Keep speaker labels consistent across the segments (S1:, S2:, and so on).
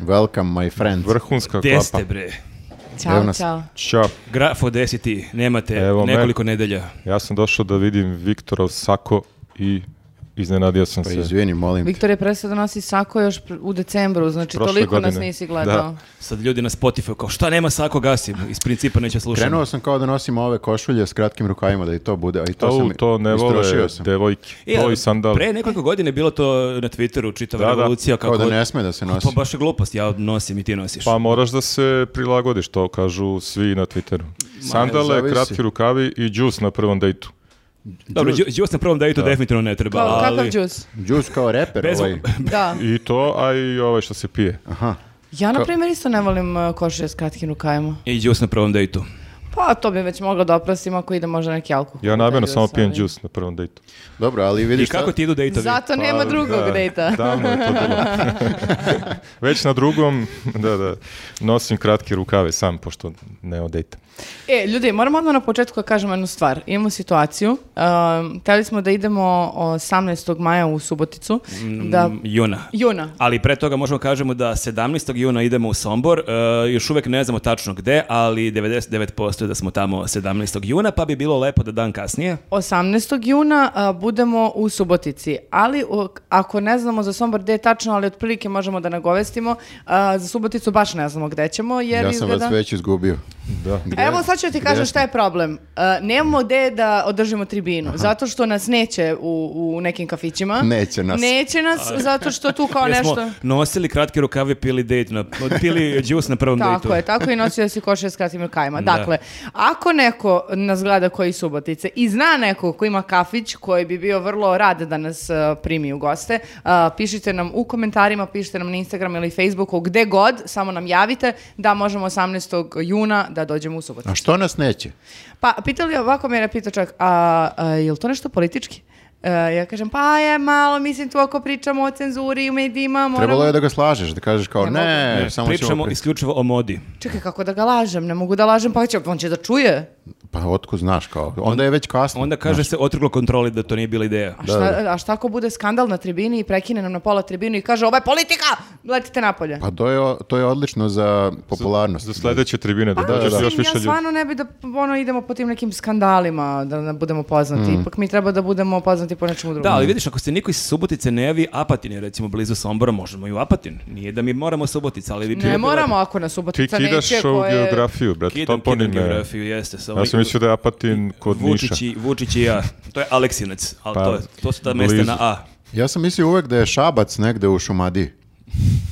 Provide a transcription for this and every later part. S1: Welcome, my friend.
S2: Vrhunska
S3: Gde ste,
S2: klapa.
S3: bre?
S1: Evo
S4: Ćao,
S1: nas.
S4: čao.
S2: Ćao.
S3: Grafo, gde si ti? Nemate
S2: Evo me.
S3: nekoliko nedelja.
S2: Ja sam došao da vidim Viktorov sako i iznenadio sam
S1: Pa
S2: se.
S1: izvini, molim. te.
S4: Viktor je prestao da nosi sako još pr- u decembru, znači
S2: Prošle
S4: toliko nas
S2: godine.
S4: nisi gledao.
S2: Da.
S3: Sad ljudi na Spotify kao šta nema sako gasim, iz principa neće slušati.
S1: Krenuo sam kao da nosim ove košulje s kratkim rukavima da i to bude, a i to
S2: To,
S1: sam
S2: to ne vole
S1: istrošio sam.
S2: devojke.
S3: E,
S2: to i sandal.
S3: Pre nekoliko godine je bilo to na Twitteru, čitava
S2: Da, da.
S3: revolucija.
S1: Kao
S3: Kako,
S1: da ne sme da se nosi.
S3: Pa baš je glupost, ja nosim i ti nosiš.
S2: Pa moraš da se prilagodiš, to kažu svi na Twitteru. Sandale,
S1: zavisi.
S2: kratki rukavi i džus na prvom dejtu.
S3: Dobro,
S1: Džus.
S3: džus na prvom dejtu definitivno ne
S2: Pa
S3: treba,
S4: Kao,
S3: ali...
S4: Kakav džus?
S1: Džus kao reper
S3: Bez-
S1: ovaj.
S4: Da.
S2: I to, a i ovaj što se pije.
S1: Aha.
S4: Ja, na primjer, isto ne volim uh, košulje s kratkim rukavima.
S3: I džus na prvom dejtu.
S4: Pa to bi već mogla da oprosim ako ide možda neki alkohol.
S2: Ja namjerno
S4: Taj
S2: samo
S4: džus,
S2: pijem
S4: ali-
S2: džus na prvom dejtu.
S1: Dobro, ali
S3: I
S1: vidiš
S3: kako ti idu dejtovi?
S4: Zato Pa nema drugog
S2: Pa, da,
S4: dejta.
S2: davno je to bilo. Već na drugom, da, da, nosim kratke rukave sam, pošto ne odejta.
S4: E, ljudi, moramo odmah na početku da kažemo jednu stvar. Imamo situaciju. Um, hteli smo da idemo 18. maja u Suboticu.
S2: Mm.
S4: Da,
S3: Juna.
S4: juna.
S3: Ali pre toga možemo kažemo da 17. juna idemo u Sombor, e, još uvek ne znamo tačno gde, ali 99% je da smo tamo 17. juna, pa bi bilo lepo da dan kasnije.
S4: 18. juna a, budemo u Subotici, ali o, k- ako ne znamo za Sombor gde je tačno, ali otprilike možemo da nagovestimo, a, za Suboticu baš ne znamo gde ćemo, jer
S1: Ja sam
S4: izgleda...
S1: vas već izgubio.
S2: Da.
S4: Evo sad ću ti kažem
S1: gde
S4: šta je problem. A, nemamo gde da održimo tribinu, zato što nas neće u, u nekim kafićima.
S1: Neće nas.
S4: Neće nas, zato što tu kao
S3: Jer smo
S4: Pa nešto...
S3: nosili kratke rukave, pili dejt, na, pili džus na prvom dejtu.
S4: Tako je, tako i nosio si košulje s kratkim rukavima.
S3: Da.
S4: Dakle, ako neko nas gleda koji iz Subotice i zna neko ko ima kafić koji bi bio vrlo rad da nas e, primi u goste, a, pišite nam u komentarima, pišite nam na Instagram ili Facebooku, gde god, samo nam javite da možemo 18. juna da dođemo u Suboticu.
S1: A što nas neće?
S4: Pa, pitali, ovako me je pitao čak, a, a je li to nešto politički? E, ja kažem, pa je malo, mislim tu ako pričamo o cenzuri u medijima, moramo...
S1: Trebalo je da ga slažeš, da kažeš kao
S4: Ne
S2: E,
S1: ne,
S3: Ne,
S1: samo ćemo...
S3: Pričamo
S1: pri-
S3: isključivo o modi.
S4: Čekaj, kako da ga lažem? Ne mogu da lažem, pa će, on će da čuje.
S1: Pa otko znaš kao, onda je već kasno.
S3: Onda kaže se otrglo kontroli da to nije bila ideja.
S4: A šta, a šta ako bude skandal na tribini i prekine nam na pola tribinu i kaže ovo je politika, letite napolje.
S1: Pa to je, to je odlično za popularnost.
S2: Za sledeće tribine da,
S4: Pa,
S2: dođeš
S4: mislim,
S2: još više
S4: ja
S2: ljudi.
S4: stvarno ne bi da ono, idemo po tim nekim skandalima, da ne budemo poznati. Ipak mi treba da budemo poznati po nečemu drugom.
S3: Da, ali vidiš, ako se niko iz Subotice ne javi, Apatin je recimo blizu Sombora, možemo i u Apatin. Nije da mi moramo Subotica, ali bi bilo
S4: ne
S3: bi
S4: moramo
S3: lepo.
S4: ako na
S2: Ti
S4: Subotica
S2: kidaš
S4: neće
S2: ovu
S4: koje...
S2: geografiju, brate,
S3: Kidam,
S2: to
S3: kidam
S2: poni me.
S3: geografiju, jeste. Sa
S2: Ja sam mislio da je Apatin kod Niša.
S3: Vučići, Vučići i ja. To je Aleksinac, ali
S2: Pa,
S3: to, je- to su ta mesta
S2: blizu.
S3: na A.
S1: Ja sam mislio uvek da je Šabac negde u Šumadiji.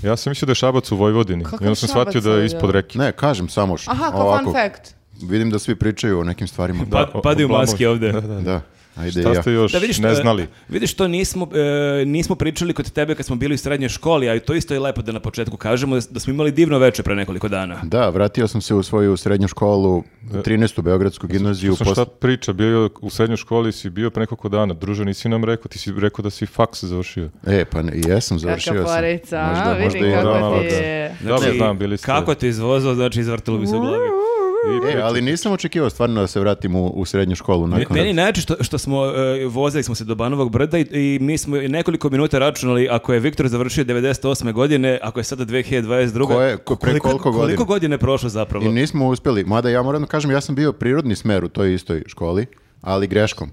S2: Ja sam mislio da je Šabac u Vojvodini.
S4: Kakav
S2: I onda sam
S4: Šabac,
S2: shvatio da je
S4: ali,
S2: ispod
S4: ja.
S2: reke.
S1: Ne, kažem samo š-
S4: Aha, kao
S1: ovako.
S4: fun fact.
S1: Vidim da svi pričaju o nekim stvarima.
S3: Pa-
S2: o-
S3: padaju
S2: oblamož.
S3: maske ovde.
S2: Da, da, da.
S1: Da, ajde i
S2: Šta
S1: ja.
S2: ste još
S3: Da vidiš,
S2: ne
S3: e,
S2: znali?
S3: Vidiš, to nismo, e, nismo pričali kod tebe kad smo bili u srednjoj školi, a i to isto je lepo da na početku kažemo da smo imali divno veče pre nekoliko dana.
S1: Da, vratio sam se u svoju srednju školu, 13. Beogradsku gimnaziju.
S2: Sam E, šta
S1: posle-
S2: priča, bio je u srednjoj školi, si bio pre nekoliko dana. Druže, nisi nam rekao, ti si rekao da si faks završio.
S1: E, pa ne, jesam, završio
S4: Kaka
S1: sam.
S4: porica, a?
S1: Možda-
S4: vidi
S1: možda i-
S2: Da,
S4: kako
S2: malo
S4: ti
S2: da.
S4: je.
S2: Dobro, znam, bili ste.
S3: Znači, Kako te izvozao, znači izvrtilo bi se u glavi.
S2: I
S1: E, ali nisam očekivao stvarno da se vratim u, u srednju školu.
S3: Me-
S1: Nakon
S3: Meni najče što, što smo, e, vozili smo se do Banovog brda i, i mi smo i nekoliko minuta računali ako je Viktor završio 98. godine, ako je sada 2022.
S1: Ko je- ko- pre koliko godina?
S3: Koliko godina je prošlo
S1: I
S3: zapravo?
S1: nismo uspjeli, mada ja moram da kažem, ja sam bio prirodni smer u toj istoj školi, ali greškom.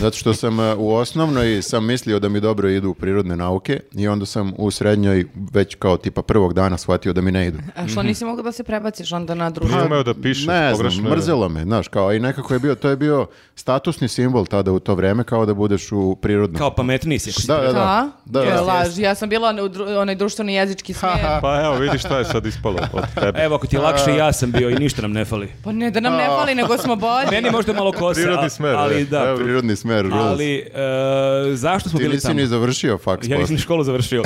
S1: Zato što sam e, u osnovnoj sam mislio da mi dobro idu prirodne nauke i onda sam u srednjoj već kao tipa prvog dana shvatio da mi ne idu.
S4: A
S3: Mhm.
S4: što nisi mogao da se prebaciš onda na drugu?
S2: Nije umeo da piše,
S1: ne
S2: pogrešno
S1: znam,
S2: je.
S1: mrzelo me, znaš, kao i nekako je bio, to je bio statusni simbol tada u to vreme kao da budeš u prirodnom.
S3: Kao pametniji si. ako si
S1: Da, da, da.
S4: Da,
S1: da, da.
S4: to je laž. Ja sam bila u dru- onaj društveni jezički smjer.
S2: Pa evo, vidi šta je sad ispalo od tebe.
S3: Evo, ako ti je lakše, ja sam bio i ništa nam ne fali.
S4: Pa ne da nam ne fali, nego smo bolji.
S3: Oh. Meni možda malo kose,
S2: Prirodni
S3: a-
S2: smer,
S3: ali
S2: e.
S3: da.
S2: Evo,
S1: Prirodni smer, rules.
S3: Ali, e, zašto smo
S1: Ti
S3: bili
S1: nisi
S3: tamo?
S1: ni završio faks
S3: Ja
S1: posle.
S3: nisam ni školu završio.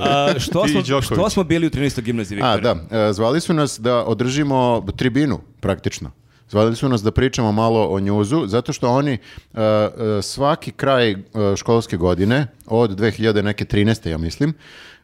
S3: A, što,
S2: Ti i
S3: smo,
S2: Đoković.
S3: što smo bili u 13. gimnaziji, Viktor?
S1: A, da, e, zvali su nas da održimo tribinu, praktično. Zvadili su nas da pričamo malo o njuzu, zato što oni uh, uh, svaki kraj uh, školske godine, od 2000 neke 13. ja mislim,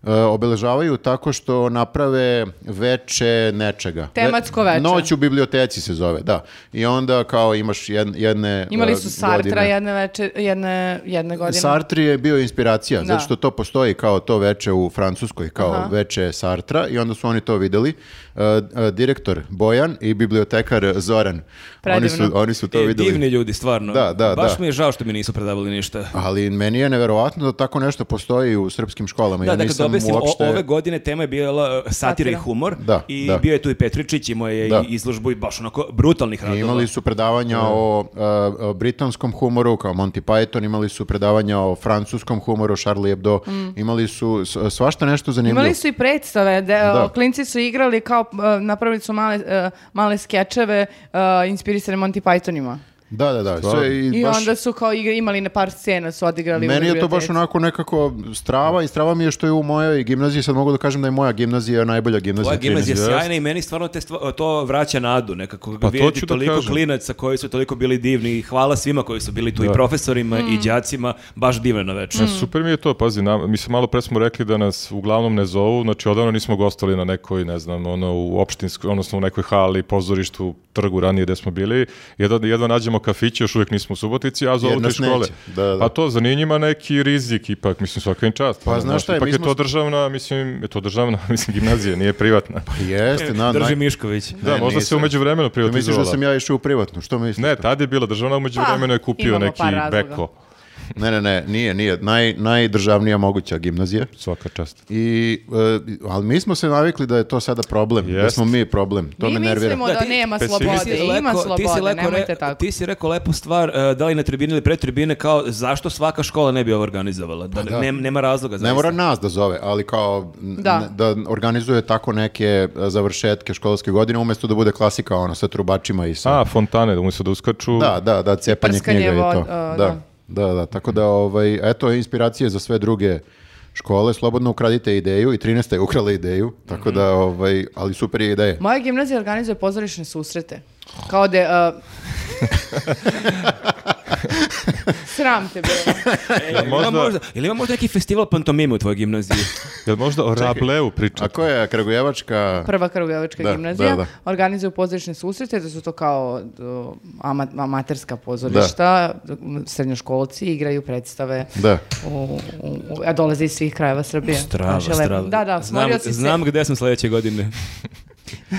S1: uh, obeležavaju tako što naprave veče nečega.
S4: Tematsko veče.
S1: Noć u biblioteci se zove, da. I onda kao imaš jed- jedne
S4: Imali
S1: uh,
S4: su Sartra
S1: godine.
S4: jedne, veče, jedne, jedne godine.
S1: Sartre je bio inspiracija,
S4: Da.
S1: zato što to postoji kao to veče u Francuskoj, kao
S4: Aha.
S1: veče Sartra i onda su oni to videli. E, e, direktor Bojan i bibliotekar Zoran. Oni
S4: Predivno.
S1: su, oni su to
S3: E,
S1: videli.
S3: divni ljudi, stvarno.
S1: Da, da,
S3: Baš
S1: da.
S3: mi je žao što mi nisu predavali ništa.
S1: Ali meni je neverovatno da tako nešto postoji u srpskim školama.
S3: Da,
S1: ja
S3: dakle, da
S1: nisam
S3: objasnim, o-
S1: uopšte...
S3: ove godine tema je bila e, satira i
S4: Satira.
S3: humor
S1: Da,
S3: i
S1: da.
S3: bio je tu i Petričić, imao je
S1: Da.
S3: i izložbu i baš onako brutalnih radova.
S1: Imali su predavanja o, e, o britanskom humoru kao Monty Python, imali su predavanja o francuskom humoru Charlie Hebdo, imali su s- svašta nešto zanimljivo.
S4: Mm. Imali su i predstave, de,
S1: Da.
S4: o, klinci su igrali kao, e, napravili su male, e, male skečeve e, inspirisane Monty Pythonima.
S1: Da, da, da.
S2: Stvarno.
S1: sve
S4: I
S1: baš-
S4: onda su kao igra, imali na par scena, su odigrali u
S1: Meni je to baš
S4: biblioteci.
S1: onako nekako strava i strava mi je što je u mojoj gimnaziji, sad mogu da kažem da je moja gimnazija najbolja gimnazija.
S3: Tvoja gimnazija je
S1: 13.
S3: sjajna i meni stvarno te stva- to vraća nadu nekako.
S2: Pa to
S3: Vidjeti
S2: ću da
S3: toliko
S2: kažem.
S3: klinaca koji su toliko bili divni i hvala svima koji su bili tu i
S2: Da.
S3: profesorima i đacima, baš divno na večer.
S2: E,
S4: Mm.
S2: Super mi je to, pazi, nam, mi se malo pre smo rekli da nas uglavnom ne zovu, znači odavno nismo gostali na nekoj, ne znam, ono u opštinskoj, odnosno u nekoj hali, pozorištu, trgu ranije gde smo bili, jedva, jedva nađemo kafiće, još uvijek nismo u Subotici, a zovu
S1: Jer
S2: te
S1: nas
S2: škole.
S1: neće, da, da. Pa
S2: Pa to, za nije njima neki rizik ipak, mislim svaka im čast. ono,
S1: znaš šta je,
S2: ipak
S1: mi
S2: je
S1: smo-
S2: to državna, mislim, je to državna, mislim, gimnazija, nije privatna.
S1: Jeste, na,
S3: Drži
S1: na,
S3: Mišković.
S2: Da,
S1: Pa Ne,
S2: možda se
S1: nisam.
S2: umeđu vremenu
S1: Ti misliš da
S2: privatizovala.
S1: sam ja išao u privatnu, što misliš?
S2: Ne, tad je bila državna, umeđu
S4: Pa,
S2: vremenu je kupio
S4: imamo
S2: neki
S4: par razloga.
S2: beko.
S1: Ne, ne, ne, nije, nije. Naj, najdržavnija moguća gimnazija.
S2: Svaka čast.
S1: I, e, ali mi smo se navikli da je to sada problem, da
S2: Jest.
S1: smo mi problem, to
S4: Mi
S1: me nervira.
S4: mislimo
S3: Da,
S4: da,
S3: ti-
S4: nema
S2: pesimisti-
S4: slobode,
S3: Ti si
S4: ima
S3: leko- ti si
S4: slobode,
S3: leko re-
S4: nemojte tako.
S3: Ti si rekao lepu stvar, e, da li na tribini ili pre tribine, kao zašto svaka škola ne bi ovo organizovala? Da,
S1: da.
S3: ne- nema razloga.
S1: Ne
S3: zaista.
S1: mora nas da zove, ali kao n-
S4: Da.
S1: n- da. organizuje tako neke e, završetke školske godine umjesto da bude klasika ono sa trubačima i sa
S2: A, fontane, da umjesto da uskaču.
S1: Da, da, da, cepanje
S4: Prskanje
S1: knjiga i
S4: vod-
S1: to.
S4: o, da.
S1: da. Da, da, tako da, ovaj, eto, inspiracije za sve druge škole, slobodno ukradite ideju i 13. je ukrala ideju, tako da,
S4: Mhm.
S1: ovaj, ali super je ideja.
S4: Moja gimnazija organizuje pozorišne susrete. Kao da... je, uh, Sram te bilo.
S3: E, jel ima
S2: Možda-
S3: jel ima možda neki festival pantomime u tvojoj gimnaziji?
S2: Jel možda o Rableu priča?
S1: A koja je Kragujevačka?
S4: Prva Kragujevačka
S1: E. Da,
S4: gimnazija
S1: da, da.
S4: organizuje pozorišne susrete, da su to kao do, ama, amaterska pozorišta, srednjoškolci igraju predstave.
S1: Da.
S4: U, u- u- a dolaze iz svih krajeva Srbije.
S3: Strava,
S4: Baš je lepo.
S3: strava.
S4: Da,
S3: znam,
S4: da, smorio si se.
S3: znam gde sam sljedeće godine.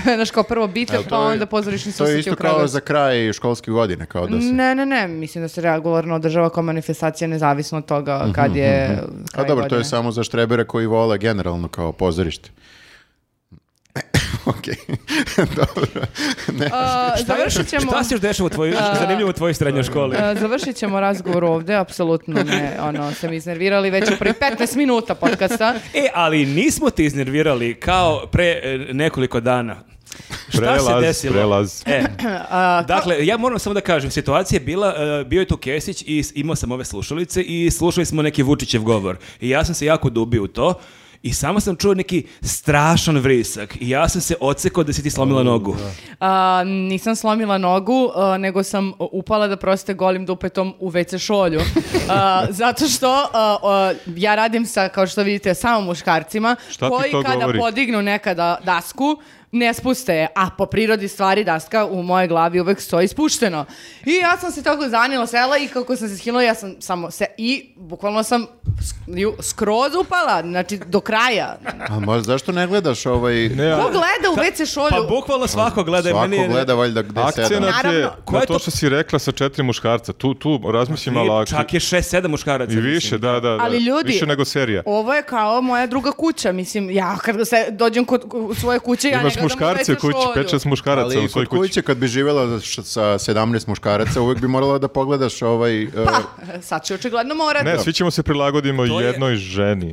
S4: Znaš, kao prvo bite,
S1: To
S4: pa
S1: je-
S4: onda pozorišni
S1: To je
S4: susreti
S1: isto
S4: u
S1: kao
S4: Kragujevcu.
S1: za kraj školske godine, kao da se...
S4: Ne, ne, ne, mislim da se regularno održava kao manifestacija nezavisno od toga kad je
S1: A
S4: kraj
S1: dobro, to
S4: godine.
S1: je samo za štrebere koji vole generalno kao pozorište. Okej, dobro. Ne.
S4: A, završit ćemo... E,
S3: Šta se još dešava u tvojoj, zanimljivo u tvojoj srednjoj školi?
S4: a, završit ćemo razgovor ovdje, apsolutno ne, ono, sam iznervirali već u prvih 15 minuta podcasta.
S3: E, ali nismo te iznervirali kao pre e, nekoliko dana. Šta se
S2: Prelaz,
S3: desilo?
S2: prelaz.
S3: E, dakle, ja moram samo da kažem, situacija je bila, e, bio je tu Kesić i s- imao sam ove slušalice i slušali smo neki Vučićev govor. I ja sam se jako dubio u to i samo sam čuo neki strašan vrisak i ja sam se odsekao da si ti slomila nogu.
S4: A, nisam slomila nogu, a, nego sam upala da proste golim dupetom u WC šolju. A, zato što a, a, ja radim sa, kao što vidite, samo muškarcima,
S2: Šta ti
S4: koji
S2: to
S4: kada
S2: govori?
S4: podignu nekada dasku, ne spuste je, a po prirodi stvari daska u mojoj glavi uvek stoji spušteno. I ja sam se tako zanila sela i kako sam se skinula, ja sam samo se, i bukvalno sam sk- ju- skroz upala, znači do kraja.
S1: A možda, zašto ne gledaš ovaj...
S2: Ne, a-
S4: Ko gleda u WC šolju?
S3: Pa bukvalno svako gleda. i meni
S1: Svako
S3: je-
S1: gleda valjda gde sedam.
S2: Akcenat je
S4: Naravno.
S3: Ko je
S2: na
S3: to-
S2: to što si rekla sa četiri muškarca. Tu, tu razmislim malo
S3: Nije,
S2: akci-
S3: Čak je šest, sedam muškaraca.
S2: I
S3: mislim.
S2: više, da, da, da.
S4: Ali ljudi-
S2: Više nego serija.
S4: Ovo je kao moja druga kuća, mislim, ja kad se dođem kod u svoje kuće, ja
S2: Imaš
S4: ne gledam ovaj u
S2: muškarce u
S4: WC
S2: kući,
S4: šolju.
S2: pet, šest muškaraca
S1: Ali
S2: u svojoj
S1: kod
S2: kući.
S1: kuće kad bi živjela š- sa 17 muškaraca, uvijek bi morala da pogledaš ovaj... e,
S4: Pa. Sad će očigledno morati.
S2: Ne, svi ćemo se prilagodimo
S3: To je-
S2: jednoj ženi.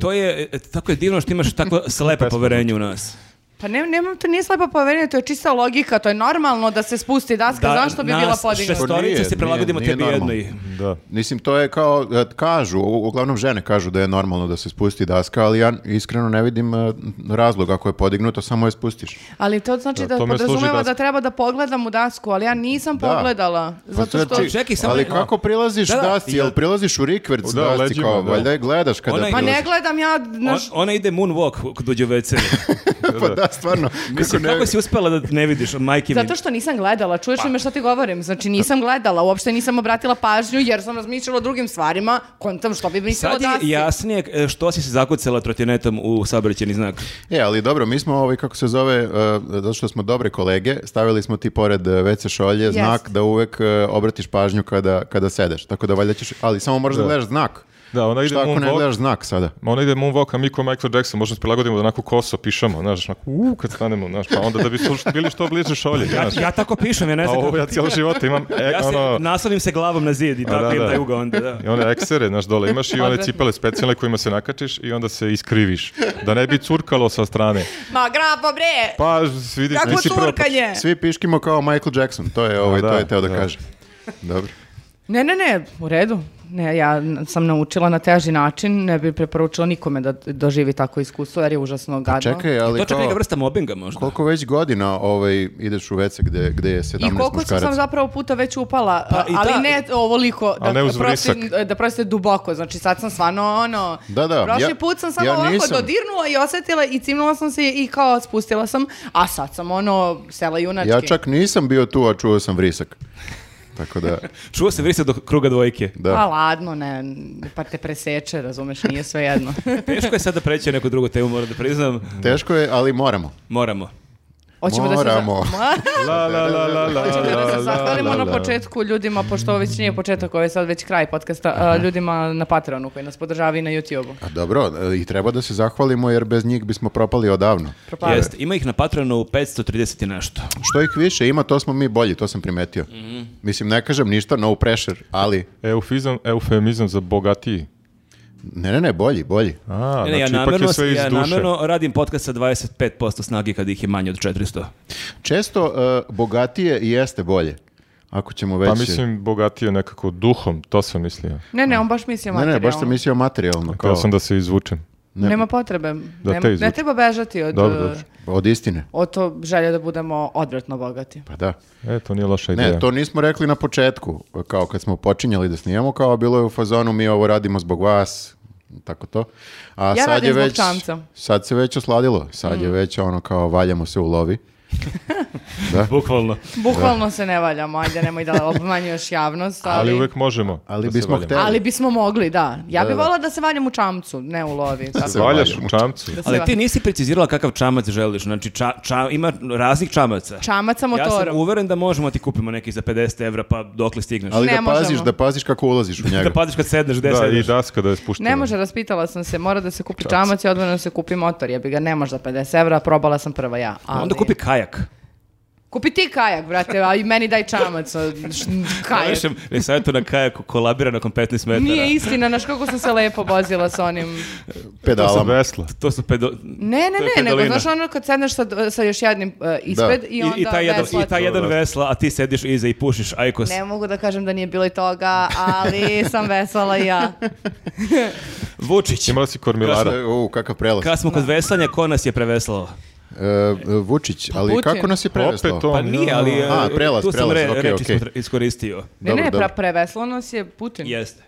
S3: To je, e, tako je divno što imaš tako slepo poverenje u nas.
S4: Pa ne, nemam, to nije slepa poverenje, to je čista logika, to je normalno da se spusti daska, zašto bi bila podignuta?
S1: šesto- Pa nije,
S3: šestorica se
S1: nije,
S3: prilagodimo
S1: nije
S3: tebi
S1: normalno.
S3: jednoj.
S2: Da.
S1: Mislim, to je kao, e, kažu, u- uglavnom žene kažu da je normalno da se spusti daska, ali ja iskreno ne vidim e, razloga ako je podignuto, samo je spustiš.
S4: Ali to znači
S2: Da,
S4: da,
S2: tome služi
S4: podrazumeva
S2: daska.
S4: da treba da pogledam u dasku, ali ja nisam
S1: Da.
S4: pogledala.
S2: Pa
S4: Pa Zato što...
S1: znači,
S3: Čekaj, samo
S1: ali
S3: jedno.
S1: kako prilaziš
S3: Da, da,
S1: dasci, jel
S3: jel-
S1: prilaziš u rikverc
S2: Da,
S1: dasci,
S2: leđima,
S1: kao,
S2: da.
S1: valjda je gledaš kada
S3: Ona je-
S4: Pa ne
S1: prilaziš.
S4: gledam ja... na
S3: On-
S4: š-
S3: ona ide moonwalk kad uđe u WC.
S1: pa da, stvarno.
S3: Mislim,
S1: ne-
S3: kako si uspela da ne vidiš, majke mi?
S4: Zato što nisam gledala, čuješ li me šta ti govorim? Znači nisam gledala, uopšte nisam obratila pažnju jer sam razmišljala o drugim stvarima, kontam što bi mislila
S3: Sad
S4: da si.
S3: je jasnije e, što si se zakucala trotinetom u saobraćeni znak.
S1: E, ali dobro, mi smo ovaj, kako se zove, uh, zato što smo dobre kolege, stavili smo ti pored uh, WC šolje znak da uvek uh, obratiš pažnju kada, kada sedeš. Tako da valjda ćeš, ali samo moraš da,
S2: Da.
S1: gledaš znak.
S2: Da, ona ide
S1: Šta ako ne
S2: moonwalk.
S1: gledaš znak sada?
S2: Ma Ona ide moonwalk, a mi ko Michael Jackson možemo se prilagodimo da onako koso pišemo, znaš, onako, u, kad stanemo, znaš, pa onda da bi sluš- bili što bliže šolji, znaš.
S3: Ja tako pišem, ja ne
S2: A
S3: znam.
S2: ovo
S3: kako-
S2: ja cijelo život imam, e,
S3: Ja se
S2: ono,
S3: naslonim se glavom na zid i tako
S2: da,
S3: da,
S2: da.
S3: da. jugo onda, da.
S2: i one eksere, znaš, dole imaš i one
S4: Odvratno.
S2: cipele specijalne kojima se nakačiš i onda se iskriviš, da ne bi curkalo sa strane.
S4: Ma grabo bre!
S2: Pa, vidiš,
S4: Kako
S2: nisi prvo...
S4: turkanje?
S1: znači, pa Svi piškimo kao Michael Jackson, to je, ovaj,
S2: A, da,
S1: to je teo da,
S2: da.
S1: kaže. Dobro.
S4: Ne, ne, ne, u redu. Ne, ja n- sam naučila na teži način, ne bi preporučila nikome da doživi tako iskustvo jer je užasno gadno.
S1: Pa Čekaj, ali
S3: To čak neka
S1: kao,
S3: vrsta mobinga možda.
S1: koliko već godina ovaj, ideš u WC gde, gde je 17
S4: I
S1: muškaraca?
S4: koliko sam zapravo puta već upala,
S3: Pa i
S4: ali
S3: da.
S4: ne ovoliko, da,
S2: A ne uz
S4: prostim- da prostim duboko, znači sad sam stvarno ono,
S1: Da, da,
S4: prošli
S1: ja-
S4: put sam samo
S1: ja
S4: ovako
S1: nisam.
S4: dodirnula i osetila i cimnula sam se i kao spustila sam, a sad sam ono, sela junački.
S1: Ja čak nisam bio tu, a čuo sam vrisak. Tako da,
S3: Čuo se vrisa do kruga dvojke.
S1: da.
S4: Pa ladno, ne, pa te preseče, razumeš, nije sve jedno.
S3: Teško je sada preći na neku drugu temu, moram da priznam.
S1: Teško je, ali moramo.
S3: Moramo.
S4: Hoćemo da se za-
S1: Moramo.
S4: Ma-
S2: La, la, la, la, la,
S4: Hoćemo da
S2: la,
S4: se
S2: la,
S4: zahvalimo
S2: la,
S4: na
S2: la.
S4: početku ljudima, pošto ovo već nije početak, ovo je sad već kraj podcasta, a, ljudima na Patreonu koji nas podržavaju i na YouTubeu.
S1: A dobro, e, i treba da se zahvalimo jer bez njih bismo propali odavno.
S2: Pa-
S4: Propali.
S3: Jeste, ima ih na Patreonu 530 i nešto.
S1: Što ih više ima, to smo mi bolji, to sam primetio. Mislim, ne kažem ništa, no pressure, ali
S2: Eufizam, eufemizam za bogatiji.
S1: ne, ne, ne, bolji, bolji.
S2: A,
S3: Ne, ne, ja
S2: znači, ipak je
S3: namjerno,
S2: sve iz
S3: ja
S2: duše.
S3: namjerno radim podcast sa 25% snage kad ih je manje od 400.
S1: Često e, bogatije i jeste bolje. Ako ćemo već...
S2: Pa mislim, bogatije nekako duhom, to sam mislio.
S4: Ne, ne, on baš mislio
S1: Ne, ne, baš sam
S4: materijalno.
S1: mislio materijalno. Kao,
S2: Htio sam da se izvučem.
S4: Nema potrebe.
S2: Da
S4: Nema-
S2: te
S4: ne
S2: izvuče.
S4: treba bežati od,
S2: Dobro, dobro.
S1: Od istine.
S4: od to želje da budemo odvratno bogati.
S1: Pa da.
S2: E, to nije loša ideja.
S1: Ne, to nismo rekli na početku. Kao kad smo počinjali da snijemo, kao bilo je u fazonu mi ovo radimo zbog vas, tako to. A
S4: Ja
S1: sad
S4: radim
S1: je
S4: zbog
S1: već,
S4: čamca. Mhm.
S1: Sad se već osladilo. Sad je već ono kao valjamo se u lovi.
S3: Bukvalno.
S4: Bukvalno se ne valjamo, ajde nemoj da obmanjuješ javnost, ali...
S2: Ali uvek možemo.
S1: ali
S2: da se
S1: bismo
S2: valjamo.
S1: hteli.
S4: ali bismo mogli, da. Ja
S1: Da,
S4: bi
S1: da.
S4: volila da se valjam u čamcu, ne u lovi. tako.
S1: se
S2: Valjaš
S1: valjamo.
S2: u čamcu.
S4: Da se
S3: Ali
S4: va-
S3: ti nisi precizirala kakav čamac želiš. Znači, ča, ča- ima raznih čamaca.
S4: Čamac sa
S3: Ja sam
S4: motorom.
S3: uveren da možemo da ti kupimo neki za 50 evra, pa dokle stigneš.
S1: Ali
S4: Ne
S1: da paziš,
S4: možemo.
S1: da paziš kako ulaziš u njega.
S3: Da paziš kad sedneš, gde
S2: Da, i
S3: sedneš.
S2: daska da je spuštena.
S4: Ne može, raspitala sam se, mora da se kupi čamac i odmah da se kupi motor, ja bi ga ne može za 50 evra, probala sam prva ja. Ali...
S3: Pa Onda kupi kajak.
S4: Kupi ti kajak, brate, a i meni daj čamac. a, š- Kajak.
S3: Završim, ne savjetu na kajaku, kolabira nakon 15 metara.
S4: Nije istina, znaš kako sam se lepo vozila sa onim...
S2: To sam
S1: Pedalama.
S2: vesla.
S3: To su pedo...
S4: Ne, ne,
S3: To je
S4: ne, nego
S3: pedalina.
S4: znaš ono kad sedneš sa, sa još jednim e, ispred
S1: Da.
S4: i onda
S3: I, i taj jedan,
S4: vesla-
S3: i taj jedan vesla, a ti sediš iza i pušiš ajkos.
S4: Ne mogu da kažem da nije bilo i toga, ali sam vesela i ja.
S3: Vučić.
S2: Imala si kormilara.
S1: Vesla- U, kakav prelaz.
S3: Kad smo kod veslanja, ko nas je preveslao?
S1: E, Vučić, ali
S4: Pa Putin.
S1: kako nas je preveslo?
S2: Opet on.
S3: Pa nije, ali e,
S1: A, prelaz,
S3: tu sam
S1: prelaz,
S3: re-
S1: okej,
S3: reči
S1: okej.
S3: smo tre- iskoristio.
S4: Ne,
S1: Dobro,
S4: ne,
S1: dobro.
S4: pra, preveslo nas je Putin.
S3: Jeste.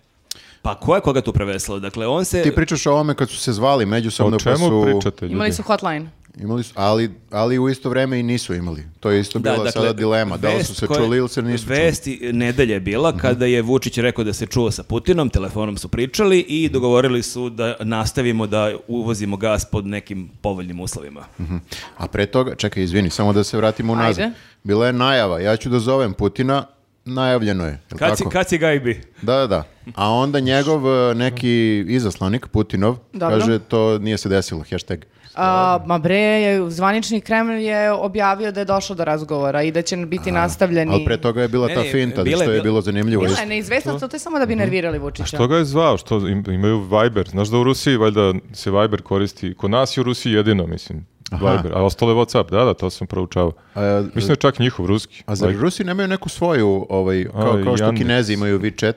S3: Pa ko je koga tu preveslao? Dakle, on se...
S1: Ti pričaš o ovome kad su se zvali međusobno.
S2: O
S1: pa su-
S2: čemu pričate, ljudi?
S4: Imali su hotline.
S1: Imali su, ali, ali u isto vreme i nisu imali. To je isto bila
S4: dakle,
S1: sada dilema. Da li su
S3: dakle, vest
S1: se
S3: koja-
S1: čuli ili se nisu čuli. Mhm.
S3: Vesti nedelje je bila kada je Vučić rekao da se čuo sa Putinom, telefonom su pričali i
S1: Mhm.
S3: dogovorili su da nastavimo da uvozimo gas pod nekim povoljnim uslovima.
S1: Mhm. A pre toga, čekaj, izvini, samo da se vratimo unazad.
S4: Ajde.
S1: Bila je najava, ja ću da zovem Putina, najavljeno je. je li
S3: Kad si,
S1: tako?
S3: kad si gajbi?
S1: Da, da, da. A onda njegov e, neki izaslanik, Putinov,
S4: Dobro.
S1: kaže to nije se desilo, hashtag.
S4: A, ma bre, je- zvanični Kreml je objavio da je došlo do razgovora i da će biti nastavljeni.
S1: Ali pre toga je bila
S3: Ne,
S1: ta
S3: ne,
S1: finta,
S3: bila je-
S1: što je Mhm.
S3: bila-
S1: bilo zanimljivo.
S4: Bila je neizvesnost, to je samo da bi nervirali Vučića.
S2: Što ga je zvao? Što, im- imaju Viber. Znaš da u Rusiji valjda se Viber koristi. Kod nas je u Rusiji jedino, mislim. Viber, a ostalo je WhatsApp, da, da, to sam proučavao.
S1: A-
S2: Mislim da je čak njihov ruski.
S1: A zar
S2: Like,
S1: Rusi nemaju neku svoju, ovaj, kao,
S2: A,
S1: kao što
S2: Yandex.
S1: Kinezi imaju WeChat?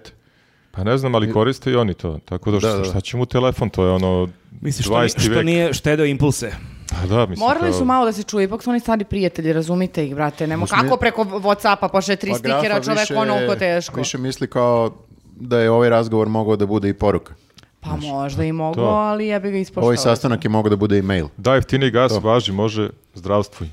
S2: Pa ne znam, ali koriste i oni to. Tako da,
S1: Da, da.
S2: šta, šta će mu telefon, to je ono
S3: Misliš, što,
S2: 20.
S3: nije- što
S2: vek.
S3: nije štedao impulse?
S2: Pa da, mislim,
S4: Morali
S2: kao-
S4: su malo da se čuje, ipak su oni stari prijatelji, razumite ih, brate. Nemo, kako preko Whatsappa pošle tri
S1: Pa
S4: stikera,
S1: grafa
S4: čovek
S1: više-
S4: onoliko teško.
S1: Više misli kao da je ovaj razgovor mogao da bude i poruka.
S4: Pa možda i moglo,
S2: to.
S4: ali ja bi ga ispoštovao.
S1: Ovaj sastanak je mogao da bude i mail.
S2: Da, jeftiniji gas važi, može, zdravstvuj.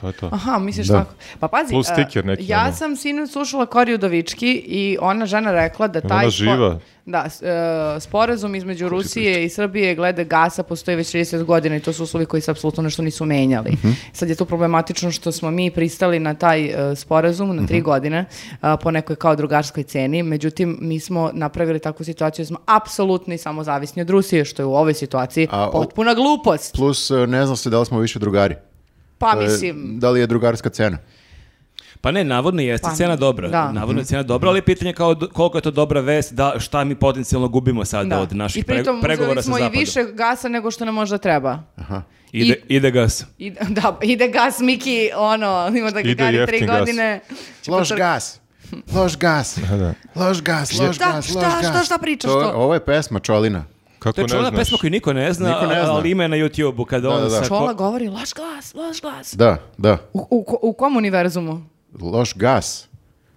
S2: To je to.
S3: Ah.
S4: Aha, misliš
S1: Da.
S4: tako. Pa pazi,
S2: Plus
S4: e,
S2: stiker neki,
S4: ja
S2: ono.
S4: sam sinoć slušala Koriju Dovički i ona žena rekla da taj...
S2: ona
S4: spo-
S2: živa?
S4: Da, s- e, sporazum između Rusije i Srbije glede gasa postoji već 30 godina i to su uslovi koji se apsolutno nešto nisu menjali.
S2: Mhm.
S4: Sad je tu problematično što smo mi pristali na taj e, sporazum na tri
S2: Mhm.
S4: godine a, po nekoj kao drugarskoj ceni, međutim mi smo napravili takvu situaciju da smo apsolutno i samo zavisni od Rusije, što je u ovoj situaciji
S1: A, o-
S4: potpuna glupost.
S1: Plus, e, ne zna se da li smo više drugari.
S4: Pa
S1: E,
S4: mislim...
S1: Da li je drugarska cena?
S3: Pa ne, navodno jeste
S4: Pa,
S3: cena dobra.
S4: da.
S3: Navodno je
S1: Mhm.
S3: cena dobra, ali je pitanje kao do- koliko je to dobra vest, da šta mi potencijalno gubimo sada
S4: Da.
S3: od naših
S4: I pritom
S3: pre- pregovora
S4: uzeli
S3: sa
S4: smo i
S3: zapadom.
S4: više gasa nego što nam možda treba.
S3: Ide, ide gas.
S4: I, da, ide gas, Miki, ono, ima da ga
S2: Ide
S4: gari tri
S2: jeftin gas.
S4: godine. Će
S1: Loš
S4: potrk-
S1: gas. Loš gas.
S2: da.
S1: Loš gas, loš
S4: Šta,
S1: gas, loš
S4: šta,
S1: gas.
S4: šta, šta pričaš
S1: To-
S4: to?
S1: Ovo je pesma Čolina.
S2: Kako
S3: To je
S2: ne
S3: čuvena
S2: znaš?
S3: pesma koju niko ne zna,
S1: Niko ne zna.
S3: ali ima je na YouTube-u kada
S1: Da,
S3: on
S1: da, da.
S3: sa ko-
S4: Čola govori, loš glas, loš glas.
S1: Da, da.
S4: U, u, ko- u kom univerzumu?
S1: Loš gas.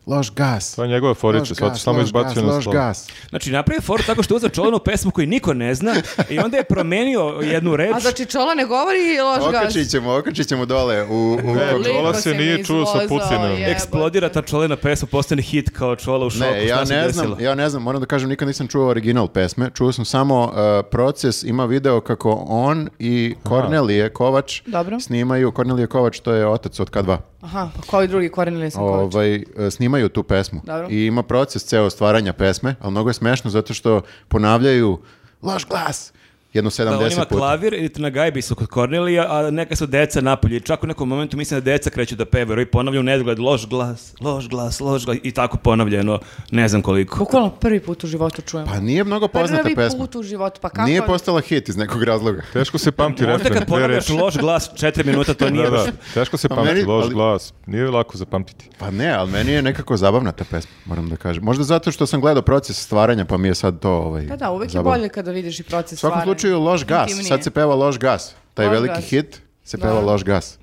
S1: Loš gas.
S2: To je njegova forica, sad samo
S1: loš
S2: izbacio na
S1: loš
S2: stol.
S1: gas.
S3: Znači, napravio je foru tako što je uzeo čolanu pesmu koju niko ne zna i onda je promenio jednu reč.
S4: A znači Čola ne govori loš gas.
S1: Okačit ćemo, okačit ćemo dole u... u
S2: Ne,
S4: Koliko
S2: Čola se
S4: si mi
S2: nije čuo sa
S4: izvozao,
S2: Putinom.
S4: jebote.
S3: Eksplodira ta čolena pesma, postane hit kao čola u šoku.
S1: Ne, ja
S3: šta se
S1: ne
S3: desilo?
S1: znam, ja ne znam, moram da kažem, nikad nisam čuo original pesme, čuo sam samo uh, proces, ima video kako on i Kornelije Kovač
S4: Dobro.
S1: snimaju, Kornelije Kovač to je otac od K2,
S4: Aha, pa koji drugi korenili sam kovač?
S1: ovaj, uh, snimaju tu pesmu
S4: Dobro.
S1: i ima proces ceo stvaranja pesme, ali mnogo je smešno zato što ponavljaju loš glas, jedno
S3: Da, on
S1: 70
S3: ima
S1: puta.
S3: klavir i na gajbi su kod Kornelija, a neka su deca napolje. I Čak u nekom momentu mislim da deca kreću da pevaju i ponavljaju nezgled, loš glas, loš glas, loš glas i tako ponavljeno, ne znam koliko.
S4: Bukvalno prvi put u životu čujem.
S1: Pa nije mnogo poznata
S4: prvi
S1: pesma.
S4: put u životu, pa kako?
S1: Nije postala hit iz nekog razloga.
S2: Teško se pamti
S3: Možda
S2: refren,
S3: kad
S2: dve
S3: ponavljaš
S2: reči.
S3: loš glas četiri minuta, to nije
S2: Da,
S3: baš...
S2: da, teško se
S1: Pa
S2: pamti,
S1: meni-
S2: loš
S1: ali-
S2: glas. Nije lako zapamtiti.
S1: Pa ne, ali meni je nekako zabavna ta pesma, moram da kažem. Možda zato što sam gledao proces stvaranja, pa mi je sad to ovaj,
S4: Da, da, uvek
S1: zabavno.
S4: je bolje kada vidiš i proces
S1: U svakom
S4: stvaranja.
S1: slučaju loš gas.
S4: Intimnije.
S1: Sad se peva loš gas. Taj
S4: Loš
S1: veliki
S4: gas. Mm, mhm,
S1: hit se peva loš gas.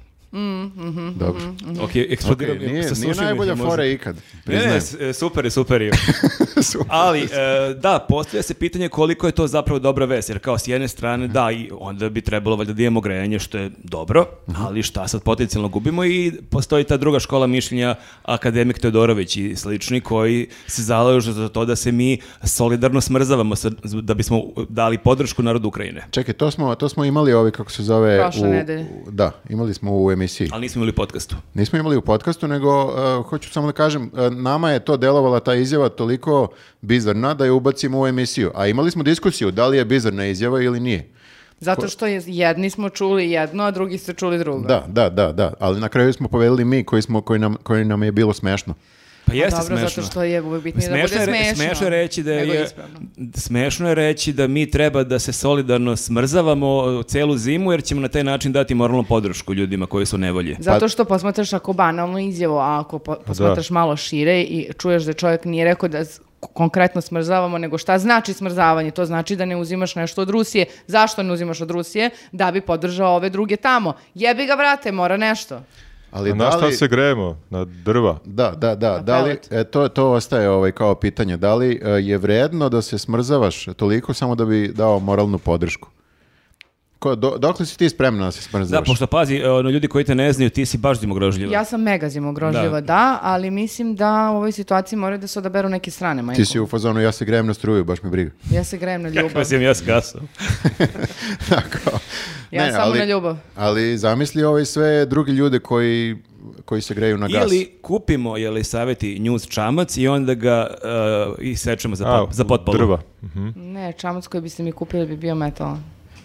S1: Dobro.
S3: Ok,
S1: Okej,
S3: eksplodirao mi je,
S1: nije,
S3: sa
S1: nije
S3: sušim
S1: najbolja
S3: ih možda.
S1: fora ikad.
S3: Ne, ne,
S1: Priznajem.
S3: s- e, super je, super je. Ali, e, da, postavlja se pitanje koliko je to zapravo dobra vest, jer kao s jedne strane, da, i onda bi trebalo valjda da imamo grejanje, što je dobro, ali šta sad potencijalno gubimo i postoji ta druga škola mišljenja, akademik Teodorović i slični, koji se zalažu za to da se mi solidarno smrzavamo sa- da bismo dali podršku narodu Ukrajine.
S1: Čekaj, to smo, to smo imali ovi, kako se zove...
S4: Prošle
S1: u-
S4: nedelje.
S1: u- Da, imali smo u emisiji.
S3: Ali nismo imali u podcastu.
S1: Nismo imali u podcastu, nego uh, hoću samo da kažem, uh, nama je to delovala ta izjava toliko bizarna da je ubacimo u emisiju. A imali smo diskusiju da li je bizarna izjava ili nije.
S4: Zato što je- jedni smo čuli jedno, a drugi ste čuli drugo.
S1: Da, da, da, da. Ali na kraju smo povedali mi koji, smo, koji, nam, koji nam je bilo smešno.
S3: Pa
S4: Pa
S3: jeste
S4: dobro,
S3: smešno.
S4: zato što je uvijek bitnije da bude
S3: Smešno je, re-
S4: smešno.
S3: smešno je reći da
S4: nego
S3: je,
S4: ispravno.
S3: smešno je reći da mi treba da se solidarno smrzavamo celu zimu jer ćemo na taj način dati moralnu podršku ljudima koji su u nevolji.
S1: pa-
S4: Zato što posmatraš ako banalnu izjavu, a ako po- posmatraš malo šire i čuješ da čovjek nije rekao da s- konkretno smrzavamo, nego šta znači smrzavanje? To znači da ne uzimaš nešto od Rusije. Zašto ne uzimaš od Rusije? Da bi podržao ove druge tamo. Jebi ga, brate, mora nešto.
S1: Ali
S2: A na
S1: da
S2: šta
S1: li-
S2: se grejemo? Na drva.
S1: Da, da, da. Da li,
S4: pelet.
S1: e, to, to ostaje ovaj, kao pitanje. Da li e, je vredno da se smrzavaš toliko samo da bi dao moralnu podršku? Ko, do, dokle si ti spremna da se
S3: Da,
S1: smrzavaš?
S3: pošto pazi, e, ono, ljudi koji te ne znaju, ti si baš zimogrožljiva.
S4: Ja sam mega zimogrožljiva, da. ali mislim da u ovoj situaciji moraju da se odaberu neke strane, majko.
S1: Ti si u fazonu, ja se grejem na struju, baš mi briga.
S4: Ja se grejem na ljubav.
S3: Kako sam ja s gasom.
S1: Tako.
S4: Ja samo na ljubav.
S1: Ali zamisli ovaj sve druge ljude koji, koji se greju na gas.
S3: Ili kupimo, je li savjeti, njuz čamac i onda ga e, isečemo za,
S2: A,
S3: pot, za potpolu.
S2: Drva.
S1: Hm?
S4: Ne, čamac koji biste mi kupili bi bio metal.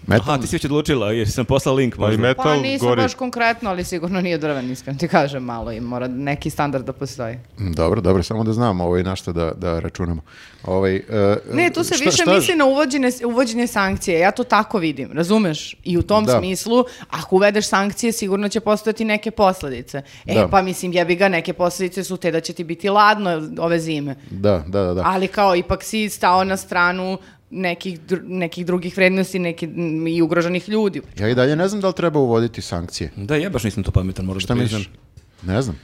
S1: Metal?
S3: Aha, ti si već odlučila, jer sam poslala link
S2: Pa i
S3: možda.
S1: E,
S2: metal
S4: Pa nisam
S2: gori.
S4: baš konkretno, ali sigurno nije drven, iskreno ti kažem malo i mora neki standard da postoji.
S1: Mm, Dobro, dobro, samo da znamo ovaj, na što da, da računamo. Ovaj, e,
S4: Ne, tu se
S1: šta-
S4: više
S1: šta-
S4: misli na uvođenje, uvođenje sankcije. Ja to tako vidim, razumeš? I u tom
S1: Da.
S4: smislu, ako uvedeš sankcije, sigurno će postojati neke posledice. E,
S1: Da.
S4: pa mislim, jebi ga, neke posledice su te da će ti biti ladno ove zime.
S1: Da, da, da. da.
S4: Ali kao, ipak si stao na stranu nekih, dru- nekih drugih vrednosti neki, m, i ugroženih ljudi.
S1: Ja i dalje ne znam da li treba uvoditi sankcije.
S3: Da, ja baš nisam to pametan, moraš da
S1: Šta
S3: piješ.
S1: mislim? Ne znam.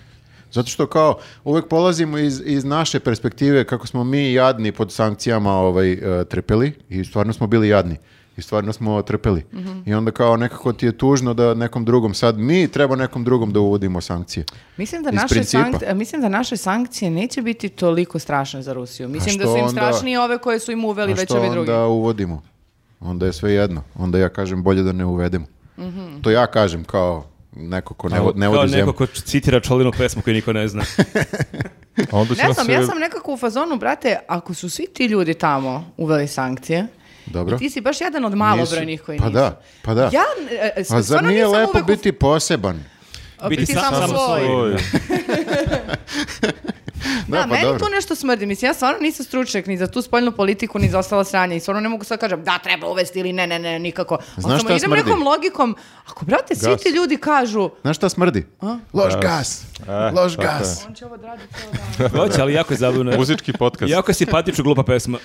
S1: Zato što kao uvek polazimo iz, iz naše perspektive kako smo mi jadni pod sankcijama ovaj, e, trpeli i stvarno smo bili jadni i stvarno smo trpeli.
S4: Mhm.
S1: I onda kao nekako ti je tužno da nekom drugom sad mi treba nekom drugom da uvodimo sankcije.
S4: Mislim da,
S1: Iz
S4: naše
S1: principa.
S4: sank- mislim da naše sankcije neće biti toliko strašne za Rusiju. Mislim da
S1: što
S4: su im
S1: onda-
S4: strašnije ove koje su im uveli
S1: A
S4: već
S1: što
S4: ovi drugi.
S1: onda uvodimo? Onda je sve jedno. Onda ja kažem bolje da ne uvedemo.
S4: Mhm.
S1: To ja kažem kao neko ko ne, vo- ne
S3: Kao
S1: vodi
S3: neko
S1: zemlju.
S3: ko citira čolinu pesmu koju niko ne zna.
S2: A onda će
S4: Ne
S2: nas
S4: znam,
S2: se-
S4: ja sam nekako u fazonu, brate, ako su svi ti ljudi tamo uveli sankcije,
S1: Dobro.
S4: i ti si baš jedan od
S1: Nisu.
S4: malobrojnih koji
S1: Pa
S4: nisu.
S1: da, pa da.
S4: Ja, e, e,
S1: Pa zar
S4: stvarno
S1: nije
S4: nisam
S1: lepo
S4: uvek u-
S1: biti poseban?
S4: biti
S3: sam-
S4: samo
S3: samo
S4: svoj.
S2: Da.
S4: Da,
S1: Da, pa
S4: meni
S1: dobro.
S4: to nešto smrdi. Mislim, ja stvarno nisam stručnjak ni za tu spoljnu politiku, ni za ostala sranja. I stvarno ne mogu sad kažem da treba uvesti ili ne, ne, ne, nikako. Ali
S1: Znaš
S4: samo
S1: šta
S4: idem
S1: smrdi?
S4: nekom logikom, ako, brate, svi
S1: Gas.
S4: ti ljudi kažu...
S1: Znaš šta smrdi? Loš gas.
S2: Eh,
S1: Loš
S2: tako
S1: gas.
S4: On će ovo
S3: Hoće, ali jako je zabavno.
S2: Muzički podcast.
S3: Jako je simpatično glupa pesma.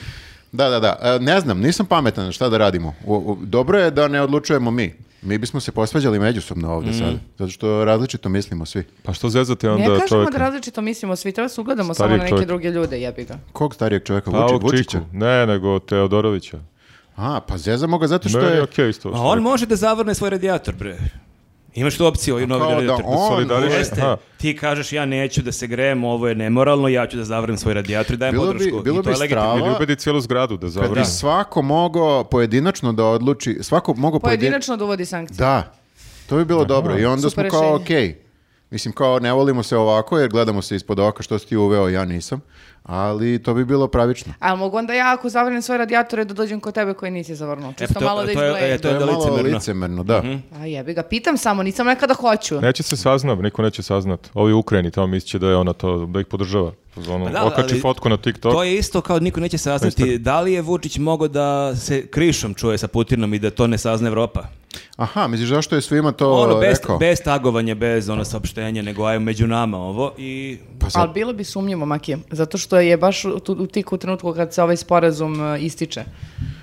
S1: Da, da, da. E, Ne znam, nisam pametan šta da radimo. U- u- Dobro je da ne odlučujemo mi. Mi bismo se posvađali međusobno ovdje
S2: Mm.
S1: sad. Zato što različito mislimo svi.
S2: Pa što zezate onda
S4: Ne
S2: čovjeka?
S4: kažemo da različito mislimo, svi treba se ugledamo samo na
S2: Starijeg
S4: neke
S2: čovjeka.
S4: druge ljude, jebi ga.
S1: Kog starijeg čovjeka?
S2: Pa
S1: Vuči-
S2: ovog
S1: Vučića?
S2: Čiku. Ne, nego Teodorovića.
S1: A, pa zezamo ga zato što
S2: Meni
S1: je...
S2: je okej isto.
S3: A on može da zavrne svoj radijator, bre. Imaš tu opciju i novi
S1: Kao da
S3: radijator.
S1: on...
S2: solidariš-
S1: uvede-
S3: Jeste,
S2: Aha.
S3: ti kažeš ja neću da se grejem, ovo je nemoralno, ja ću da zavrnem svoj radijator i dajem
S1: Bilo bi-
S3: podršku.
S1: bilo
S3: I to je
S1: bi
S3: legitimno.
S1: strava-
S2: Ili ubedi cijelu zgradu da
S1: Kad bi
S2: zavrne.
S1: svako mogao pojedinačno da odluči... Svako mogao pojedinačno...
S4: Pojedinačno dovodi sankcije.
S1: Da, to bi bilo dobro. I onda
S4: Super
S1: smo kao okej.
S4: rešenje.
S1: Mislim kao ne volimo se ovako jer gledamo se ispod oka što si ti uveo, ja nisam. Ali to bi bilo pravično.
S4: A mogu onda ja ako zavrnem svoje radijatore da dođem kod tebe koji nisi zavrnuo.
S3: E,
S4: Čisto
S3: to-
S4: malo da
S3: to je-
S4: izgleda.
S3: e,
S1: To je
S3: onda
S1: malo
S3: licemerno.
S1: licemerno, da.
S4: A jebi ga, pitam samo, nisam rekla da hoću.
S2: Neće se saznat, niko neće saznat. Ovi u Ukrajini tamo misliće da je ona to, da ih podržava. Ono,
S3: Pa da, ali-
S2: okači fotku na TikTok.
S3: To je isto kao niko neće saznati da li je Vučić mogao da se krišom čuje sa Putinom i da to ne sazna Evropa.
S1: Aha, misliš zašto je svima to
S3: Ono, bez,
S1: rekao?
S3: bez tagovanja, bez ono saopštenja, nego aj među nama ovo i...
S1: Pa sad-
S4: Ali bilo bi sumnjivo, Makije, zato što je baš u, tu- u tiku trenutku kad se ovaj sporazum e, ističe.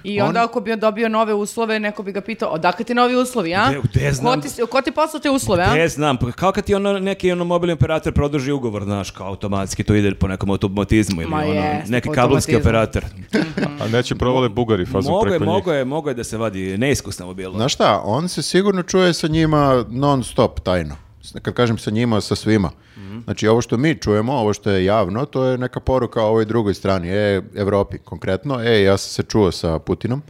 S4: I
S1: On-
S4: onda ako bi on dobio nove uslove, neko bi ga pitao, odakle ti novi uslovi, a?
S3: Gde- gde znam?
S4: Ko ti, ko ti poslao te uslove, a?
S3: Ne znam, pa kao kad ti ono, neki ono mobilni operator produži ugovor, znaš, kao automatski to ide po nekom automatizmu ili
S4: Ma
S3: ono,
S4: jeste,
S3: neki
S4: po
S3: kablovski
S4: automatizmu.
S3: operator.
S2: A neće provale Bugari fazom
S3: Mogo je,
S2: preko njih.
S3: mogo je, mogo je da se vadi, neiskusno ovo bilo.
S1: Znaš šta, on se sigurno čuje sa njima non stop tajno. S- Kad kažem sa njima, sa svima. Znači ovo što mi čujemo, ovo što je javno, to je neka poruka ovoj drugoj strani, e, Evropi konkretno, e, ja sam se čuo sa Putinom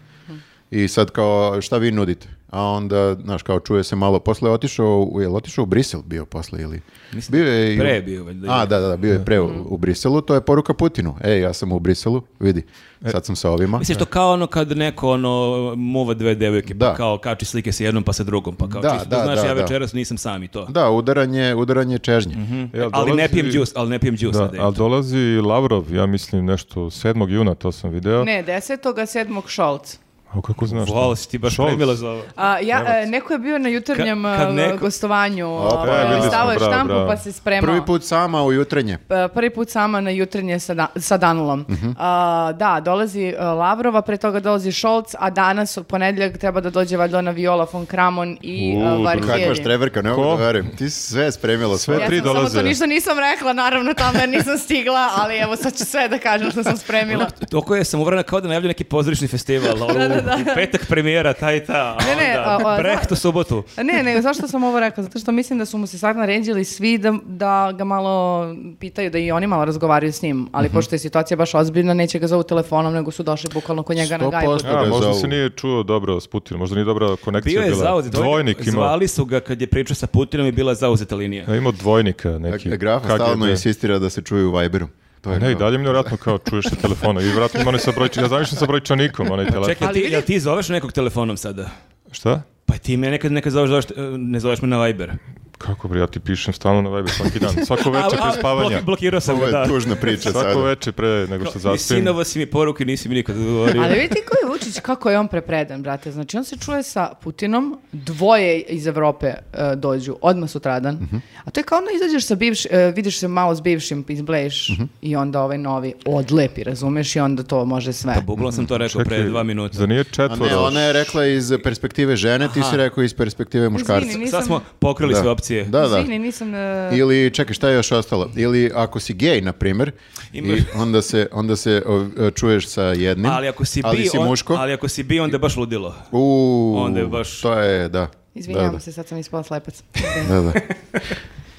S1: i sad kao, šta vi nudite? A onda, znaš, kao čuje se malo, posle je otišao, u- je li otišao u Brisel bio posle ili? bio je i u-
S3: pre je bio valjda.
S1: A, da, da, da, bio je pre u, u Briselu, to je poruka Putinu. E, ja sam u Briselu, vidi, sad sam sa ovima.
S3: E. Misliš to kao ono kad neko ono muva dve devojke, pa
S1: Da.
S3: kao kači slike s jednom pa sa drugom, pa kao
S1: Da,
S3: čisto da,
S1: da,
S3: znaš
S1: da,
S3: ja
S1: da.
S3: večeras nisam sam i to.
S1: Da, udaranje, udaranje čežnje.
S3: Mhm.
S2: Jel,
S3: ali ne
S2: dolazi-
S3: pijem džus, ali ne pijem džus.
S2: Da, ali dolazi i Lavrov, ja mislim nešto 7. juna, to sam video.
S4: Ne, desetoga, sedmog Šolc.
S2: A kako znaš? to?
S3: Vole si ti baš
S2: Scholz.
S3: primila za ovo.
S4: A, ja, e, neko je bio na jutarnjem
S3: Ka- kad
S4: e,
S3: neko-
S4: gostovanju,
S1: Opa,
S4: e,
S1: e, videli smo,
S4: stavao je
S2: pa bravo,
S4: štampu
S2: bravo.
S4: pa se spremao.
S1: Prvi put sama u jutrenje.
S4: P- prvi put sama na jutarnje sa, da- sa Danulom.
S2: Mhm.
S4: A, da, dolazi e, Lavrova, pre toga dolazi Šolc, a danas u ponedjeljak treba da dođe valjda ona Viola von Kramon i
S2: U, pa
S4: uh,
S1: Kakva štreberka, ne mogu
S2: Ko?
S1: da verujem. Ti si sve spremila.
S2: Sve
S1: svoje.
S4: Ja
S2: tri
S4: sam samo
S2: dolaze.
S4: to ništa nisam rekla, naravno tamo jer nisam stigla, ali evo sad ću sve da kažem što sam spremila.
S3: Toko je sam uvrana kao da najavlja neki pozorišni festival, ono, u petak premijera, taj i ta, a
S4: Ne, ne,
S3: onda
S4: a- a-
S3: Brecht u subotu.
S4: Ne, ne, zašto sam ovo rekla? Zato što mislim da su mu se sad naređili svi da, da ga malo pitaju, da i oni malo razgovaraju s njim, ali
S1: Mhm.
S4: pošto je situacija baš ozbiljna, neće ga zovu telefonom, nego su došli bukvalno kod njega na
S1: 100%
S4: gajbu.
S1: Da
S2: A,
S1: ga
S2: možda
S1: zovu.
S2: se nije čuo dobro s Putinom, možda nije dobra konekcija
S3: Bio je
S2: bila.
S3: zauzet. ovaj-
S2: Dvojnik imao.
S3: Zvali su ga kad je pričao sa Putinom i bila je zauzeta linija.
S2: Ja, imao dvojnika neki.
S1: Graf
S2: KGB.
S1: stalno insistira da se čuju u Viberu. To je
S2: Pa Ne, i
S1: kao-
S2: dalje mi je vjerojatno kao čuješ sa telefona i vjerojatno ima onaj sa brojč... ja zamišljam sa brojčanikom onaj telefon.
S3: Čekaj,
S4: Ali
S3: ti,
S4: vidi-
S3: jel ti zoveš nekog telefonom sada?
S2: Šta?
S3: Pa ti me nekad, nekad zoveš, zoveš, e, ne zoveš me na Viber.
S2: Kako bre, ja ti pišem stalno na Viber svaki dan, svako večer
S3: A, a,
S2: pre spavanja.
S3: blok- blokirao sam
S1: Ovo
S3: ga, da.
S1: je tužna priča
S2: Svako
S1: sada.
S2: večer pre nego što
S3: Ni
S2: zaspim.
S3: sinovo si mi poruke, nisi mi nikad odgovorio.
S4: Ali vidite koji je Vučić, kako je on prepredan, brate. Znači, on se čuje sa Putinom, dvoje iz Evrope e, dođu, odmah sutradan.
S1: Mhm.
S4: A to je kao onda izađeš sa bivš, e, vidiš se malo s bivšim, izbleješ
S1: Mhm.
S4: i onda ovaj novi odlepi, razumeš, i onda to može sve.
S3: Pa bukvalno sam to rekao pre
S2: Čekaj,
S3: dva minuta.
S2: Zar nije
S1: A ne,
S2: četvoro?
S1: ona je rekla iz perspektive žene, ti si rekao iz perspektive muškarca.
S4: Izvini,
S3: Sad smo
S4: nisam,
S3: pokrali
S1: Da.
S3: sve opcije.
S1: Da, da.
S4: izvini, nisam... e,
S1: Ili, čekaj, šta je još ostalo? Ili ako si gej, na primjer,
S3: Imaš-
S1: i onda se, onda se o, čuješ sa jednim,
S3: Ali ako si bi,
S1: ali si
S3: on-
S1: muško,
S3: ali ako si bi, onda je baš ludilo.
S1: u,
S3: onda je baš-
S1: to je, da.
S4: Izvinjavam
S1: da, da,
S4: se, sad sam ispala slepac.
S1: Da, da.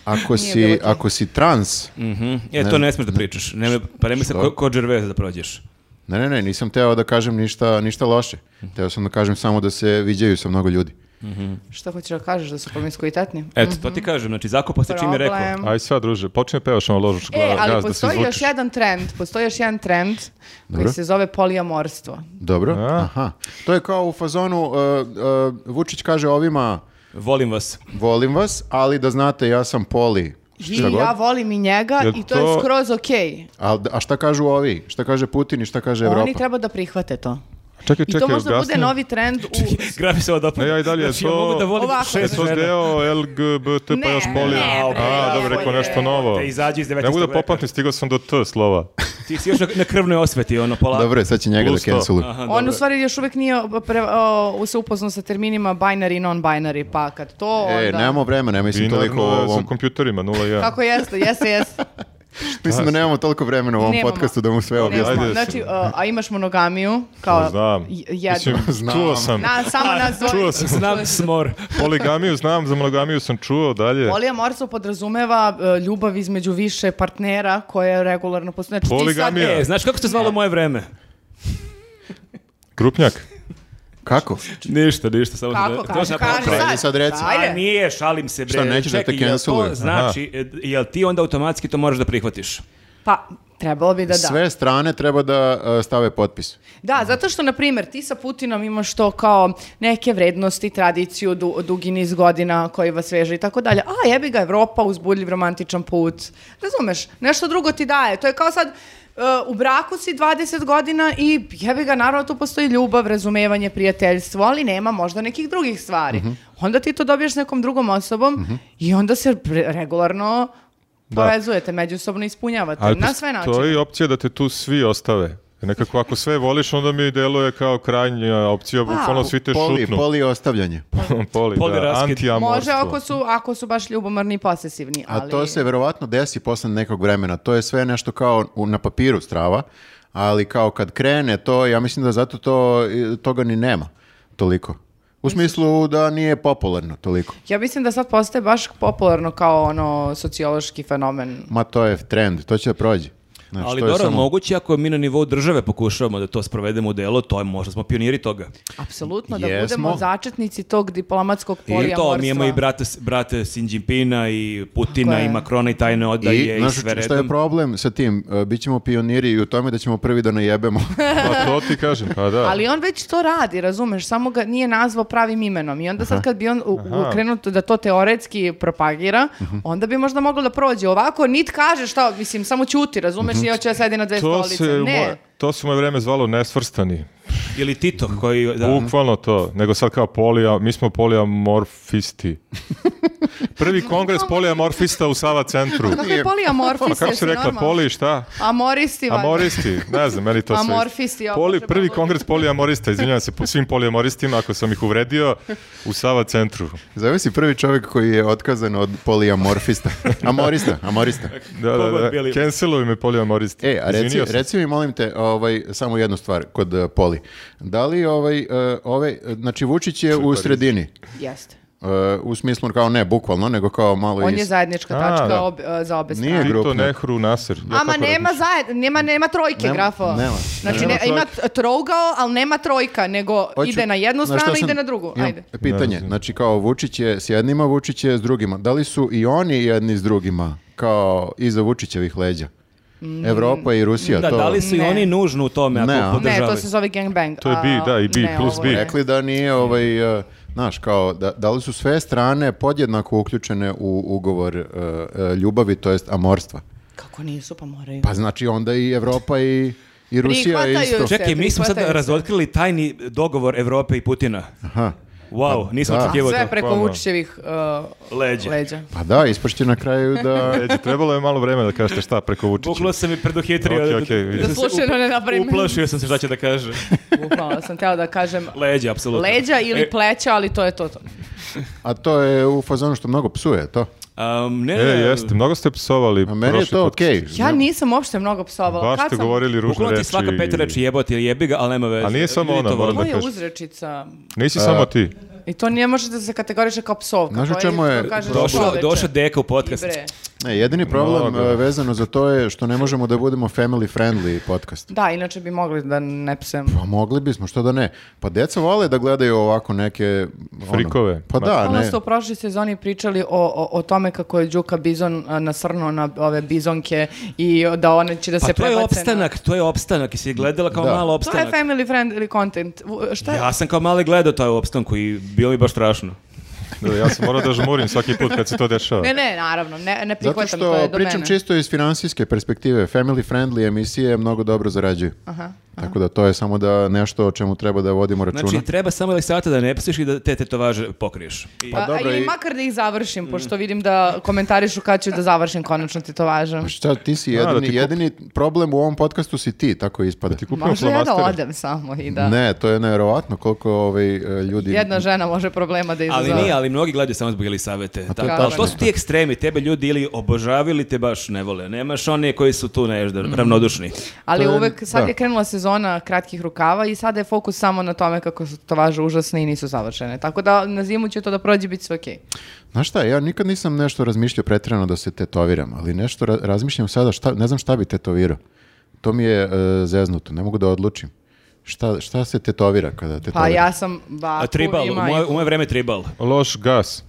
S1: Ako,
S4: Nije bilo
S1: si,
S4: okej.
S1: ako si trans,
S3: Mhm. E, to ne smeš da pričaš. Ne, pa nemoj se ko, ko Gervais da prođeš.
S1: ne, ne, ne, nisam teo da kažem ništa, ništa loše. Teo sam da kažem samo da se viđaju sa mnogo ljudi.
S4: Što hoćeš da kažeš, da su promiskuitetni?
S3: Eto, to ti kažem, znači zakopa se čim je rekao.
S4: Mhm. Problem.
S2: Aj sad, druže, počne pevaš ono ložuš
S4: E,
S2: glas
S4: ali
S2: da se
S4: postoji još
S2: izvučeš.
S4: jedan trend, postoji još jedan trend
S1: Dobro.
S4: koji se zove polijamorstvo.
S1: Dobro,
S2: A.
S1: aha. To je kao u fazonu, uh, uh, Vučić kaže ovima,
S3: Volim vas.
S1: volim vas, ali da znate, ja sam poli.
S4: I
S1: Šta god.
S4: ja volim i njega
S2: Jel
S4: i to, je
S2: to-
S4: skroz okej.
S1: A, a šta kažu ovi? Šta kaže Putin i šta kaže Evropa?
S4: Oni treba da prihvate to.
S2: Čekaj,
S4: I
S2: čekaj,
S4: to možda
S2: objasni.
S4: bude novi trend u...
S3: Grafi se odopne.
S2: Ne, ja i dalje,
S3: znači, ja
S2: to-
S3: mogu da volim
S4: Ovako.
S2: Je
S3: šest
S2: E, to
S3: žena.
S2: deo LGBT pa
S4: Ne,
S2: još bolje?
S4: ne,
S2: A,
S4: ne,
S2: dobro,
S4: ne,
S2: rekao
S4: ne,
S2: nešto novo.
S3: Te izađi iz 19.
S2: Ne mogu da
S3: veka.
S2: popamtim, stigao sam do T slova.
S3: Ti si još na, na krvnoj osveti, ono, polako.
S1: Dobro, sad će njega
S2: Plus
S1: da
S2: to.
S1: canceluju.
S3: Aha,
S4: On
S3: dobro.
S4: u stvari još uvijek nije pre, o, se upoznao sa terminima binary i non-binary, pa kad to
S1: E,
S4: onda...
S1: nemamo vremena, mislim toliko o
S2: Binarno je
S1: ovom.
S2: sa kompjuterima, 0-1.
S4: Kako jeste, jeste, jeste.
S1: Mislim da nemamo toliko vremena u ovom
S4: Nemamo.
S1: podcastu da mu sve objasnimo.
S4: Nemamo.
S2: ajde.
S4: Znači, o, a imaš monogamiju, kao...
S2: Znam.
S4: j-
S2: Mislim,
S4: jednu.
S1: Znam.
S2: čuo sam.
S4: Na, samo nas dvoje.
S2: Čuo sam.
S3: Znam smor.
S2: Poligamiju znam, za monogamiju sam čuo dalje.
S4: Polijamorstvo podrazumeva e, ljubav između više partnera koja regularno postoji. Znači, ti sad-
S2: Poligamija.
S3: E, znaš kako se zvalo moje vreme?
S2: Grupnjak.
S1: Kako?
S3: Ništa, ništa, samo
S4: Kako,
S3: da-
S4: kaži,
S3: sam-
S4: kaži
S1: Ajde
S4: sad.
S1: sad reci.
S3: A
S4: Ajde.
S3: nije, šalim se, bre.
S1: Šta, nećeš da te
S3: Čekaj, jel to
S1: canceluju?
S3: Znači, e, jel ti onda automatski to moraš da prihvatiš?
S4: Pa, trebalo bi da da.
S1: Sve strane treba da uh, stave potpis.
S4: Da, zato što, na primjer, ti sa Putinom imaš to kao neke vrednosti, tradiciju, du- dugi niz godina koji vas veže i tako dalje. A, jebi ga Evropa, uzbudljiv romantičan put. Razumeš, nešto drugo ti daje. To je kao sad, e, u braku si 20 godina i jebi ga, naravno tu postoji ljubav, razumevanje, prijateljstvo, ali nema možda nekih drugih stvari.
S2: Mhm.
S4: Onda ti to dobiješ s nekom drugom osobom i onda se pre- regularno
S2: Da.
S4: povezujete, međusobno ispunjavate na sve načine.
S2: postoji opcija da te tu svi ostave. Nekako ako sve voliš, onda mi deluje kao krajnja opcija, bukvalno svi te
S1: Poli,
S2: šutnu.
S1: poli ostavljanje.
S2: poli,
S3: Poli
S2: da,
S3: raskid.
S2: anti-amorstvo.
S4: Može ako su, ako su baš ljubomorni i posesivni,
S1: A
S4: ali...
S1: to se verovatno desi posle nekog vremena. To je sve nešto kao u- na papiru strava, ali kao kad krene to, ja mislim da zato to, i, toga ni nema toliko. U smislu da nije popularno toliko.
S4: Ja mislim da sad postaje baš popularno kao ono sociološki fenomen.
S1: Ma to je trend, to će da prođe. Znaš,
S3: Ali
S1: Znači, to je
S3: dobro,
S1: samo-
S3: moguće ako mi na nivou države pokušavamo da to sprovedemo u delo, to je možda smo pioniri toga.
S4: Apsolutno, da
S1: Jesmo.
S4: budemo začetnici tog diplomatskog
S3: I to,
S4: polijamorstva.
S3: mi imamo i brate, brate Sin Jinpinga i Putina
S4: Tako je.
S3: i Makrona i tajne odaje
S1: I,
S3: i,
S1: znaš,
S3: sve
S1: šta je
S3: redom.
S1: problem sa tim? E, Bićemo pioniri i u tome da ćemo prvi da najebemo.
S2: Pa to ti kažem, pa da.
S4: Ali on već to radi, razumeš, samo ga nije nazvao pravim imenom. I onda sad kad bi on u- u-
S2: Aha.
S4: krenuo da to teoretski propagira, onda bi možda moglo da prođe. Ovako, nit kaže šta, mislim, samo ćuti, razumeš, i hoće da sedi na dve
S2: to
S4: stolice.
S2: se, u moje,
S4: Ne,
S2: to se u moje vreme zvalo nesvrstani.
S3: Ili Tito koji... Da.
S2: Bukvalno to. Nego sad kao polija, mi smo polijamorfisti. Prvi kongres polijamorfista u Sava centru.
S4: kakve polijamorfiste,
S2: Pa kako
S4: jesi
S2: si rekla,
S4: normalan?
S2: poli šta?
S4: Amoristi, valjda.
S2: Amoristi, ne znam, meni to sve.
S4: Amorfisti, ja,
S2: Poli,
S4: Bože,
S2: prvi
S4: Bože.
S2: kongres polijamorista, izvinjavam se po svim polijamoristima ako sam ih uvredio, u Sava centru.
S1: Zove si prvi čovjek koji je otkazan od polijamorfista. Amorista, amorista.
S2: Da, da,
S3: Kogod
S2: da,
S3: bili.
S2: canceluju me polijamoristi.
S1: E, a reci,
S2: Izvinio sam se.
S1: reci mi, molim te, ovaj, samo jednu stvar kod e, poli. Da li ovaj, e, ovaj, e, znači Vučić je u sredini,
S4: Jeste.
S1: E, u smislu kao ne, bukvalno, nego kao malo
S4: On
S1: iz-
S4: je zajednička
S2: A,
S4: tačka
S2: da.
S4: ob- e, za obe
S1: Nije
S4: strane.
S1: gru-
S2: Tito,
S1: grupnjak.
S2: Nehru, Nasir. Ja tako
S4: Ama nema
S2: razmišljam.
S4: zajed, nema, nema trojke,
S1: Nema-
S4: grafo.
S1: nema.
S4: Znači,
S2: Nema
S4: ne-
S2: trojke.
S4: ima t- trougao, ali nema trojka, nego
S1: Hoću-
S4: ide na jednu
S1: Pa Znaš šta
S4: stranu,
S1: sam-
S4: ide na drugu.
S1: imam
S4: Ajde.
S1: Pitanje, znači kao Vučić je s jednima, Vučić je s drugima. Da li su i oni jedni s drugima, kao iza Vučićevih leđa?
S4: Mm.
S1: Evropa i Rusija.
S3: Da,
S1: to...
S3: da li su i
S4: Ne.
S3: oni nužno u tome ako
S1: Ne, a?
S4: Ne, to
S3: podržavaju?
S4: se zove gangbang.
S2: To je
S4: a
S2: bi, da, i bi,
S4: ne,
S2: plus
S4: ovo
S2: bi.
S4: je-
S1: rekli da nije ovaj, uh, znaš, kao, da, da li su sve strane podjednako uključene u ugovor uh, uh, ljubavi, to jest amorstva?
S4: Kako nisu, pa moraju.
S1: Pa znači onda i Evropa i, i Rusija
S4: Prihvataju
S1: isto.
S4: se.
S3: Čekaj, mi smo sad
S4: prihvataju se.
S3: razotkrili tajni dogovor Evrope i Putina.
S1: Aha.
S2: Pa,
S3: Wow, nisam
S1: da.
S3: očekivao
S4: Sve
S3: to.
S4: preko
S2: Hvala.
S4: Vučićevih uh,
S3: Leđa.
S4: leđa.
S1: Pa da, ispašće na kraju da...
S2: Eđe, trebalo je malo vremena da kažete šta preko Vučića.
S3: Bukvalno sam i preduhitrio.
S2: Okej,
S3: da-
S2: okej,
S3: da
S2: vidim.
S3: sam se
S4: Slučajno ne napravim.
S3: Uplašio sam se šta će da kaže.
S4: Bukvalno sam teo da kažem
S3: Leđa, apsolutno.
S4: leđa ili
S3: E,
S4: pleća, ali to je to. to.
S1: A to je u fazonu što mnogo psuje, to.
S3: um, ne,
S2: E, jeste, mnogo ste psovali
S1: A meni je
S2: prošli
S1: to
S2: podcast.
S1: okej.
S4: Ja nisam uopšte mnogo psovala.
S2: Baš
S4: Pa Kad
S2: ste
S4: sam-
S2: govorili ružne
S3: Bukvalno
S2: reči.
S3: ti svaka peta reči jebote ili jebi ga, ali nema veze.
S2: A nije samo
S3: Ljudi
S2: ona,
S3: to
S2: moram
S3: vole.
S2: da
S4: To je
S2: kažem.
S4: uzrečica.
S2: Nisi
S4: E.
S2: samo ti.
S4: I to ne možete da se kategoriše kao psovka.
S1: Znaš u
S4: To
S1: čemu je
S4: to kažeš
S3: Došao,
S4: čoveče.
S3: došao deka u podcast.
S4: I bre.
S1: Ne, jedini problem
S2: Mnogo.
S1: e, vezano za to je što ne možemo da budemo family friendly podcast.
S4: Da, inače bi mogli da ne psujemo.
S1: Pa mogli bismo, što da ne. Pa deca vole da gledaju ovako neke... ono,
S2: Frikove.
S1: pa da,
S4: Ono
S1: ne.
S4: ste u prošloj sezoni pričali o, o, o tome kako je Đuka Bizon a, nasrnuo na ove bizonke i da one će da
S3: Pa
S4: se
S3: to je
S4: prebace na-
S3: opstanak, to je opstanak. I si gledala kao
S1: Da.
S3: malo
S4: To je
S3: opstanak.
S4: family friendly content. U- Šta je?
S3: Ja sam kao mali gledao taj u opstanku i bilo mi baš strašno.
S2: Da, ja sam morao da žmurim svaki put kad se to dešava.
S4: Ne, ne, naravno, ne, ne
S1: Zato
S4: prihvatam, to je
S1: što
S4: do
S1: pričam
S4: mene.
S1: čisto iz finansijske perspektive. Family friendly emisije mnogo dobro zarađuju. Tako da to je samo da nešto o čemu treba da vodimo računa.
S3: Znači, treba samo ili sata da ne psiš i da te tetovaže pokriješ. I-
S1: Pa
S4: A-
S1: dobro,
S4: a, ili
S1: i- Mm.
S4: makar da ih završim, pošto vidim da komentarišu kad ću da završim konačno tetovaža.
S1: Pa Šta, ti si
S2: A, da
S1: jedini,
S2: ti kup-
S1: jedini problem u ovom podcastu si ti, tako ispada.
S2: Ti kupio
S4: Možda ja da
S2: flomastere.
S4: odem samo i da...
S1: Ne, to je nevjerovatno koliko ovaj, e, ljudi...
S4: Jedna žena može problema da izazove.
S3: Ali nije, ali mnogi gledaju samo zbog
S1: to
S3: Elisavete.
S1: je
S3: Tako,
S4: tačno.
S3: to su ti ekstremi, tebe ljudi ili obožavaju ili te baš ne vole. Nemaš one koji su tu ne, da, ravnodušni.
S4: Ali
S1: To je-
S4: uvek, sad
S1: da.
S4: je krenula sezona kratkih rukava i sada je fokus samo na tome kako su tovaže užasne i nisu savršene. Tako da na zimu će to da prođe biti sve okej.
S1: Znaš šta, ja nikad nisam nešto razmišljao pretjerano da se tetoviram, ali nešto ra- razmišljam sada, šta, ne znam šta bi tetovirao. To mi je e, zeznuto, ne mogu da odlučim. Šta, šta se tetovira kada tetovira?
S4: Pa ja sam baku
S3: A tribal, u
S4: ima
S3: moje, u moje vreme tribal.
S2: Loš gas.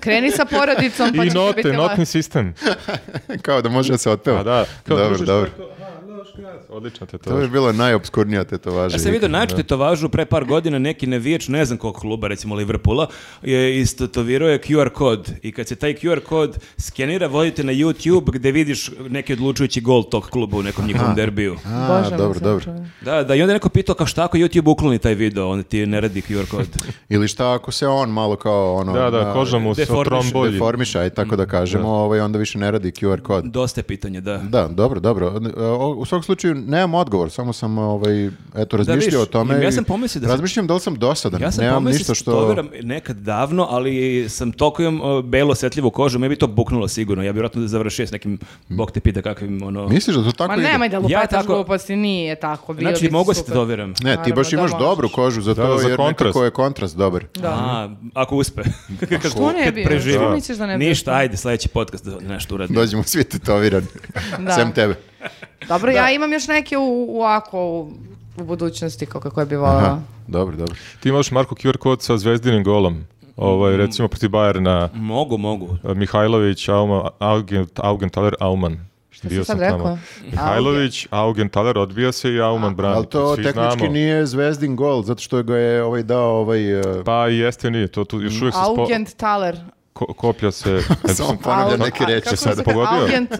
S4: Kreni sa porodicom pa
S2: I
S4: ćeš Pa biti
S2: note,
S4: la-
S2: notni sistem.
S1: Kao da može da se otpeva.
S2: A Pa da, kao
S1: dobro,
S2: družiš
S1: dobro.
S2: preko, aha, loš gas. Odlično te to.
S1: To bi bila najobskurnija tetovaža.
S3: Ja E, sam vidio najčešće tetovažu pre par godina neki navijač, ne znam kog kluba, recimo Liverpoola, je istetovirao je QR kod i kad se taj QR kod skenira, vodite na YouTube gde vidiš neki odlučujući gol tog kluba u nekom njihovom derbiju.
S1: A,
S4: Bože,
S1: dobro,
S4: mislim,
S1: dobro.
S4: čovječe.
S3: Da, da, i onda je neko pitao kao šta ako YouTube ukloni taj video, on ti ne radi QR kod.
S1: Ili šta ako se on malo kao ono...
S2: Da, da,
S1: na-
S2: koža Mm, mu se
S3: deformiše,
S2: trombolji.
S1: Deformiša, aj tako da kažemo, ovaj, onda više ne radi QR kod.
S3: Dosta je pitanja, da.
S1: Da, dobro, dobro. E, o- U svakom slučaju nemam odgovor, samo sam ovaj eto razmišljao o
S3: vidiš,
S1: tome.
S3: ja
S1: i
S3: sam pomislio da sam-
S1: razmišljam da li sam dosadan.
S3: Ja sam
S1: Pa nemam
S3: pomislio
S1: ništa
S3: se
S1: što
S3: tetoviram nekad davno, ali sam toliko imam uh, belo osjetljivu kožu, me bi to buknulo sigurno. Ja bi vjerojatno završio s nekim, bog te pita kakvim ono...
S1: Misliš da to tako
S4: Ma
S1: ide?
S4: nemoj da
S3: Ja
S4: lupataš
S3: tako-
S4: gluposti, nije tako. Bilo
S3: Znači,
S4: bi
S3: mogu se
S4: super.
S3: tetoviram.
S1: Ne, ti
S4: Naravno
S1: baš
S4: da
S1: imaš
S4: možeš.
S1: dobru kožu za
S2: Da,
S1: to
S2: za
S1: jer
S2: kontrast.
S1: nekako je kontrast dobar.
S4: Da.
S3: A, ako uspe. Kad-
S4: Što ne
S3: kad
S4: bi?
S3: preživi.
S4: Što misliš da ne bi?
S3: Ništa, ajde, sledeći podcast da nešto uradim.
S1: Dođemo svi tetovirani.
S4: Da.
S1: Sem tebe.
S4: Dobro, ja imam još neke u, u ako u, u budućnosti kako koje bi volala.
S1: Aha, dobro, dobro.
S2: Ti imaš Marko QR kod sa zvezdinim golom. Ovaj, recimo proti Bajerna
S3: Mogu, mogu.
S2: eh, Mihajlović, Auma, Augent, Augenthaler, Auman. Šta
S4: si sad rekao?
S2: Mihajlović, Augenthaler odbija se i Auman brani.
S1: Ali to
S2: svi
S1: tehnički
S2: znamo.
S1: nije zvezdin gol, zato što ga je ovaj dao ovaj... e,
S2: Pa jeste nije, to tu još uvijek se spo...
S4: Mm. Augent Thaler.
S2: ko- koplja se... Ja
S1: Samo
S2: mislim-
S1: ponavljam
S4: Au-
S1: neke
S4: a-
S1: reči
S4: kako
S1: sad.
S4: se kaže?
S2: Pogodio.
S4: Augent,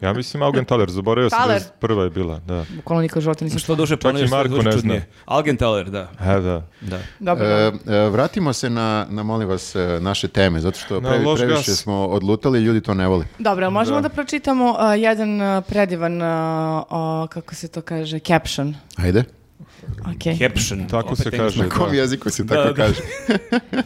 S2: Ja mislim Augenthaler, zaboravio sam
S4: Thaler.
S2: da prva je bila, da.
S4: bukvalno nikad u životu nisam
S3: Što duže
S2: i
S3: ponavljaš, što
S2: Marko ne
S3: duže
S2: zna.
S3: čudnije. Algenthaler, da.
S2: E, da.
S3: da.
S4: Dobro,
S1: E,
S4: dobro.
S1: e, vratimo se na, na, molim vas, e, naše teme, zato što
S2: Na
S1: previ-
S2: loš
S1: previše
S2: gas.
S1: smo odlutali, ljudi to ne vole.
S4: Dobro, jel možemo da, pročitamo a, jedan a, predivan, a, a, kako se to kaže, caption.
S1: Ajde.
S4: Ok.
S3: Caption.
S2: Tako
S3: opet
S2: se
S3: engleski.
S2: kaže.
S1: Na kom
S2: da.
S1: jeziku se
S3: Da,
S1: tako
S3: da.
S1: kaže?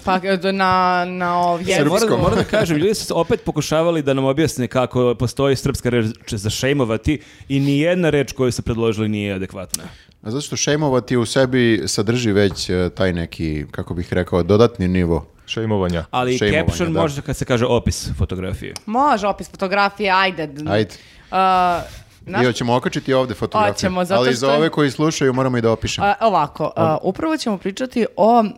S4: Pa e, na, na ovdje.
S3: E, moram,
S1: Srpskom.
S3: moram da kažem, ljudi su opet pokušavali da nam objasne kako postoji srpska reč za šejmovati i nijedna reč koju su predložili nije adekvatna.
S1: A zato što šejmovati u sebi sadrži već e, taj neki, kako bih rekao, dodatni nivo.
S2: Šejmovanja.
S3: Ali
S1: Šejmovanje,
S3: caption
S1: da.
S3: može kad se kaže opis fotografije.
S4: Može, opis fotografije, ajde.
S1: Ajde.
S4: A,
S1: I hoćemo okačiti ovde fotografije.
S4: Hoćemo, zato
S1: Ali za
S4: što-
S1: ove koji slušaju moramo i da opišemo.
S4: A, uh, ovako, a, upravo ćemo pričati o mm,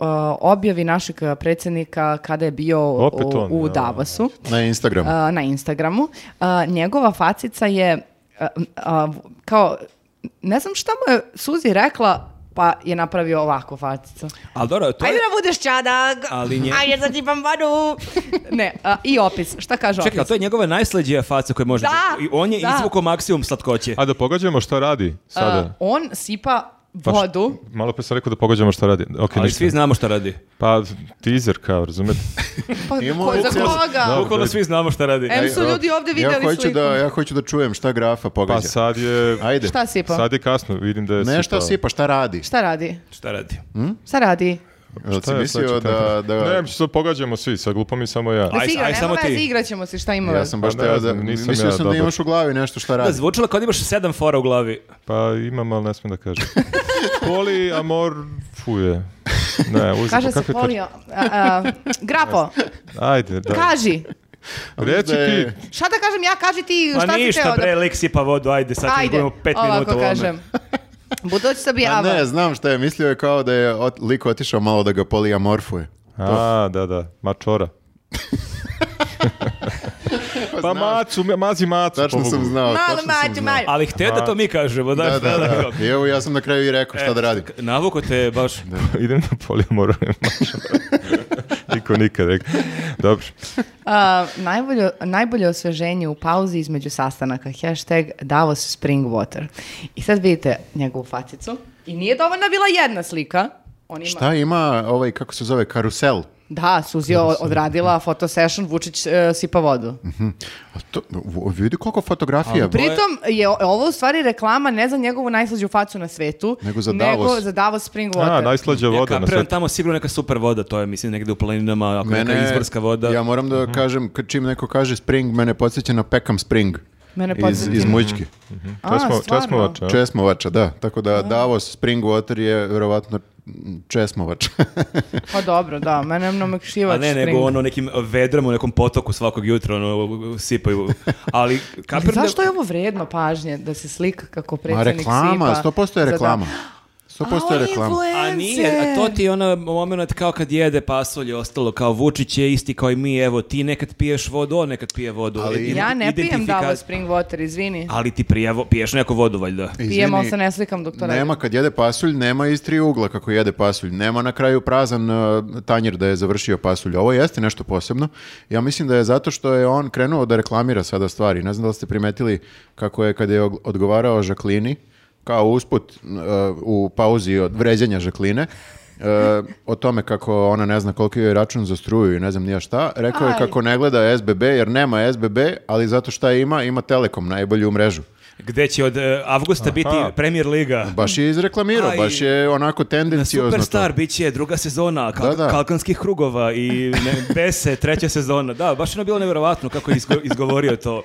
S4: a, objavi našeg predsjednika kada je bio
S2: Opet
S4: u,
S2: on,
S4: u
S2: da.
S4: Davosu.
S1: Na Instagramu.
S4: a, na Instagramu. A, njegova facica je a, a, kao, ne znam šta mu je Suzi rekla, pa je napravio ovako facicu.
S3: Ali dobro, to je...
S4: Ajde da budeš čadak,
S3: Ali nje-
S4: ajde da ti bambanu. ne, a, i opis, šta kaže
S3: Čekaj, ali
S4: opis?
S3: to je njegova najslađija faca koja može...
S4: Da,
S3: I on je
S4: da.
S3: izvukao maksimum slatkoće.
S2: A da pogađamo šta radi sada.
S4: A, on sipa
S2: Pa šta-
S4: vodu.
S2: malo pre sam rekao da pogađamo šta radi. Ok,
S3: Ali
S2: ništa.
S3: svi znamo šta radi.
S2: Pa, teaser kao, razumete?
S4: Pa,
S1: Imamo
S4: ko- za
S1: opciju.
S4: koga?
S2: Da.
S3: Bukvalno svi znamo šta radi.
S4: Em su ljudi ovdje
S1: ja
S4: vidjeli
S1: hoću,
S4: sliku.
S1: da, ja hoću da čujem šta grafa
S2: Pa
S1: pogađa.
S2: sad je...
S1: Ajde.
S4: Šta sipa?
S2: Sad je kasno, vidim da je
S1: Ne šta
S2: sipao.
S1: sipa, šta radi?
S4: Šta radi?
S3: Šta radi?
S4: Šta radi?
S1: Jel si
S2: Pa Šta je, sad
S1: mislio
S2: ću tako-
S1: da...
S2: Ne,
S1: da...
S2: mislim, sad pogađamo svi, sad glupo mi samo ja.
S4: Da
S3: Aj-
S4: se igra,
S3: aj,
S4: nema
S3: samo ti.
S4: veze, igrat ćemo se, šta ima
S1: Ja
S4: veze?
S1: sam
S2: Pa
S1: baš
S2: ne
S1: teo da...
S2: znam, nisam
S1: Mislio
S2: ja
S1: sam da
S2: dobar.
S1: imaš u glavi nešto šta
S3: Da,
S1: radi.
S3: zvučalo kao da imaš sedam fora u glavi.
S2: Pa imam, ali ne smem da kažem. Poli amor fuje. Ne, pa uzim,
S4: Kaže se polio. a, a, grapo,
S2: Ajde, da.
S4: kaži.
S2: Reci
S1: Da je-
S2: ti,
S4: Šta da kažem ja, kaži ti šta
S3: Pa
S4: si teo
S3: ništa,
S4: da...
S3: bre, lik sipa vodu, ajde, sad ćemo
S4: Ajde,
S3: gledamo pet minuta u
S4: ovako
S3: ovome.
S4: kažem. Budući se
S1: A
S4: bijava.
S1: Pa ne, znam šta je, mislio je kao da je ot- lik otišao malo da ga polijamorfuje.
S2: A, da, da, mačora. pa macu, mazi macu.
S1: Tačno
S2: pobogu.
S1: sam znao.
S4: Malo
S1: tačno sam
S4: mađu,
S1: znao.
S4: mađu.
S3: Ali htio da to mi kažemo, da,
S1: Da, da,
S3: da,
S1: da. I evo ja sam na kraju i rekao
S4: E,
S1: šta da radim.
S3: da. Navuko te baš.
S2: Idem na polje moram mačora. Niko nikad rekao. Dobro.
S4: A, najbolje, najbolje osveženje u pauzi između sastanaka. Hashtag Davos Spring Water. I sad vidite njegovu facicu. I nije dovoljna bila jedna slika. On ima...
S1: Šta ima ovaj, kako se zove, karusel?
S4: Da, Suzi je odradila foto session, Vučić e, sipa vodu.
S1: Mhm. Hm. A to, v- vidi koliko fotografija.
S3: To pri- je-
S4: Pritom je o- ovo u stvari reklama ne za njegovu najslađu facu na svetu,
S1: Nego za Davos.
S4: za Davos Spring Water.
S2: A, najslađa voda
S3: ja
S2: na svetu.
S3: kapiram tamo sigurno neka super voda, to je mislim negde u planinama, ako neka izvorska voda.
S1: Ja moram
S2: Mhm.
S1: da kažem, kad čim neko kaže spring, mene podsjeća na Peckham Spring
S4: Mene
S1: iz, iz
S4: podsjeti.
S1: Mućki.
S4: A,
S2: Česmo,
S4: stvarno?
S2: česmovača.
S1: Pa.
S2: a?
S1: Česmovača, da. Tako da Davos Spring Water je verovatno Česmovač.
S4: Pa dobro, da, mene je
S3: A
S4: mnomekšivač
S3: ne,
S4: Spring.
S3: nego ono nekim vedrom u nekom potoku svakog jutra ono sipaju. Ali
S4: Ali
S3: kapiram
S4: zašto
S3: da...
S4: je ovo vredno pažnje da se slika kako
S1: Ma
S4: predsjednik
S1: reklama,
S4: sipa?
S1: 100% je
S4: za
S1: reklama.
S4: da-
S1: 100% je
S4: A, on
S1: reklama.
S3: A nije, a to ti je ono moment kao kad jede pasolj i ostalo, kao Vučić je isti kao i mi, evo ti nekad piješ vodu, on nekad pije vodu.
S1: Ali-
S3: Ident-
S4: Ja ne pijem
S3: identifika-
S4: Davos Spring Water, izvini.
S3: Ali ti prije vo- piješ neku vodu valjda.
S4: Pijem, ali
S1: Izvini,
S4: se ne slikam dok to ne
S1: Nema kad jede pasulj, nema iz tri ugla kako jede pasulj. Nema na kraju prazan uh, tanjir da je završio pasulj. Ovo jeste nešto posebno. Ja mislim da je zato što je on krenuo da reklamira sada stvari. Ne znam da li ste primetili kako je kad je og- odgovarao Žaklini, kao usput uh, u pauzi od vređanja Žakline, uh, o tome kako ona ne zna koliki joj je račun za struju i ne znam nija šta. Rekao je
S4: Aj.
S1: kako ne gleda SBB jer nema SBB, ali zato šta ima, ima Telekom, najbolju mrežu.
S3: Gde će od e, avgusta biti premier liga.
S1: Baš je izreklamirao,
S3: Aj.
S1: baš je onako tendencijozno
S3: Superstar, bit će druga sezona kal-
S1: Da, da.
S3: Kalkanskih krugova i ne, Bese, treća sezona. Da, baš je ono bilo nevjerovatno kako je izgo- izgovorio to.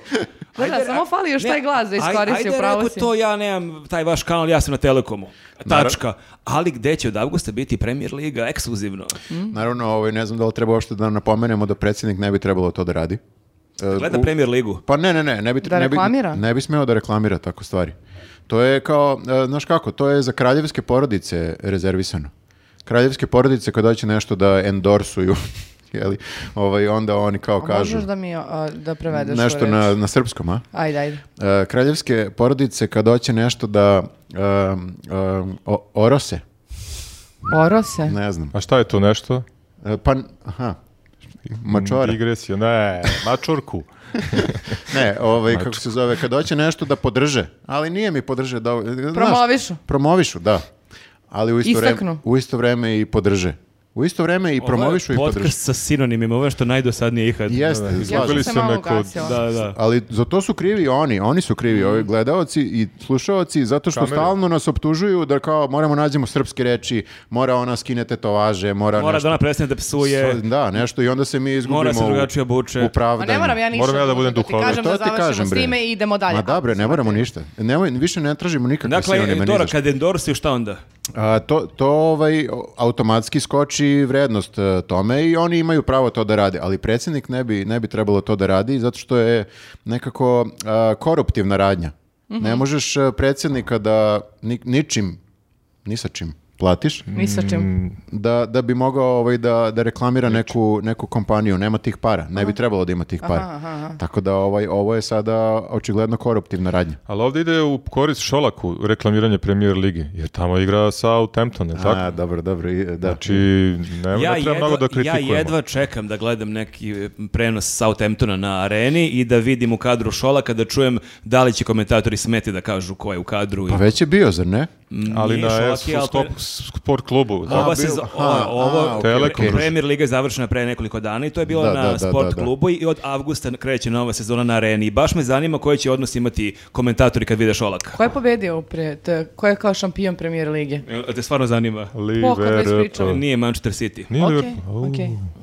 S4: Da, da, samo fali još
S3: ne,
S4: taj glas da
S3: aj-
S4: iskoristi,
S3: Ajde,
S4: upravo
S3: rekao
S4: si.
S3: to, ja nemam taj vaš kanal, ja sam na Telekomu. Tačka. Ali gde će od avgusta biti premier liga, ekskluzivno.
S1: to. Naravno, ovaj, ne znam da li treba uopšte da napomenemo da predsjednik ne bi trebalo to da radi. E,
S3: Gleda
S1: u-
S3: premier ligu.
S1: Pa ne, ne, ne. Ne bi,
S4: Da
S1: ne bi,
S4: reklamira?
S1: ne bi smeo da reklamira tako stvari. To je kao, e, znaš kako, to je za kraljevske porodice rezervisano. Kraljevske porodice kad hoće nešto da endorsuju, jeli, ovaj, onda oni kao
S4: A
S1: kažu
S4: Možeš da mi a, da prevedeš
S1: nešto
S4: tu reč?
S1: na, na srpskom, a?
S4: Ajde, ajde.
S1: E, kraljevske porodice kad hoće nešto da em, em, o- orose,
S4: Orose.
S1: ne znam.
S2: A šta je to nešto?
S1: E, Pa, aha. Mačora.
S2: Digresija, ne, mačorku.
S1: Ne, ovaj, kako se zove, kad hoće nešto da podrže, ali nije mi podrže da... e,
S4: Promovišu.
S1: Promovišu, da. Ali u isto, vreme,
S4: Istaknu.
S1: u isto vreme i podrže. U isto vreme i promovišu i
S3: Ovo je
S1: podrže.
S3: podcast Ovaj, sa sinonimima, ovo je što najdosadnije ikad.
S1: Jeste, slažem
S2: Izgubili
S4: se
S2: su
S4: malo
S2: neko...
S4: ugasila.
S3: Da, da.
S1: Ali za to su krivi oni, oni su krivi,
S3: Mm.
S1: ovi gledaoci i slušaoci, zato što
S2: Kamere.
S1: stalno nas optužuju da kao moramo nađemo srpske reči, mora ona skine tetovaže, mora,
S3: Mora da
S1: Pa nešto.
S3: ona prestane da psuje.
S1: Da, nešto i onda se mi izgubimo
S3: Mora se
S1: u-
S3: drugačije obuče.
S1: u pravdanju.
S4: Ma Pa ne moram ja ništa.
S2: Moram ja da budem
S4: ti
S2: duhovit.
S4: Kažem
S1: To
S4: da
S1: ti
S4: završimo
S1: kažem,
S4: s
S1: bre.
S4: time i idemo dalje.
S1: Ma da bre, ne moramo ništa. Nemoj, više ne tražimo nikakve
S3: Dakle,
S1: sinonime, ni
S3: Dora,
S1: za šta.
S3: kad endorsuju, šta onda?
S1: A, to, to ovaj, o- automatski skoči vrednost e, tome i oni imaju pravo to da rade, ali predsjednik ne bi, ne bi trebalo to da radi zato što je nekako a, koruptivna radnja.
S4: Mhm.
S1: Ne možeš e, predsjednika da ni, ničim, ni sa čim platiš,
S4: Ni sa čim.
S1: Mm. da, da bi mogao ovaj, da, da reklamira neku, neku kompaniju. Nema tih para. Ne bi trebalo da ima tih para. Tako da ovaj, ovo je sada očigledno koruptivna radnja.
S2: Ali ovdje ide u korist Šolaku reklamiranje premijer lige, jer tamo igra Southampton, je li
S1: A,
S2: tako?
S1: dobro, dobro. i, da.
S2: Znači, ne, ne treba mnogo da
S3: ja
S2: kritikujemo.
S3: jedva čekam da gledam neki e, prenos Southamptona na areni i da vidim u kadru Šolaka, da čujem da li će komentatori smeti da kažu ko je u kadru. i-
S1: Pa već je bio, zar ne?
S3: Mm,
S2: Ali
S3: nije
S2: na
S3: Šolak,
S2: S
S3: je, ali pre-
S2: Sport klubu. tako?
S3: Ova
S1: bio-
S3: sezo-
S1: aha,
S3: ova- ovo,
S1: aha,
S2: okej, Telekom. okej.
S3: Premier Liga je završena pre nekoliko dana i to je bilo
S1: Da,
S3: na
S1: da, da,
S3: sport
S1: da, da.
S3: klubu i od avgusta kreće nova sezona na areni. I baš me zanima koji će odnos imati komentatori kad vide Šolaka.
S4: Ko je pobedio pre, te- ko je kao šampion premijer lige?
S3: Jel Te stvarno zanima.
S4: Pokad već
S2: Liverpool.
S4: pričali.
S3: Nije Manchester City.
S2: Nije
S4: Ok,
S2: Liverpool.
S4: ok,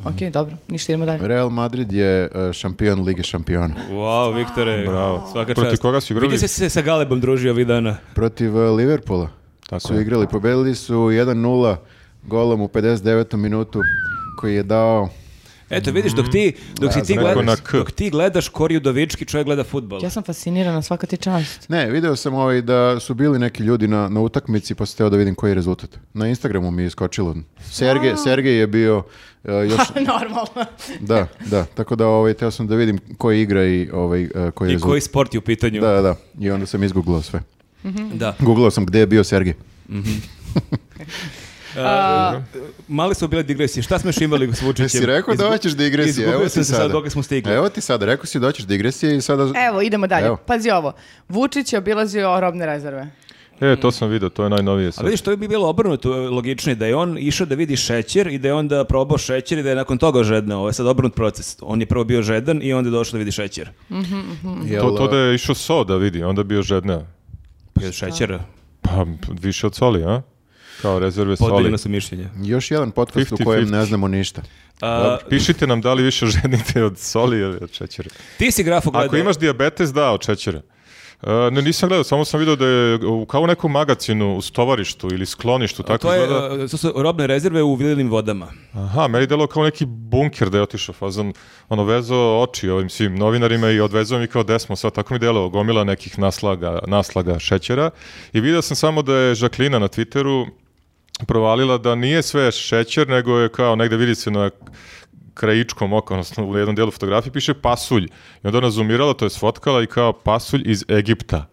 S4: ok, dobro, ništa idemo dalje.
S1: Real Madrid je e, šampion Lige šampiona.
S3: Wow, Viktore,
S2: Bravo.
S3: svaka
S2: Protiv
S3: čast.
S2: koga su igrali?
S3: Vidi se se sa Galebom družio ovih dana.
S1: Protiv e, Liverpoola
S2: Tako
S1: su
S2: je.
S1: igrali. Pobedili su 1-0 golom u 59. minutu koji je dao...
S3: Eto, vidiš, dok ti,
S1: Mhm.
S3: dok si ti,
S2: neko
S3: gledaš,
S2: na K.
S3: dok ti gledaš Kori Udovički, čovjek gleda futbol.
S4: Ja sam fascinirana, svaka ti čast.
S1: Ne, video sam ovaj da su bili neki ljudi na, na utakmici pa sam teo da vidim koji je rezultat. Na Instagramu mi je iskočilo. Sergej, Sergej je bio e, još...
S4: Normalno.
S1: da, da. Tako da ovaj, teo sam da vidim koji igra i ovaj, e, koji je
S3: I
S1: rezultat.
S3: koji sport je u pitanju.
S1: Da, da, da. I onda sam izgooglao sve.
S3: da.
S1: Googlao sam gdje je bio Sergej.
S3: Male su bile digresije. Šta smo još imali s Vučićem?
S1: Jesi rekao da
S3: Izgu-
S1: hoćeš digresije?
S3: Izgubio
S1: Evo ti
S3: sam se
S1: sada.
S3: sad dok smo stigli.
S1: Evo ti sada, rekao si da hoćeš digresije i sada...
S4: Evo, idemo dalje.
S1: Evo.
S4: Pazi ovo. Vučić je obilazio robne rezerve.
S2: E, to sam vidio, to je najnovije
S3: A
S2: sad.
S3: vidiš, to bi bilo obrnuto e, logičnije, da je on išao da vidi šećer i da je onda probao šećer i da je nakon toga žedna. Ovo je sad obrnut proces. On je prvo bio žedan i onda je došao da vidi šećer.
S1: Jel,
S2: To, to da je išao so da vidi, onda je bio žedna.
S3: Pa je šećera.
S2: Pa, više od soli, a? Kao rezerve soli.
S3: Podeljena su mišljenja.
S1: Još jedan podcast u
S2: 50-50.
S1: kojem ne znamo ništa.
S3: A,
S2: Pišite nam da li više žednite od soli ili od šećera.
S3: ti si grafu gledao.
S2: Ako imaš dijabetes, da, od šećera. E, ne, nisam gledao, samo sam vidio da je u- kao u nekom magacinu u stovarištu ili skloništu, tako
S3: To, je,
S2: izgleda.
S3: e, to su robne rezerve u vilenim vodama.
S2: Aha, meni delo kao neki bunker da je otišao fazon, ono vezao oči ovim svim novinarima i odvezao mi kao desmo, sad tako mi delo gomila nekih naslaga, naslaga šećera i vidio sam samo da je Žaklina na Twitteru provalila da nije sve šećer, nego je kao negde vidi se na krajičkom oka, odnosno u jednom delu fotografije piše pasulj. I onda ona zoomirala, to je sfotkala i kao pasulj iz Egipta.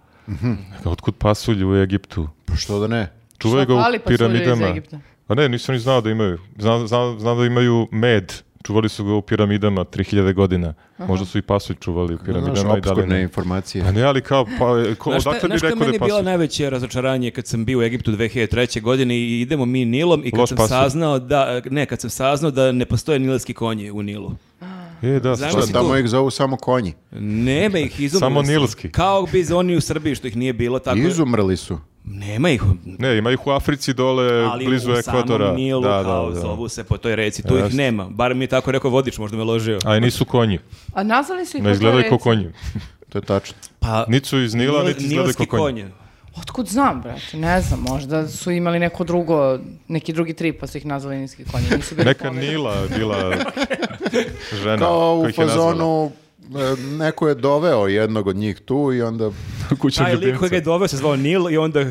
S2: Kao, otkud pasulj u Egiptu?
S1: Pa što da ne?
S2: Čuvaju
S4: Šta
S2: ga
S4: fali
S2: u
S4: pasulju iz
S2: piramidama.
S4: Egipta?
S2: A ne, nisam ni znao da imaju. Znam, znam, znam da imaju med. Čuvali su ga u piramidama 3000 godina. Možda su i pasulj čuvali u
S1: Znaš,
S2: piramidama i da li
S1: obskurne
S2: ne.
S1: informacije.
S2: Pa ne, ali kao, pa, ko,
S3: Znaš šta-
S2: odakle bi
S3: znaš šta
S2: rekao da
S3: meni
S2: je
S3: bilo
S2: pasulj?
S3: najveće razočaranje kad sam bio u Egiptu 2003. godine i idemo mi Nilom i kad
S2: Loš
S3: sam
S2: pasulj.
S3: saznao da, ne, kad sam saznao da ne postoje nilski konji u Nilu.
S2: E, da,
S3: Znaš
S2: sad-
S1: Što
S3: si
S1: tamo
S3: tu?
S1: ih zovu samo konji.
S3: Nema ih izumrli.
S2: Samo
S3: su.
S2: nilski.
S3: Kao bi za oni u Srbiji što ih nije bilo tako.
S1: Izumrli su.
S3: Nema ih.
S2: Ne, ima ih u Africi dole,
S3: Ali
S2: blizu
S3: u
S2: ekvatora.
S3: samom Nilu
S2: da,
S3: kao
S2: da, da.
S3: zovu se po toj reci. Tu ih
S2: Jeste.
S3: nema. Bar mi je tako rekao vodič, možda me ložio.
S2: A i nisu konji.
S4: A nazvali su ih...
S2: Ne
S4: po
S2: izgledaju
S4: toj
S2: kao
S4: reci.
S2: konji.
S1: To je tačno.
S3: Pa,
S2: Niti su iz Nila,
S3: nil-
S2: niti izgledaju kao Znači,
S3: nilski
S2: konji.
S3: konje.
S4: Otkud znam, brate, ne znam, možda su imali neko drugo, neki drugi trip, pa su ih nazvali niski konji. Nisu bili
S2: Neka
S4: povezani.
S2: Nila je bila žena.
S1: Kao
S2: koja
S1: u
S2: ih je nazvala.
S1: fazonu e, neko je doveo jednog od njih tu i onda...
S2: Kućnog
S3: Taj lik koji
S2: ljubimca.
S3: ga je doveo se zvao Nil i onda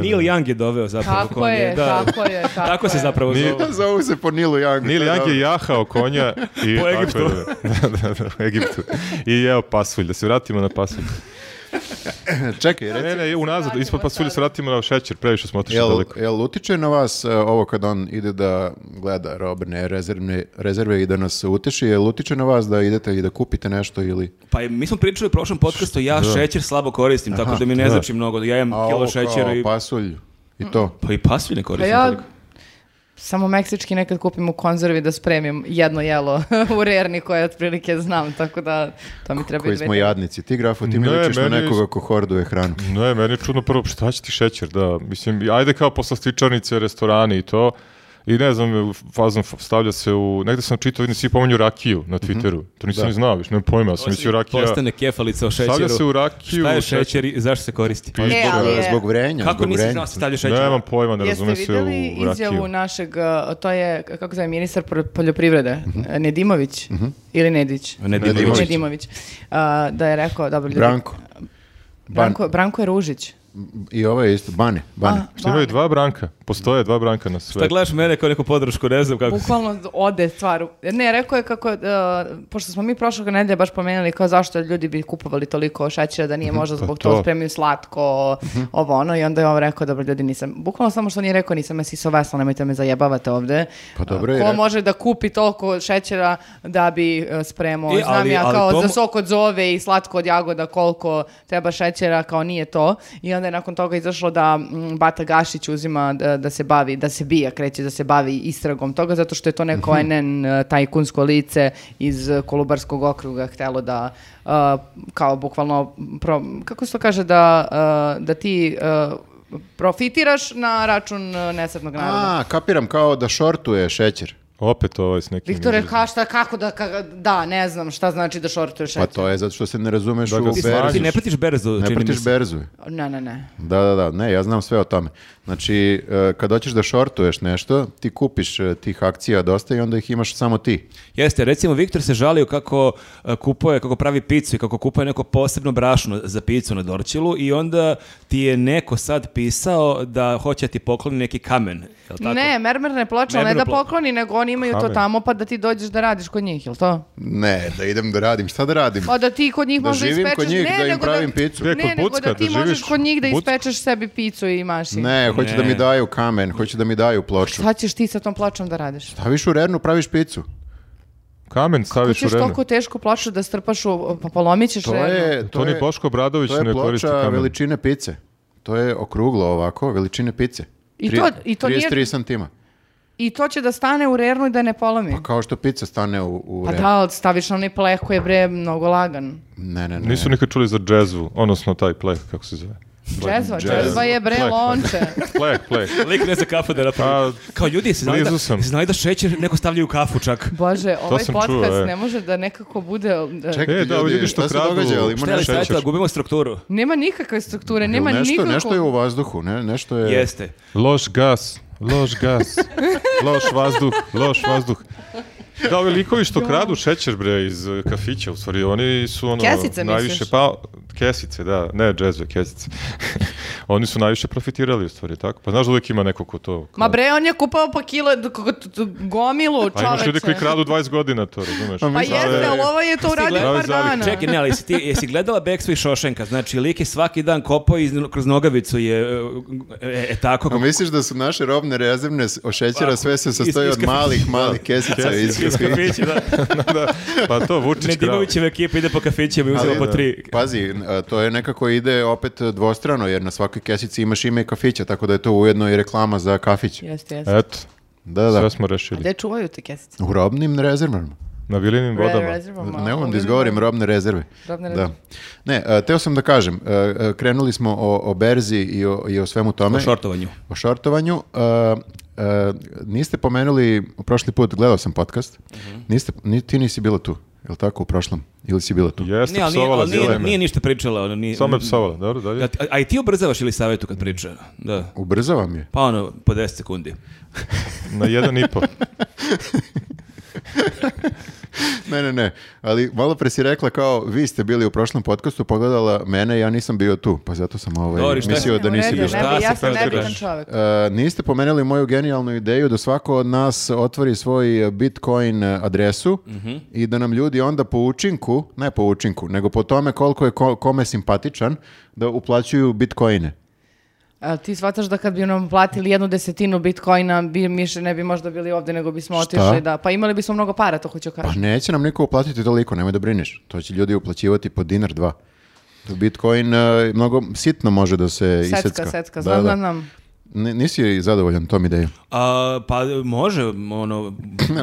S3: Nil Young je doveo zapravo
S4: Tako
S3: konje.
S4: je,
S3: Da.
S4: tako je, tako
S3: se
S4: je.
S3: zapravo
S2: Nije-
S3: zove.
S1: Zovu se po Nilu Young.
S2: Neil Young je jahao konja i
S3: Po Egiptu.
S2: Tako je, Da, da, da, u Egiptu. I jeo pasulj, da se vratimo na pasulj.
S1: Čekaj, reci.
S2: Ne, ne, unazad, ispod pasulja se vratimo na šećer, previše smo otišli
S1: Jel,
S2: daleko.
S1: jel utiče na vas e, ovo kad on ide da gleda robne rezervne, rezerve i da nas uteši? Jel utiče na vas da idete i da kupite nešto ili...
S3: Pa i mi smo pričali u prošlom podcastu, ja šećer slabo koristim, tako da mi ne znači mnogo. Ja imam
S1: A ovo
S3: kilo
S1: kao pa-
S3: šećera i...
S1: pasulj i to.
S3: Pa i pasvi ne
S4: Pa
S3: koristim.
S4: ja
S3: toliko.
S4: samo meksički nekad kupim u konzervi da spremim jedno jelo u rerni koje otprilike znam, tako da to mi treba
S1: Koji
S4: dve-
S1: smo jadnici. Ti, grafo, ti mi
S2: Ne,
S1: ličiš na
S2: meni-
S1: nekoga ko horduje hranu.
S2: Ne, meni je čudno prvo, šta će ti šećer, da, mislim, ajde kao posla stičarnice, restorani i to, i ne znam, fazom stavlja se u, negde sam čitao, vidim, svi pomenju rakiju na Twitteru, to nisam ni znao, više, nemam pojma, ja sam mislio rakija,
S3: Postane kefalica o šećeru.
S2: stavlja se u rakiju,
S3: Šta je šećer i zašto se koristi?
S2: Pi-
S4: E, ali je-
S1: Zbog vrenja,
S3: Kako
S1: zbog
S3: nisi
S1: vrenja.
S3: znao da se stavlja šećer?
S2: nemam pojma, ne
S4: Jeste
S2: razume se u rakiju.
S4: vidjeli izjavu našeg, uh, to je, kako zove, ministar pro- poljoprivrede, e, Nedimović ili Nedić?
S3: Nedimović.
S4: Nedimović. Uh, da je rekao, dobro ljudi,
S1: Branko.
S4: Branko, Branko je Ružić.
S1: I ovo je isto, Bane, Bane.
S2: Što imaju dva branka? Postoje dva branka na
S3: Da
S2: sve.
S3: gledaš mene kao neku podršku, ne znam kako.
S4: Bukvalno ode stvar. u- Ne, rekao je kako, e, pošto smo mi prošlog nedelja baš pomenuli kao zašto ljudi bi kupovali toliko šećera da
S3: Mhm,
S4: nije možda
S2: pa
S4: zbog
S2: to.
S4: toga spremio slatko, ovo ono, i onda je on rekao, dobro ljudi, nisam, bukvalno samo što nije rekao, nisam ja siso vesla, nemojte me zajebavate ovde.
S1: Pa dobro je
S4: Ko
S1: rekao.
S4: može da kupi toliko šećera da bi e, spremao,
S3: E,
S4: znam
S3: ali-
S4: ja
S3: ali
S4: kao
S3: to
S4: za
S3: mo-
S4: sok od zove i slatko od jagoda koliko treba šećera, kao nije to. I onda je nakon toga izašlo da mm, Bata Gašić uzima da, da se bavi, da se bija, kreće da se bavi istragom toga, zato što je to neko NN e, tajkunsko lice iz e, Kolubarskog okruga htelo da e, kao bukvalno, pro- kako se to kaže, da, e, da ti e, profitiraš na račun e, nesretnog naroda.
S1: A, kapiram kao da šortuje šećer.
S2: Opet ovaj s nekim...
S4: Viktore,
S2: izrazima.
S4: ka, šta, kako da, ka- da, ne znam šta znači da šortuješ
S1: Pa
S4: šećer.
S1: to je zato što se ne razumeš
S2: Da
S1: u
S2: ga
S1: berzu.
S2: smanjiš.
S3: Ti ne pratiš berzu,
S1: Ne
S3: čini mi
S1: pratiš
S3: se.
S1: berzu.
S4: Ne, ne, ne.
S1: Da, da, da, ne, ja znam sve o tome. Znači, e, kad hoćeš da šortuješ nešto, ti kupiš e, tih akcija dosta i onda ih imaš samo ti.
S3: Jeste, recimo Viktor se žalio kako e, kupuje, kako pravi picu i kako kupuje neko posebno brašno za picu na Dorčilu i onda ti je neko sad pisao da hoće da ti pokloni neki kamen, je li tako?
S4: Ne, mermerne ploče, ali ne da
S3: Mermerna ploča.
S4: pokloni, nego oni imaju to
S2: Kamen.
S4: tamo pa da ti dođeš da radiš kod njih, jel to?
S1: Ne, da idem da radim, šta da radim?
S4: Pa da ti kod njih
S1: Da
S4: možda
S1: živim
S4: ispečeš...
S1: kod njih,
S4: ne,
S1: da im
S4: nego
S1: pravim picu.
S4: Ne,
S2: Gdje, kod
S4: nego
S2: Bucka,
S4: da ti
S2: da živiš?
S4: možeš kod njih da
S2: Buck-
S4: ispečeš sebi picu i imaš je.
S1: Ne, hoću da mi
S3: Ne.
S1: daju kamen, hoću da mi daju ploču.
S4: Šta ćeš ti sa tom pločom da radiš?
S1: Staviš u rernu, praviš picu.
S2: Kamen staviš u
S4: Hoćeš
S2: renu.
S4: toliko tešku ploču da strpaš u... Pa polomit ćeš
S1: To
S4: rernu.
S1: je, to
S2: Toni
S1: je,
S2: Boško Obradović
S1: to je
S2: ne koristi
S1: ploča
S2: kamen.
S1: veličine pice. To je okruglo ovako, veličine pice.
S4: I
S1: Tri-
S4: to- i to nije-
S1: 33 santima.
S4: I to će da stane u rernu i da ne polomi.
S1: Pa kao što pica stane u, u
S4: Pa
S1: rernu.
S4: da, ali staviš na onaj pleh koji je bre mnogo lagan.
S1: Ne, ne, ne.
S2: Nisu nikad čuli za džezvu, odnosno taj pleh, kako se zove.
S4: Džezva,
S1: džezva.
S4: džezva je bre
S2: Pleh,
S4: lonče.
S2: Pleh, pleh. Pa,
S3: Lik ne za kafu da napravi.
S2: A,
S3: Kao ljudi, se znali da,
S2: blizu sam.
S3: jesi znali da šećer neko stavlja u kafu čak.
S4: Bože, ovaj
S2: sam čuo,
S4: podcast
S2: e.
S4: ne može da nekako bude... e,
S1: Čekajte,
S2: E, da, ovi ljudi što
S1: šta se
S2: kradu-
S1: događa, ali ima
S3: Šta je li
S1: nešto,
S2: šećer?
S3: stavite, a gubimo strukturu?
S4: Nema nikakve strukture, nema
S1: nešto,
S4: nikakvog...
S1: nešto je u vazduhu, ne, nešto
S2: E.
S1: je...
S3: Jeste.
S2: Loš gas, loš gas, loš vazduh, loš vazduh. Da, ovi likovi što kradu šećer, bre, iz e, kafića, u stvari, oni su ono...
S4: Kesice, misliš?
S2: najviše, Pa, kesice, da, ne džezve, kesice. oni su najviše profitirali, u stvari, tako? Pa znaš da uvijek ima neko ko to...
S4: Ma bre, on je kupao pa kilo, d- k- t- t- gomilu
S1: Pa
S4: čoveče.
S2: A Pa imaš ljudi koji kradu 20 godina to, razumeš?
S4: Pa
S2: Prave-
S4: jeste, ali ovo je to uradio
S2: gledao
S4: par
S2: zalihe?
S4: dana.
S3: Čekaj, ne, ali jesi, ti, jesi gledala Backstreet Šošenka? Znači, lik je svaki dan kopao iz, kroz nogavicu je, e, e, e, tako.
S1: A misliš da su naše robne rezervne s- od šećera sve se sastoji
S3: iz-
S1: od
S3: iz-
S1: malih, malih kesica iz
S3: Iz kafića, da.
S2: da, pa to Vučić krao.
S3: Nedimovićeva ekipa ide po kafićima i uzima
S1: Ali,
S3: po tri.
S1: Pazi, n- a, to je nekako ide opet dvostrano, jer na svakoj kesici imaš ime kafića, tako da je to ujedno i reklama za kafić.
S4: Jeste, jeste.
S2: Eto,
S1: Da, da.
S2: sve smo rešili.
S4: Gde čuvaju te kesice?
S1: U robnim rezervama.
S2: Na Vilinim vodama.
S1: Ne mogu da izgovorim robne rezerve.
S4: Robne
S1: Da.
S4: rezerve.
S1: Ne, a, teo sam da kažem, a, a, krenuli smo o, o berzi i o, i o svemu tome.
S3: O šortovanju.
S1: O šortovanju. a, a, niste pomenuli, prošli put gledao sam podcast, niste, ni, ti nisi bila tu, je li tako, u prošlom? Ili si bila tu?
S2: Jeste,
S3: Ne, ali, nije,
S2: psovala
S3: ali nije,
S2: zile me.
S3: nije ništa pričala. Ono, nije,
S2: Samo je psovala, dobro, dalje.
S3: Da, ti- a, a i ti ubrzavaš ili savjetu kad priča? Da.
S1: Ubrzavam je.
S3: Pa ono, po 10 sekundi.
S2: Na jedan i po.
S1: Ne, ne, ne, ali malo pre si rekla kao vi ste bili u prošlom podcastu, pogledala mene, ja nisam bio tu, pa zato sam ovaj,
S3: Dobro, i šta je?
S1: mislio da nisi
S4: bio.
S1: bio.
S3: ne. Šta se
S4: Ja sam
S3: sad
S4: nebitan
S3: radiš?
S4: čovjek.
S1: E, niste pomenuli moju genijalnu ideju da svako od nas otvori svoj e, Bitcoin e, adresu i da nam ljudi onda po učinku, ne po učinku, nego po tome koliko je ko- kome simpatičan, da uplaćuju Bitcoine.
S4: A ti shvataš da kad bi nam platili jednu desetinu bitcoina, bi, mi še- ne bi možda bili ovdje, nego bismo otišli da... Pa imali bismo mnogo para, to hoću
S1: Pa
S4: kažem.
S1: neće nam niko uplatiti toliko, nemoj da brineš. To će ljudi uplaćivati po dinar dva. Bitcoin e, mnogo sitno može da se
S4: Secka,
S1: isecka.
S4: secka,
S1: Da,
S4: znam,
S1: da.
S4: znam, znam.
S1: Ni- Nisi zadovoljan tom idejom.
S3: A, pa može, ono...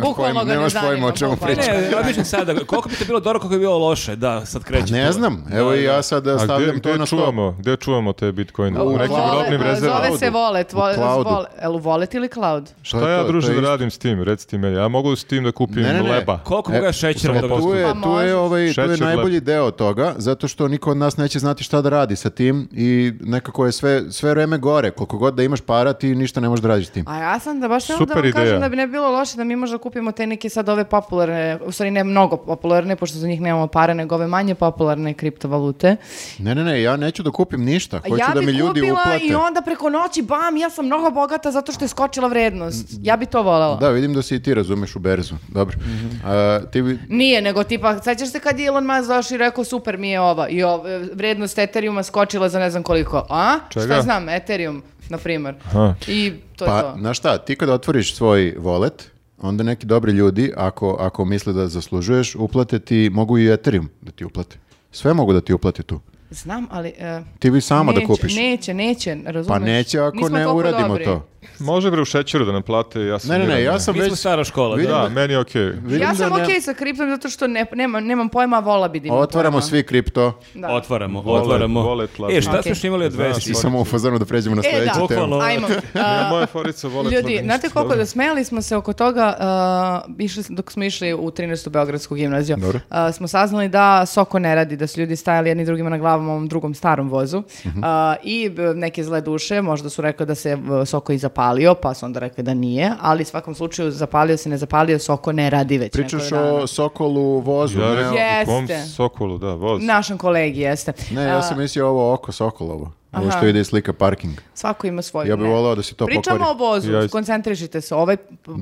S4: Bukvalno ga ne
S1: nemaš
S4: zanima,
S1: pojma o čemu
S4: bukvalno.
S1: pričaš.
S3: Pa Ne, obično sada. Koliko bi to bilo dobro, koliko bi bilo loše? Da, sad kreće.
S1: Pa Ne
S3: to.
S1: znam, evo i ja sad
S2: A
S1: stavljam
S2: gdje,
S1: to
S2: gdje
S1: na stol.
S2: čuvamo? Gdje čuvamo te bitcoine? U nekim
S4: Vole-
S2: robnim
S4: a,
S2: rezervama.
S4: Zove se volet. vo-
S1: U cloudu.
S4: zvole- Jel u volet ili cloud?
S1: Što je
S2: Šta
S1: to?
S2: ja,
S1: To
S2: druže,
S1: je
S2: da
S1: isto-
S2: radim s tim? Reci ti meni. Ja mogu s tim da kupim
S1: Ne, ne, ne.
S2: leba.
S3: Koliko
S1: E,
S3: ga je šećera
S2: samo
S3: da
S1: Tu je,
S4: Pa
S1: tu je, ovaj, tu je
S2: Šećer
S1: najbolji
S2: lep.
S1: deo toga, zato što niko od nas neće znati šta da radi sa tim i nekako je sve, sve vreme gore. Koliko god da imaš nemaš para, ti ništa ne možeš da radiš s tim.
S4: A Pa ja sam da baš htjela da
S2: Super
S4: vam kažem
S2: ideja.
S4: da bi ne bilo loše da mi možda kupimo te neke sad ove popularne, u stvari ne mnogo popularne, pošto za njih nemamo pare, nego ove manje popularne kriptovalute.
S1: Ne, ne, ne, ja neću da kupim ništa. Hoću
S4: ja
S1: da
S4: bi
S1: mi ljudi
S4: kupila
S1: uplate.
S4: i ono. onda preko noći, bam, ja sam mnogo bogata zato što je skočila vrednost. Ja bi to volela.
S1: Mm, Da, vidim da si i ti razumeš u berzu. Dobro.
S3: Mhm.
S1: A, ti bi...
S4: Nije, nego tipa, sećaš se kad je Elon Musk došao i rekao super mi je ova i ov- vrednost Ethereuma skočila za ne znam koliko. A?
S2: Čega?
S4: Šta znam, Ethereum, na primjer.
S2: Aha.
S4: I to je
S1: Pa,
S4: to.
S1: znaš šta, ti kada otvoriš svoj wallet, onda neki dobri ljudi, ako, ako misle da zaslužuješ, uplate ti, mogu i Ethereum da ti uplate. Sve mogu da ti uplate tu.
S4: Znam, ali... e,
S1: Ti bi sama da
S4: neće,
S1: kupiš.
S4: Neće, neće, razumeš?
S1: pa neće ako
S4: Nismo
S1: ne
S4: toliko
S1: uradimo
S4: dobri.
S1: to.
S2: Može bre u šećeru da nam plate, ja sam
S1: Ne, ne, ne,
S2: miran,
S1: ja sam
S3: Mi smo
S1: već...
S3: stara škola,
S1: vidim
S2: Da, meni je okej.
S1: vidim
S4: Ja
S1: da
S4: sam
S1: ne-
S4: okej sa kriptom zato što ne, nema, nemam pojma, vola bi da imam
S1: Otvaramo
S4: pojma.
S1: svi kripto.
S4: Da.
S3: Otvaramo,
S2: Wallet,
S3: otvaramo.
S2: wallet,
S3: e, šta
S4: laptop.
S3: smo još imali od
S2: Znaš,
S1: I
S3: vesti?
S1: samo u fazonu da pređemo na
S4: E,
S1: sledeću
S4: da,
S1: temu.
S3: Bukvalno.
S4: ajmo.
S2: Ja,
S4: A,
S2: moja forica vole
S4: Ljudi,
S2: tvrdo
S4: znate
S2: ništa,
S4: koliko
S2: dobro.
S4: da smijali smo se oko toga uh, išli, smo- dok smo išli u 13. Beogradsku gimnaziju.
S1: Dobro.
S4: Uh, smo saznali da Soko ne radi, da su ljudi stajali jedni drugima na glavama u ovom drugom starom vozu.
S1: Mhm.
S4: Uh, I b- neke zle duše, možda su rekli da se uh, Soko i zapalio, pa su onda rekli da nije, ali u svakom slučaju zapalio se, ne zapalio, Soko ne radi već
S1: Pričaš
S4: nekoliko dana.
S1: o Sokolu vozu,
S2: Ja
S1: ne,
S2: rekao,
S1: o-
S4: Jeste.
S2: u kom sokolu, da, voz.
S4: Našem kolegi jeste. Uh,
S1: ne, ja sam mislio ovo oko Sokolovo. Ovo
S4: Aha.
S1: što ide i slika parking.
S4: Svako ima svoju.
S1: Ja bi
S4: ne.
S1: volao da se to
S4: Pričamo
S1: pokvari.
S4: o vozu,
S2: Ja-
S4: koncentrišite se. Ovaj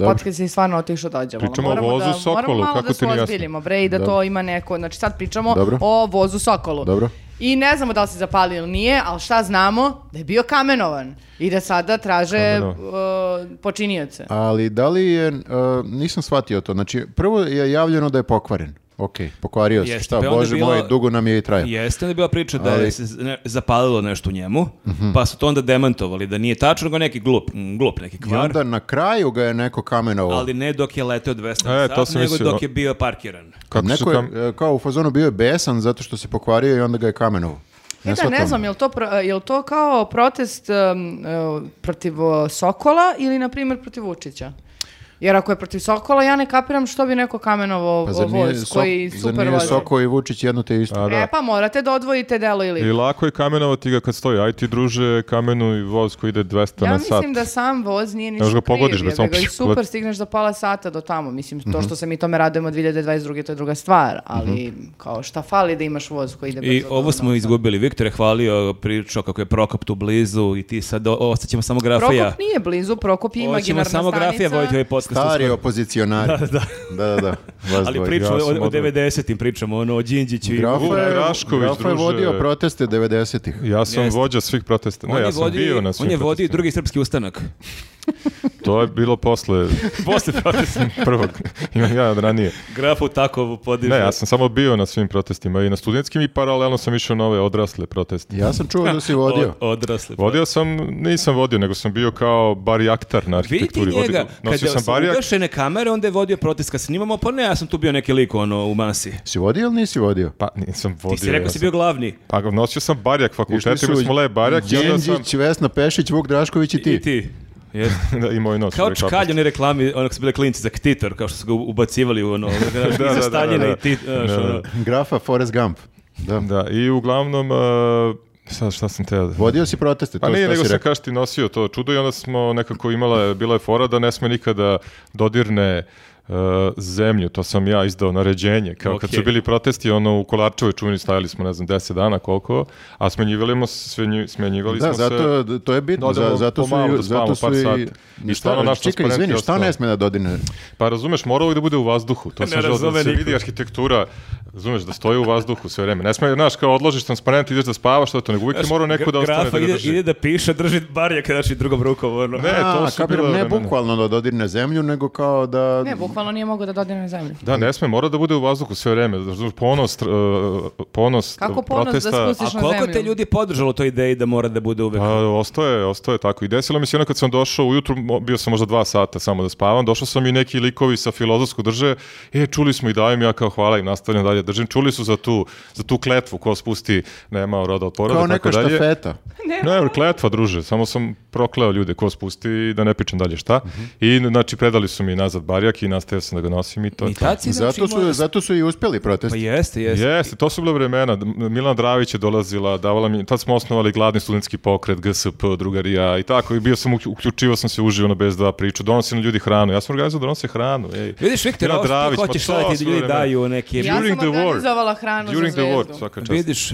S4: podcast je stvarno otišao dođe.
S2: Pričamo o vozu Sokolu,
S4: moramo malo
S2: kako
S4: da
S2: ti
S4: se
S2: nije jasno?
S4: ozbiljimo, bre, i da to ima neko... Znači sad pričamo
S1: Dobro.
S4: o vozu Sokolu.
S1: Dobro.
S4: I ne znamo da li se zapalio ili nije, ali šta znamo? Da je bio kamenovan. I da sada traže uh, počinioce.
S1: Ali da li je, uh, nisam shvatio to, znači prvo je javljeno da je pokvaren. Ok, pokvario se,
S3: Jeste,
S1: šta,
S3: pa je onda
S1: bože
S3: bilo-
S1: moj, dugo nam je i trajao.
S3: Jeste, onda je bila priča da
S1: Ali- Mhm.
S3: je se z- ne- zapalilo nešto u njemu, pa su to onda demantovali, da nije tačno, nego neki glup, mm, glup neki
S1: I
S3: kvar,
S1: onda na kraju ga je neko kamenovao.
S3: ali ne dok je leteo 200
S2: E,
S3: na
S2: to
S3: sat,
S2: sam
S3: nego
S2: mislio.
S3: dok je bio parkiran.
S2: Kako su
S1: neko je,
S2: kam...
S1: e, kao u fazonu bio je besan zato što se pokvario i onda ga je kamenovao. ono.
S4: E da, ne
S1: shvatam.
S4: znam, je li to, pro- je li to kao protest um, e, protiv uh, Sokola ili, na primjer, protiv Vučića? Jer ako je protiv Sokola, ja ne kapiram što bi neko kamenovo
S1: Pa
S4: o,
S1: zar nije,
S4: voz
S1: Sok-
S4: koji
S1: zar
S4: super
S1: nije
S4: vozi.
S1: Soko i Vučić jedno te isto?
S2: A, da.
S4: E pa morate da odvojite delo ili...
S2: I lako je kamenovati ga kad stoji. Aj ti druže, kamenu i voz koji ide 200
S4: Ja
S2: na sat.
S4: mislim da sam voz nije ništa
S2: možeš ga
S4: kriv,
S2: pogodiš, bre,
S4: jebe
S2: samo Mhm.
S4: ga i
S2: pšš,
S4: super
S2: let.
S4: stigneš za pola sata do tamo. Mislim, to što se mi tome radujemo 2022. to je druga
S2: Mhm.
S4: stvar, ali kao šta fali da imaš voz
S1: E,
S4: koji ide brzo.
S3: I
S4: do ono-
S3: ovo smo
S4: Novog
S3: izgubili. Viktor je hvalio pričao kako je Prokop tu blizu i ti sad o- ostaćemo samo
S4: Sada.
S3: grafija.
S4: Prokop nije blizu, Prokop je
S3: Hoćemo
S4: imaginarna
S3: samo
S4: stanica.
S3: grafija voditi ovaj podcast.
S1: Stari
S3: uskoro.
S1: opozicionari. Da, da, da. vas
S3: Ali
S1: dvoje.
S3: pričamo
S2: ja
S3: o,
S2: sam
S3: o
S2: odmah.
S3: 90-im, pričamo ono, o Đinđiću i...
S1: Grafa
S2: Vuk
S1: je,
S2: Drašković,
S1: Grafa je
S2: druže.
S1: vodio proteste 90-ih.
S2: Ja sam
S3: Jeste.
S2: vođa svih protesta. Ne, ja sam bio na svim
S3: on je vodio i
S2: protestima.
S3: drugi srpski ustanak.
S2: To je bilo posle,
S3: Posle protesta.
S2: prvog. Imam ja ranije.
S3: Grafu Takovu podiže.
S2: Ne, ja sam samo bio na svim protestima i na studentskim i paralelno sam išao na ove odrasle proteste.
S1: Ja sam čuo da si vodio.
S3: Od, odrasli.
S2: Vodio sam, nisam vodio, nego sam bio kao barijaktar na
S3: Vidite
S2: arhitekturi. Vodio-
S3: njega,
S2: nosio
S3: kada
S2: sam
S3: su
S2: barijak,
S3: ugašene kamere, onda je vodio protest kad snimamo, pa ne, ja sam tu bio neki lik ono, u masi.
S1: Si vodio ili nisi vodio?
S2: pa nisam vodio.
S3: Ti si rekao
S2: ja
S3: si
S2: sam-
S3: bio glavni.
S2: Pa ga- nosio sam barjak fakultetu, imali smo le barjak i onda sam...
S1: Đenđić, Vesna Pešić, Vuk Drašković i ti.
S3: I ti. Jeste.
S2: da, i moj nos.
S3: Kao
S2: ovaj
S3: čkalj, oni reklami, ono kako su bile klinci za ktitor, kao što su ga ubacivali u ono, znaš,
S2: da,
S3: iza
S2: da,
S3: Staljina
S2: da.
S3: i ti, znaš,
S2: Da, da.
S3: ono.
S1: Grafa Forrest Gump. Da.
S2: Da, i uglavnom, uh, sad šta sam teo... da-
S1: Vodio si proteste,
S2: Pa
S1: to
S2: nije,
S1: što
S2: nego
S1: si
S2: sam
S1: rekao.
S2: kaš ti nosio to čudo i onda smo nekako imala, bila je fora da ne sme nikada dodirne e, zemlju, to sam ja izdao naređenje, kao kad su
S3: Okej.
S2: bili protesti, ono u Kolarčevoj čuveni stajali smo, ne znam, 10 dana koliko, a smenjivali, smo, smenjivali
S1: Da,
S2: smo se...
S1: zato to je bitno,
S2: Da, da,
S1: za- zato su
S2: pomalo
S1: i-
S2: da spavamo
S1: zato
S2: par
S1: su i
S2: sati. I stvarno naš
S1: Čekaj,
S2: transparent
S1: izvini,
S2: je
S1: šta
S2: ostao.
S1: ne sme da dodine?
S2: Pa razumeš, mora uvijek da bude u vazduhu, to sam želeo da
S3: razume
S2: se
S3: niko.
S2: vidi arhitektura, razumeš, da stoji u vazduhu sve vreme. Ne sme, znaš, kao odložiš transparent, ideš da spavaš, što to, nego uvijek je morao neko da ostane
S3: Grafa
S2: da ga
S3: ide,
S2: drži.
S3: ide da piše, drži barjak, znači drugom rukom, ono.
S2: Ne, E, to
S1: A,
S2: su
S1: kapiram,
S2: bila
S1: ne
S2: vremena.
S1: bukvalno da dodirne zemlju, nego kao
S3: pa-
S1: da...
S4: Ne, bukvalno nije mogao da dodirne zemlju.
S2: Da, ne sme, mora da bude u vazduhu sve vreme. Razumeš, ponos, tr- e, ponos
S4: Kako
S2: e,
S4: ponos da
S2: protesta,
S4: spustiš?
S3: A
S4: Ideš na
S3: koliko
S4: zemlju.
S3: te ljudi podržalo toj ideji da mora da bude uvek?
S2: Pa, ostaje, ostaje tako. I desilo mi se ono kad sam došao ujutru, mo- bio sam možda dva sata samo da spavam, došao sam i neki likovi sa filozofskog drže, e, čuli smo i dajem ja kao hvala im, nastavljam dalje, držim, čuli su za tu, za tu kletvu ko spusti, nema roda od poroda,
S1: Kao
S2: tako
S1: neka
S2: dalje.
S1: štafeta.
S2: Ne, kletva, druže, samo sam prokleo ljude ko spusti i da ne pričam dalje šta.
S4: Mhm.
S2: I znači predali su mi nazad barjak i nastavio sam da ga nosim i to. je
S3: I
S2: to.
S3: tad si, znači,
S1: Zato
S3: imao-
S1: su, zato su i uspjeli
S3: Pa
S1: protesti.
S3: jeste, jeste.
S2: Jeste, to su bila vremena. Milana Dravić je dolazila, davala mi, tad smo osnovali gladni studentski pokret, GSP, drugarija i tako. I bio sam, uklju- uključivao sam se uživo na bez dva priču. Donosi nam ljudi hranu. Ja sam organizovao da donose hranu. Ej.
S3: Vidiš, Viktor,
S2: Milana
S3: ovo što ti
S2: Dravić, ma
S3: hoćeš
S2: to
S3: sada ti
S2: su
S3: ljudi
S2: vremena.
S3: daju neke...
S4: Ja
S2: During the
S4: sam
S2: war.
S4: organizovala hranu
S2: During
S4: za
S2: the
S4: zvezdu.
S2: war, svaka čast.
S3: Vidiš,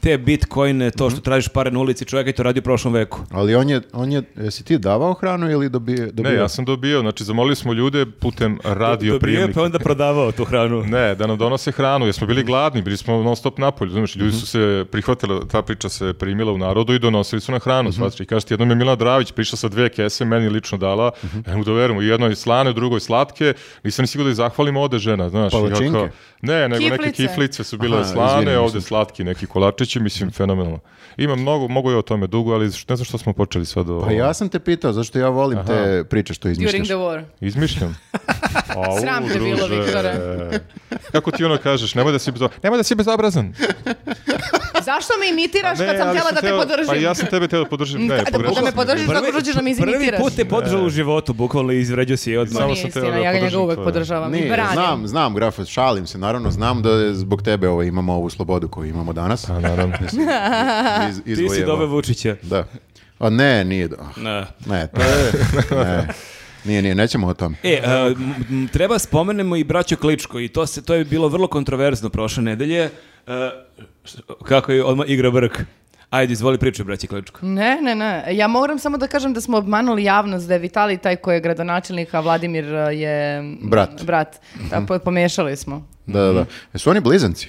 S3: te bitcoine, to
S2: Mhm.
S3: što tražiš pare na ulici, čovjek je to radio u prošlom veku.
S1: Ali on je, on je, jesi ti davao hranu ili dobio? dobio?
S2: Ne, ja sam dobio, znači zamolili smo ljude putem radio
S3: Dobio je,
S2: prijemnika.
S3: pa onda prodavao tu hranu.
S2: Ne, da nam donose hranu, jer smo bili gladni, bili smo non stop napolju, znaš, ljudi su se prihvatila, ta priča se primila u narodu i donosili su na hranu,
S1: Mhm.
S2: mm I kažete, jednom je Milan Dravić prišla sa dve kese, meni lično dala,
S1: Mhm.
S2: ne mogu da verujem, u jednoj slane, u drugoj slatke, nisam ni siguran da ih zahvalim ode žena, znaš. i ja
S1: Palačinke?
S2: kao- Ne, nego neke
S4: Kiflice.
S2: kiflice su bile
S1: Aha,
S2: slane,
S1: izvini,
S2: ovde
S1: mislim.
S2: slatki neki kolačići, mislim, fenomenalno. Ima mnogo, mogu je o tome dugo, ali ne znam što smo počeli sad o...
S1: Pa ja sam te pitao, zašto ja volim te priče što
S4: During
S1: izmišljaš.
S4: the war.
S2: Izmišljam. Au,
S4: Sram te bilo,
S2: druže.
S4: Viktore.
S2: Kako ti ono kažeš, nemoj da si, bezo... nemoj da si bezobrazan.
S4: Zašto me imitiraš kad sam
S2: ali
S4: htjela da te
S2: teo-
S4: podržim?
S2: Pa ja sam tebe teo da podržim. Ne,
S4: Da- da-
S2: pogrešio
S4: da me
S2: sam.
S4: podržiš. Zato što ćeš da me
S3: prvi
S4: izimitiraš.
S3: put te podržao u životu, bukvalno izvređao si je odmah.
S2: Samo
S4: Nije
S2: sam
S4: istina,
S2: teo da
S4: ja ga njega
S2: podržim
S4: uvek
S2: to, da.
S4: podržavam i
S1: Nije,
S4: branim.
S1: znam, znam, graf, šalim se, naravno, znam da je zbog tebe ovo, imamo ovu slobodu koju imamo danas.
S2: Pa naravno.
S1: Iz,
S3: Ti si
S1: izvojevo.
S3: dove Vučića.
S1: Da. A ne, nije, do- ah,
S3: Ne.
S1: ne, to je- ne. Nije, nije, nećemo o tom.
S3: E, a, m- m- treba spomenemo i braćo Kličko i to, se, to je bilo vrlo kontroverzno prošle nedelje. E, š- kako je odmah igra brk. Ajde, izvoli priču, braći Kličko.
S4: Ne, ne, ne. Ja moram samo da kažem da smo obmanuli javnost da je Vitali taj koji je gradonačelnik, a Vladimir e, je...
S1: Brat.
S4: Brat. Da, po- pomiješali smo.
S1: Da, da, da. Jesu oni blizanci?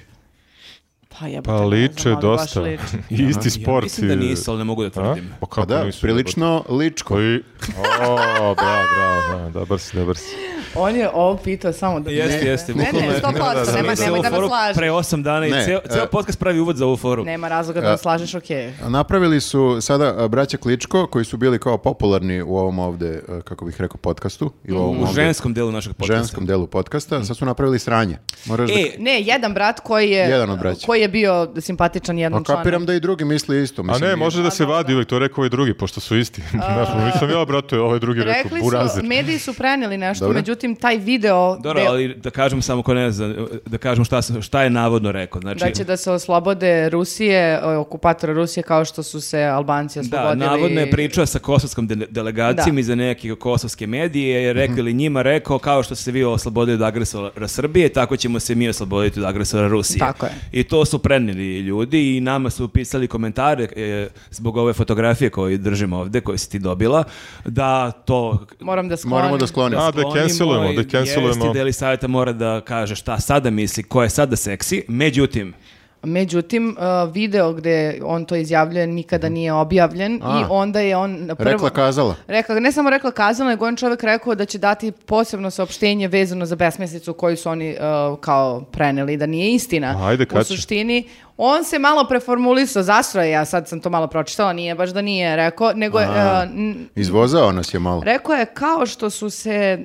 S4: Pa jebote.
S2: Pa
S4: ne
S2: liče
S4: znam, ali baš
S2: dosta.
S4: liče.
S2: I isti sport.
S3: Mislim da nisu, ali ne mogu da
S2: A?
S3: tvrdim.
S2: Pa kako
S1: Pa da,
S2: nisu? Pa
S1: prilično ličko.
S2: Koji? O, bravo, bravo, bravo, dobar si, dobar si.
S4: On je ovo pitao samo da...
S3: Jeste,
S4: Ne,
S3: jeste.
S4: Ne, ne,
S3: bukvalno je-
S4: 100%,
S2: Da, da, da, da,
S4: nemoj,
S2: da.
S4: nemoj da
S3: Foru
S4: nas laži.
S3: Pre osam dana
S1: Ne,
S3: i ceo, ceo
S1: e,
S3: podcast pravi uvod za ovu foru.
S4: Nema razloga da nas lažeš, okej.
S1: Napravili su sada a, braća Kličko koji su bili kao popularni u ovom ovde, a, kako bih rekao, podcastu. I u ovom
S3: U
S1: ovde
S3: ženskom delu našeg podcasta.
S1: ženskom delu podcasta. Sad su napravili sranje. Moraš da...
S3: E,
S4: Ne, jedan brat koji je,
S1: Jedan od braće.
S4: koji je bio simpatičan jednom
S1: Pa
S4: članu.
S1: kapiram da i drugi misli isto.
S2: A
S1: Mislim,
S2: ne,
S1: nije-
S2: može da se vadi uvijek, to je rekao ovaj drugi, pošto su isti. Znaš, nisam ja, brate, ovaj drugi je rekao,
S4: Rekli su,
S2: burazer.
S4: mediji su preneli nešto,
S1: Dobro.
S4: međutim, taj video...
S3: Dobro,
S4: gde-
S3: ali da kažem samo ko ne zna, da kažem šta, sam- šta je navodno rekao. Znači,
S4: Da će da se oslobode Rusije, e, okupatora Rusije, kao što su se Albanci
S3: Da,
S4: oslobodili.
S3: navodno je pričao sa kosovskom dele- delegacijom
S4: Da. Mhm.
S3: iza neke kosovske medije, je rekao ili njima rekao kao što ste vi oslobodili od agresora Srbije, tako ćemo se mi osloboditi od agresora Rusije.
S4: Tako je.
S3: I to su prenijeli ljudi i nama su pisali komentare e, zbog ove fotografije koju držim ovde, koju si ti dobila, da to
S4: Moramo da sklonim.
S1: Moramo da sklonimo.
S2: A, da cancelujemo, da cancelujemo.
S3: Jesti deli savjeta mora da kaže šta sada misli, ko je sada seksi, međutim,
S4: Međutim, e, video gde on to izjavljuje nikada nije objavljen
S1: A.
S4: i onda je on na prvo...
S1: Rekla kazala.
S4: Rekla, ne samo rekla kazala, nego on čovjek rekao da će dati posebno saopštenje vezano za besmislicu koju su oni e, kao preneli, da nije istina.
S2: Ajde,
S4: U
S2: kad će?
S4: suštini, on se malo preformulisao, zastroje, ja sad sam to malo pročitala, nije baš da nije rekao, nego je... e, n-
S1: Izvozao nas je malo.
S4: Rekao je kao što su se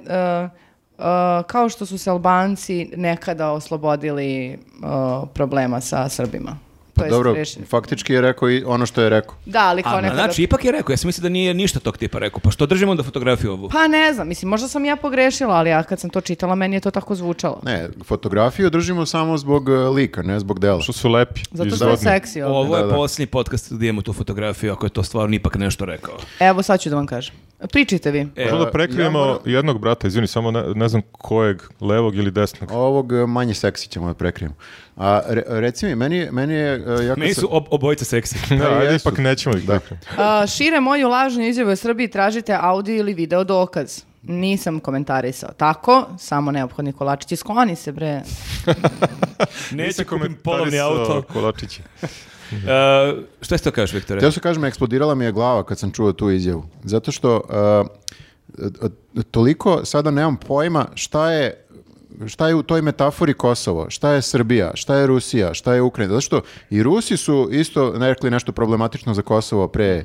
S4: uh, uh, kao što su se Albanci nekada oslobodili uh, problema sa Srbima. To jest
S1: Pa Dobro,
S4: rešen-
S1: faktički je rekao i ono što je rekao.
S4: Da, ali kao
S3: Pa a,
S4: nekada...
S3: znači ipak je rekao, ja sam mislio da nije ništa tog tipa rekao, pa što držimo onda fotografiju ovu?
S4: Pa ne znam, mislim, možda sam ja pogrešila, ali ja kad sam to čitala, meni je to tako zvučalo.
S1: Ne, fotografiju držimo samo zbog e, lika, ne zbog dela.
S2: Što su lepi.
S4: Zato što je
S2: izgodni.
S4: seksi ovdje.
S3: Ovo je
S1: Da, da.
S3: posljednji podcast gdje imamo tu fotografiju, ako je to stvarno ipak nešto rekao.
S4: Evo, sad ću da vam kažem. Pričajte vi.
S3: E,
S2: Možda
S1: ja
S2: da prekrijemo
S1: moram-
S2: jednog brata, izvini, samo ne, ne znam kojeg, levog ili desnog.
S1: Ovog e, manje seksi ćemo da prekrijemo. A re- reci mi, meni, je- meni je... e, jako
S3: Meni
S1: se-
S3: su ob- obojica seksi.
S2: Da,
S1: Da,
S2: ajde,
S1: jesu.
S2: ipak nećemo ih.
S1: Da.
S4: A, šire moju lažnu izjavu u Srbiji tražite audio ili video dokaz. Nisam komentarisao. Tako, samo neophodni kolačići. Skloni se, bre.
S3: Neće
S2: Nisam
S3: kupim
S2: komentarisao
S3: polovni auto.
S2: Kolačiće.
S3: E, šta si to kažeš, Viktore?
S1: Htio sam kažem, eksplodirala mi je glava kad sam čuo tu izjavu. Zato što e, e, toliko sada nemam pojma šta je šta je u toj metafori Kosovo, šta je Srbija, šta je Rusija, šta je Ukrajina. Zato što i Rusi su isto rekli nešto problematično za Kosovo pre e, e,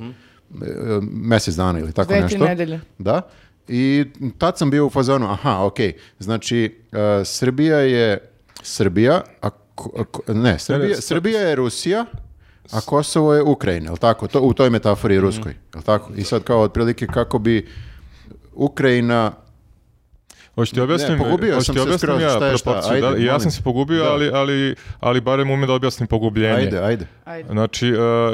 S1: mjesec dana ili tako
S4: Dve, tri
S1: nešto.
S4: nedelje.
S1: Da. I tad sam bio u fazonu, aha, okej, znači e, Srbija je Srbija, a, ko- a ko- ne, Srbija, Srbija je Rusija, a Kosovo je Ukrajina, jel tako? To, u toj metafori ruskoj, jel tako? I sad kao otprilike kako bi Ukrajina
S2: Hoćete objasnim?
S1: Ne, pogubio
S2: hoćete
S1: sam se
S2: objasnim
S1: skroz,
S2: ja
S1: šta je šta,
S2: proporciju?
S1: ajde,
S2: Da, i ja sam
S1: molim.
S2: se pogubio,
S1: Da.
S2: ali, ali, ali barem umem da objasnim pogubljenje.
S1: Ajde, ajde.
S4: Ajde.
S2: Znači,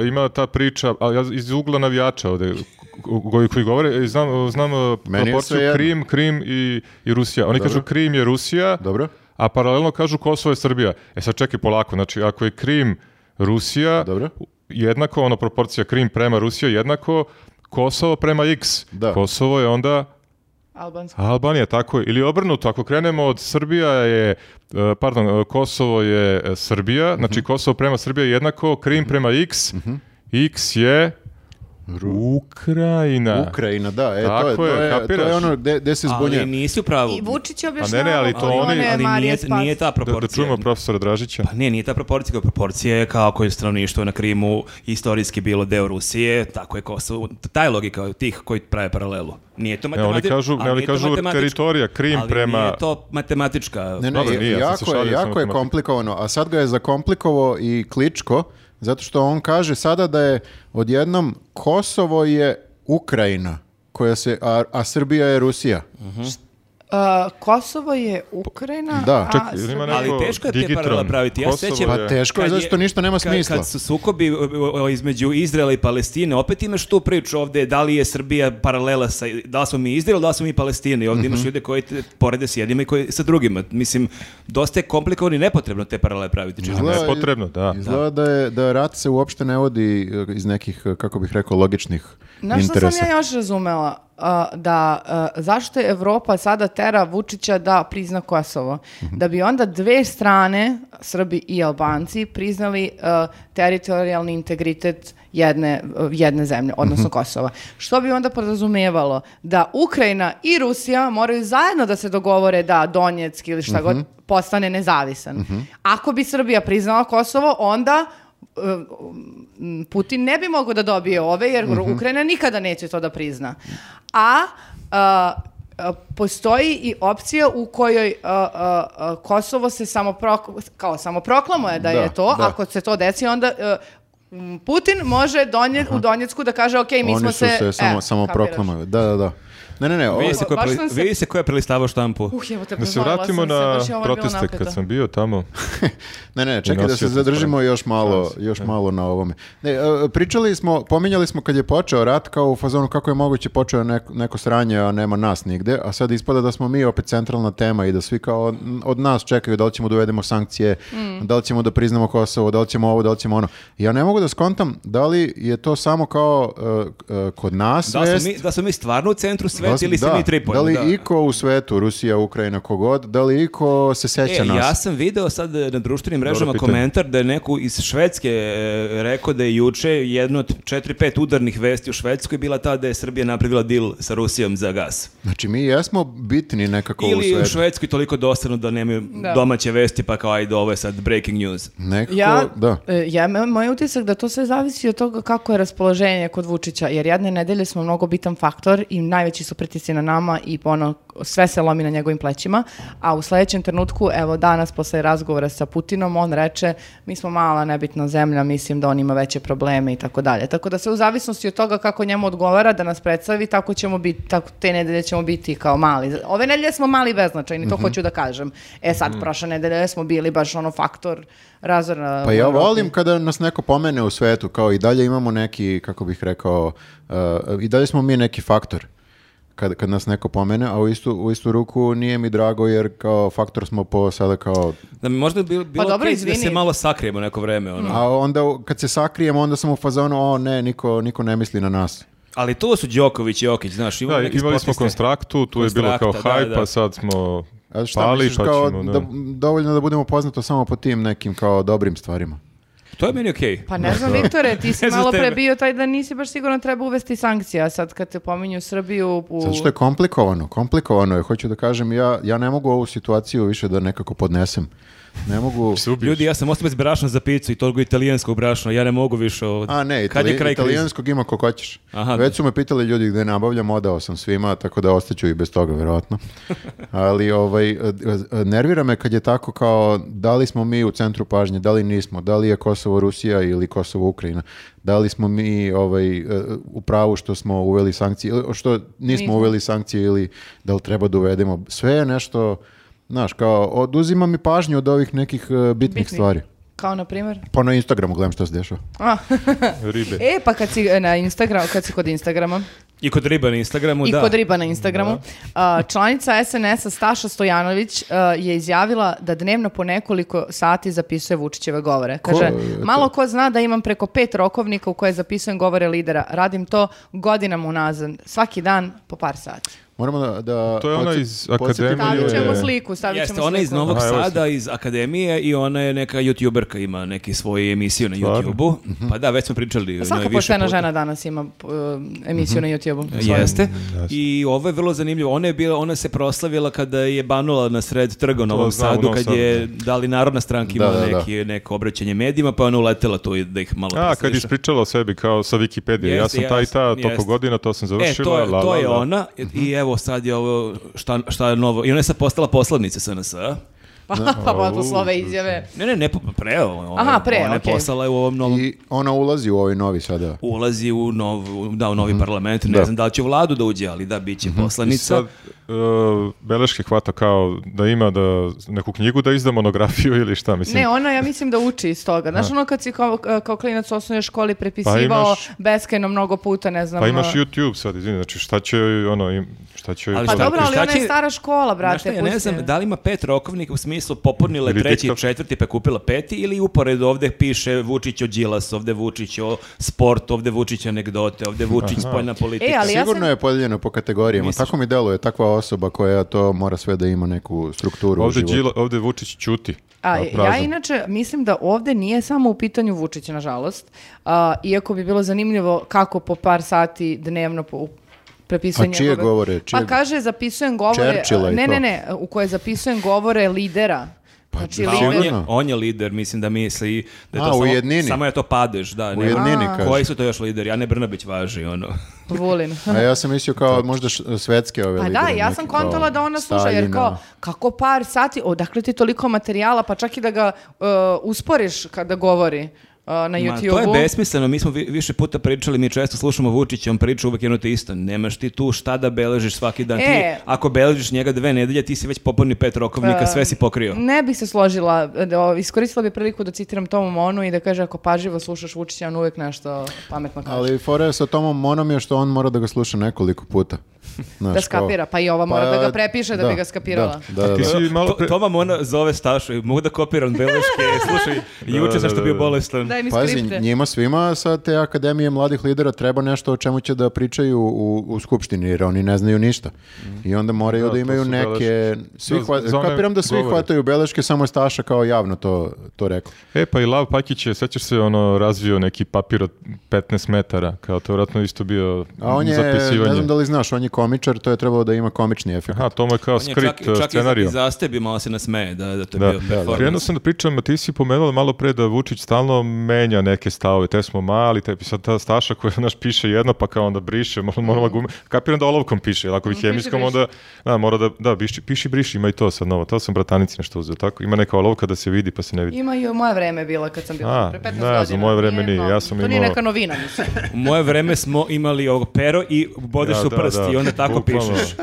S2: e, ima ta priča, ali ja iz ugla navijača ovde, ko- koji, koji govore, e, znam, znam e,
S1: Meni je
S2: proporciju
S1: svejedno.
S2: Krim, Krim i, i Rusija. Oni kažu Krim je Rusija,
S1: Dobro.
S2: a paralelno kažu Kosovo je Srbija. E sad čekaj polako, znači ako je Krim Rusija,
S1: Dobro.
S2: jednako, ono proporcija Krim prema Rusija jednako, Kosovo prema X.
S1: Da.
S2: Kosovo je onda
S4: Albansko.
S2: Albanija, tako je. Ili obrnuto, ako krenemo od Srbija je, e, pardon, e, Kosovo je e, Srbija,
S1: Mhm.
S2: znači Kosovo prema Srbija je jednako, Krim prema X, X je Ukrajina.
S1: Ukrajina, da, e,
S2: Tako
S1: to, je, to,
S2: je,
S1: je, to
S2: kapiraš?
S1: je ono gde, gde se zbunja.
S3: Ali nisi u pravu.
S4: I Vučić je
S2: A
S4: objašnjavao
S2: Pa ne, ne, ali to
S4: kako
S2: oni-
S4: one
S2: Ali
S3: Ali
S4: Marije
S3: nije,
S4: Spas.
S3: nije ta
S2: Da,
S3: proporcija.
S2: da čujemo profesora Dražića.
S3: Pa nije, nije ta proporcija, kao proporcija je kao koje stanovništvo na Krimu istorijski bilo deo Rusije, tako je Kosovo. Ta je logika tih koji prave paralelu. Nije to
S2: Ne, E, oni
S3: matematička.
S2: kažu, ne, oni kažu teritorija, Krim
S3: ali
S2: prema...
S3: nije to matematička.
S1: Ne, ne,
S2: Dobro, nije, ja sam se
S1: jako, je,
S2: šalio, samo
S1: jako je
S2: to-
S1: komplikovano, a sad ga je zakomplikovao i Kličko, zato što on kaže sada da je odjednom Kosovo je Ukrajina, koja se, a, a Srbija je Rusija.
S4: Uh, Kosovo je Ukrajina,
S1: Da.
S4: a
S2: Ček, jel ima
S4: Srbija-
S2: Pa neko-
S3: Ali teško je te
S2: Digitron,
S3: paralele praviti. Ja se
S2: Kosovo
S3: sjećam-
S1: Pa
S2: je-
S1: teško je,
S3: Kad
S1: zato što ništa nema
S3: kad-
S1: smisla.
S3: Kad su sukobi o, o, o, između Izraela i Palestine, opet imaš tu priču ovde, da li je Srbija paralela sa, da li smo mi Izrael, da li smo mi Palestina. I ovde
S1: Mhm.
S3: imaš ljude koji te porede s jednima i koji sa drugima. Mislim, dosta je komplikovano i nepotrebno te paralele praviti. čisto.
S1: Izgleda-
S2: nepotrebno, da.
S1: Izgleda da, je, da rat se uopšte ne vodi e, iz nekih, e, kako bih rekao, logičnih
S4: Znaš što
S1: interesa.
S4: sam ja još razumela? A, da, a, zašto je Evropa sada tera Vučića da prizna Kosovo? Da bi onda dve strane, Srbi i Albanci, priznali a, teritorijalni integritet jedne, a, jedne zemlje, odnosno Kosova. Što bi onda podrazumevalo? Da Ukrajina i Rusija moraju zajedno da se dogovore da Donjeck ili šta god postane nezavisan. Ako bi Srbija priznala Kosovo, onda uh, m, Putin ne bi mogao da dobije ove, jer
S1: Mhm.
S4: Ukrajina nikada neće to da prizna. A, a, a, postoji i opcija u kojoj a, a, a, Kosovo se samo kao samo proklamuje da,
S1: Da,
S4: je to,
S1: da.
S4: ako se to desi onda a, m, Putin može donje, u Donjecku da kaže ok, mi
S1: Oni
S4: smo
S1: su se, samo,
S4: e,
S1: samo
S4: kapiraš.
S1: proklamuju. Da, da, da. Ne, ne, ne. ovo-
S3: Vidi se ko je,
S4: Baš
S3: pre-
S4: sam se-
S3: vidi se ko je prelistavao štampu.
S4: Uh, evo te,
S2: Da se
S4: prevarila
S2: vratimo
S4: sam se, ovaj
S2: na
S4: baš je ovo bilo
S2: proteste
S4: napeto.
S2: kad sam bio tamo.
S1: Ne, ne, čekaj da
S2: nosio
S1: se
S2: sam
S1: zadržimo
S2: spremno.
S1: još malo,
S2: Šans,
S1: još malo na ovome. Ne, e, pričali smo, pominjali smo kad je počeo rat kao u fazonu kako je moguće počeo neko, neko sranje, a nema nas nigde, a sad ispada da smo mi opet centralna tema i da svi kao od, od nas čekaju da li ćemo da uvedemo sankcije, da li ćemo da priznamo Kosovo, da li ćemo ovo, da li ćemo ono. Ja ne mogu da skontam da li je to samo kao e, e, kod nas
S3: Da
S1: vest,
S3: smo, mi, da smo mi stvarno u centru
S1: da
S3: sveta
S1: li-
S3: ili se
S1: da,
S3: mi tripujemo?
S1: Da li
S3: da.
S1: iko u svetu, Rusija, Ukrajina, kogod, da li iko se seća
S3: E,
S1: nas?
S3: ja sam video sad e, na društvenim mrežama
S2: pitanje.
S3: komentar da je neko iz Švedske e, rekao da je juče jedno od 4-5 udarnih vesti u Švedskoj bila ta da je Srbija napravila deal sa Rusijom za gas.
S1: Znači mi jesmo bitni nekako u
S3: Ili u
S1: svetu.
S3: Švedskoj toliko dosadno da nemaju
S4: Da.
S3: domaće vesti pa kao ajde ovo je sad breaking news.
S1: Nekako,
S4: Ja,
S1: da.
S4: e, ja, me- moj utisak da to sve zavisi od toga kako je raspoloženje kod Vučića, jer jedne nedelje smo mnogo bitan faktor i najveći su pritisci na nama i ono, sve se lomi na njegovim plećima, a u sledećem trenutku, evo danas posle razgovora sa Putinom, on reče mi smo mala nebitna zemlja, mislim da on ima veće probleme i tako dalje. Tako da se u zavisnosti od toga kako njemu odgovara da nas predstavi, tako ćemo biti, tako te nedelje ćemo biti kao mali. Ove nedelje smo mali i beznačajni, to hoću da kažem. E sad, prošle nedelje smo bili baš ono faktor razorna
S1: Pa ja volim kada nas neko pomene u svetu, kao i dalje imamo neki, kako bih rekao, uh, i dalje smo mi neki faktor. Kad, kad nas neko pomene, a u istu, u istu ruku nije mi drago jer kao faktor smo po sada kao...
S3: Da mi možda bi bilo
S4: Pa dobro,
S3: okej da
S4: izvini.
S3: se malo sakrijemo neko vreme. Ono.
S1: A onda u- kad se sakrijemo onda sam u fazonu, o ne, niko, niko ne misli na nas.
S3: Ali to su Đoković i Jokić, znaš, imamo
S2: Da,
S3: neke
S2: imali smo
S3: sportiste.
S2: konstraktu, tu je bilo kao
S3: Konstrakta, da,
S2: hajp,
S3: da.
S2: pa sad smo
S1: A šta
S2: pali,
S1: misliš,
S2: pa
S1: kao
S2: ćemo...
S1: da-
S2: Da.
S1: dovoljno da budemo poznato samo po tim nekim kao dobrim stvarima.
S3: To je meni okej.
S4: Pa ne znam, Viktore, ti si
S3: Ne znam
S4: malo
S3: tebe.
S4: prebio taj da nisi baš sigurno treba uvesti sankcija sad kad te pominju Srbiju u...
S1: Zato što je komplikovano, komplikovano je, hoću da kažem, ja, ja ne mogu ovu situaciju više da nekako podnesem. Ne mogu...
S2: Se ubiješ.
S3: Ljudi, ja sam ostao bez brašna za picu i toliko italijanskog brašna, ja ne mogu više ovo.
S1: A ne,
S3: Kad je
S1: itali-
S3: kraj krize?
S1: italijanskog ima ko hoćeš.
S3: Aha,
S1: Već su me pitali ljudi gde nabavljam, odao sam svima, tako da ostaću i bez toga, verovatno. Ali ovaj, e, e, nervira me kad je tako kao, da li smo mi u centru pažnje, da li nismo, da li je Kosovo Rusija ili Kosovo Ukrajina, da li smo mi ovaj, e, u pravu što smo uveli sankcije, ili što nismo,
S4: Nismo.
S1: uveli sankcije ili da li treba da uvedemo. Sve je nešto, znaš, kao, oduzima mi pažnju od ovih nekih e, bitnih,
S4: Bitni.
S1: stvari.
S4: Kao na primjer.
S1: Pa na Instagramu gledam što se dešava.
S4: A,
S2: Ribe.
S4: e, pa kad si e, na Instagram, kad si kod Instagrama
S3: I kod riba na Instagramu,
S4: i
S3: da.
S4: kod riba na Instagramu, a, članica SNS-a Staša Stojanović a, je izjavila da dnevno po nekoliko sati zapisuje Vučićeve govore. Kaže,
S1: je to?
S4: malo ko zna da imam preko pet rokovnika u koje zapisujem govore lidera. Radim to godinama unazad. Svaki dan po par sati.
S1: Moramo da... da
S2: To je ona
S1: podsjet-
S2: iz
S1: podsjetimo
S2: Akademije.
S1: ljude.
S4: Stavit ćemo
S2: je-
S4: sliku, stavit ćemo
S3: Jeste, ona je iz
S4: sliku.
S3: Novog
S2: Aha, evo
S3: Sada, iz Akademije i ona je neka youtuberka, ima neki svoju emisiju na
S2: Stvarno? Mhm.
S3: YouTubeu. Pa da, već smo pričali. o njoj
S4: Svaka
S3: više
S4: poštena
S3: puta. Mhm.
S4: žena danas ima p- emisiju na YouTube-u. svoju.
S3: Jeste. I ovo je vrlo zanimljivo. Ona je bila, ona se proslavila kada je banula na sred trga u Novom
S2: znam, u
S3: Sadu,
S2: Novom
S3: kad
S2: Sadu.
S3: je dali Narodna stranka ima
S1: Da, da, da.
S3: neki, neko obraćanje medijima, pa je ona uletela tu i da ih malo
S2: A, kad je
S3: presliša.
S2: ispričala o sebi kao sa Wikipedije, ja
S3: Jeste,
S2: sam ta i ta,
S3: jeste,
S2: toliko
S3: jeste.
S2: godina, to sam
S3: E, to
S2: završila,
S3: je,
S2: la,
S3: to
S2: la,
S3: je
S2: la. Mhm.
S3: ona i- i evo sad je ovo šta, šta je novo. I ona je sad postala poslovnica SNS-a.
S4: Pa, pa podposlove izjave.
S3: Ne, ne, ne, po- pre. Ona,
S4: Aha, pre,
S3: Ona je
S4: okej.
S3: postala u ovom novom
S1: I ona ulazi u ovaj novi sada.
S3: ulazi u, nov, da, u novi parlament, ne
S1: Mhm. Da. Mhm.
S3: znam da li će u vladu da uđe, ali da, bit će
S2: I
S3: poslanica.
S2: sad, e, beleške hvata kao da ima da neku knjigu da izda monografiju ili šta, mislim.
S4: Ne, ona, ja mislim da uči iz toga. Znaš, ono kad si kao, kao klinac u osnovnoj školi prepisivao
S2: Pa imaš-
S4: beskajno mnogo puta, ne znam.
S2: pa imaš
S4: uh,
S2: YouTube sad, izvini, znači šta će, joj, ono, im, šta će... joj
S3: Ali
S2: to?
S4: Pa
S3: Šta-
S4: dobro, ali
S3: šta
S4: ona je
S3: će-
S4: stara škola, Pa brate.
S3: Znaš šta, ja ne
S4: pusti
S3: znam,
S4: je.
S3: da li ima pet rokovnika u smislu popunila je
S2: Ili
S3: treći,
S2: TikTok.
S3: četvrti pa je kupila peti ili upored ovde piše Vučić o Đilas, ovde Vučić o sport, ovde Vučić anegdote, ovde Vučić spoljna politika.
S4: E, ali ja
S1: Sigurno
S4: sam...
S1: je podijeljeno po kategorijama.
S3: Misliš?
S1: Tako mi deluje takva osoba koja to mora sve da ima neku strukturu u
S2: Ovde,
S1: životu.
S2: Đila, ovde Vučić ćuti.
S4: A,
S2: a,
S4: ja
S2: prazan.
S4: inače mislim da ovde nije samo u pitanju Vučić, nažalost, a, iako bi bilo zanimljivo kako po par sati dnevno po, prepisuje
S1: A čije
S4: njegove-
S1: govore? Čije-
S4: Pa kaže, zapisujem govore...
S1: Churchilla i
S4: ne,
S1: to.
S4: ne, ne, u koje zapisujem govore lidera.
S1: Pa,
S4: znači,
S1: da,
S3: A on, je,
S4: lider...
S1: sigurno.
S3: on je lider, mislim da misli da je
S1: A,
S3: to
S1: u
S3: samo,
S1: jednini.
S3: samo je to padež. Da,
S1: U
S3: ne,
S1: jednini, kaže.
S3: koji su to još lideri? Ane Brnabić važi, ono.
S4: Vulin.
S1: A ja sam mislio kao možda š- svetske ove
S4: Pa da,
S1: lidere
S4: ja
S1: neke,
S4: sam
S1: kao
S4: kontala da ona sluša, jer
S1: Staljina.
S4: kao, kako par sati, odakle ti toliko materijala, pa čak i da ga uh, usporiš kada govori uh, na
S3: Ma,
S4: YouTube-u.
S3: to je besmisleno, mi smo vi- više puta pričali, mi često slušamo Vučića, on priča uvek jedno te isto. Nemaš ti tu šta da beležiš svaki dan.
S4: E.
S3: Ti, ako beležiš njega dve nedelje, ti si već popuni pet rokovnika, sve si pokrio.
S4: Ne bih se složila, da, o, iskoristila bih priliku da citiram Tomu Monu i da kaže ako pažljivo slušaš Vučića, on uvek nešto pametno kaže.
S1: Ali fora je sa Tomom Monom je što on mora da ga sluša nekoliko puta. Znaš,
S4: Da skapira, pa i ova mora da ga prepiše da bi ga skapirala.
S1: Da, da, da.
S2: Ti si malo pre...
S3: To, Toma Mona zove Stašu i mogu da kopiram beleške, slušaj, juče sam što bio bolestan.
S4: Daj mi
S1: Pazi,
S4: skripte.
S1: njima svima sa te Akademije mladih lidera treba nešto o čemu će da pričaju u, u Skupštini, jer oni ne znaju ništa. I onda moraju
S2: Da,
S1: da,
S2: to
S1: imaju
S2: su
S1: neke...
S2: beleške.
S1: Svi
S2: Da,
S1: hva-
S2: za one
S1: kapiram da svi
S2: govore.
S1: hvataju beleške, samo je Staša kao javno to, to rekao.
S2: E, pa i Lav Pakić je, sećaš se, ono, razvio neki papir od 15 metara, kao to je vratno isto bio
S1: A on je,
S2: zapisivanje.
S1: ne znam da li znaš, on je komičar, to je trebalo da ima komični efekt.
S2: Aha, to mu je kao
S3: On je
S2: skrit
S3: čak, čak i,
S2: scenariju.
S3: i zastebi, malo se nasmeje da, da to je
S2: Da.
S3: bio performans.
S2: Krenuo sam da pričam, a ti si pomenula malo pre da Vučić stalno menja neke stavove, te smo mali, te sad ta Staša koja naš piše jedno pa kao onda briše, mora- moramo
S3: Mhm.
S2: gume, kapiram da olovkom piše, jer ako bi hemijskom
S4: briše.
S2: onda, da, mora da, da, piši, piši briši, ima i to sad novo, to sam bratanici nešto uzeo, tako, ima neka olovka da se vidi pa se ne vidi.
S4: Ima i u moje vreme bila kad sam bila
S2: A,
S4: pre 15
S2: ne
S4: godina.
S2: znam, moje vreme nije,
S4: novo.
S2: ja sam
S4: To nije
S2: imao-
S4: neka novina, mislim.
S3: U moje vreme smo imali ovo pero i bodeš
S2: Da,
S3: u
S2: da,
S3: prst
S2: da,
S3: i onda tako
S2: bukvalno.
S3: pišeš.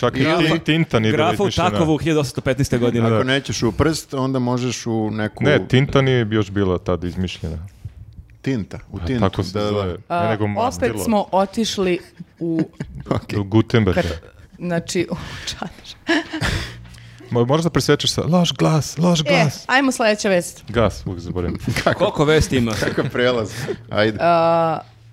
S2: Čak i ti- tinta nije bila
S3: Grafa u
S2: izmišljena.
S3: Takovu 1815. godine.
S1: Ako nećeš u prst, onda možeš u neku...
S2: Ne, tinta nije još bila tad izmišljena.
S1: tinta. U
S2: A,
S1: tintu.
S2: Tako se
S1: da, da, da.
S2: zove.
S4: A,
S2: Ne, nego
S4: opet
S2: mastilo.
S4: smo otišli u,
S2: Do Gutenberga.
S4: znači, u čadar.
S2: Mo- Možeš da presečeš sa loš glas, loš
S4: E,
S2: glas.
S4: ajmo sledeća vest.
S2: Gas, uvijek zaboravim.
S3: Koliko vesti ima?
S1: Kakav prelaz. Ajde.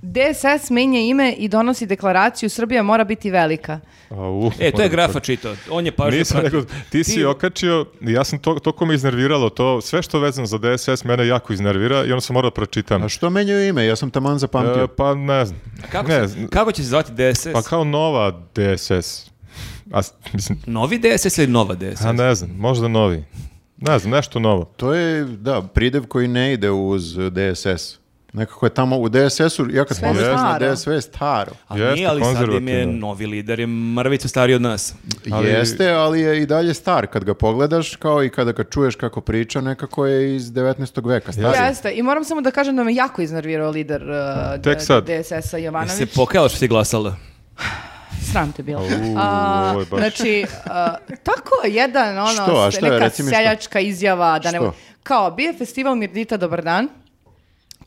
S4: DSS menja ime i donosi deklaraciju Srbija mora biti velika.
S2: Au,
S3: E, to je pa
S2: moram
S3: grafa čitao. On je pažnju
S2: Nisam
S3: pratio.
S2: nego, ti si okačio, ja sam to, toliko me iznerviralo to, sve što vezano za DSS mene jako iznervira i onda sam morao da pročitam.
S1: A što menjaju ime? Ja sam taman zapamtio.
S2: E, pa ne znam.
S3: Kako,
S2: ne,
S3: se-
S2: znam.
S3: kako će se zvati DSS?
S2: pa kao nova DSS. A, s- mislim,
S3: Novi DSS ili nova DSS?
S2: a ne znam, možda novi. Ne znam, nešto novo.
S1: To je, da, pridev koji ne ide uz DSS. Nekako je tamo u DSS-u, ja kad
S4: Sve je
S1: pomislim na
S4: staro.
S1: DSS, sve je staro.
S3: Ali
S2: Jeste,
S3: nije, ali sad im je
S2: konzervativno.
S3: novi lider, je mrvicu stariji od nas.
S2: Ali-
S1: Jeste, ali je i dalje star. Kad ga pogledaš, kao i kada ga čuješ kako priča, nekako je iz 19. veka stari.
S4: Jeste, i moram samo da kažem da me jako iznervirao lider uh,
S2: Tek
S4: D-
S2: sad.
S4: DSS-a
S3: Jesi
S4: Jovanović.
S3: se pokajala što si glasala?
S4: Sram te bilo.
S2: Au,
S4: A,
S2: ovo je baš-
S4: znači, a, tako jedan, ono,
S1: Što? A
S4: se-
S1: što je?
S4: neka
S1: Reci mi što.
S4: seljačka izjava. Da ne,
S1: Što?
S4: kao, bio je festival Mirdita Dobar dan,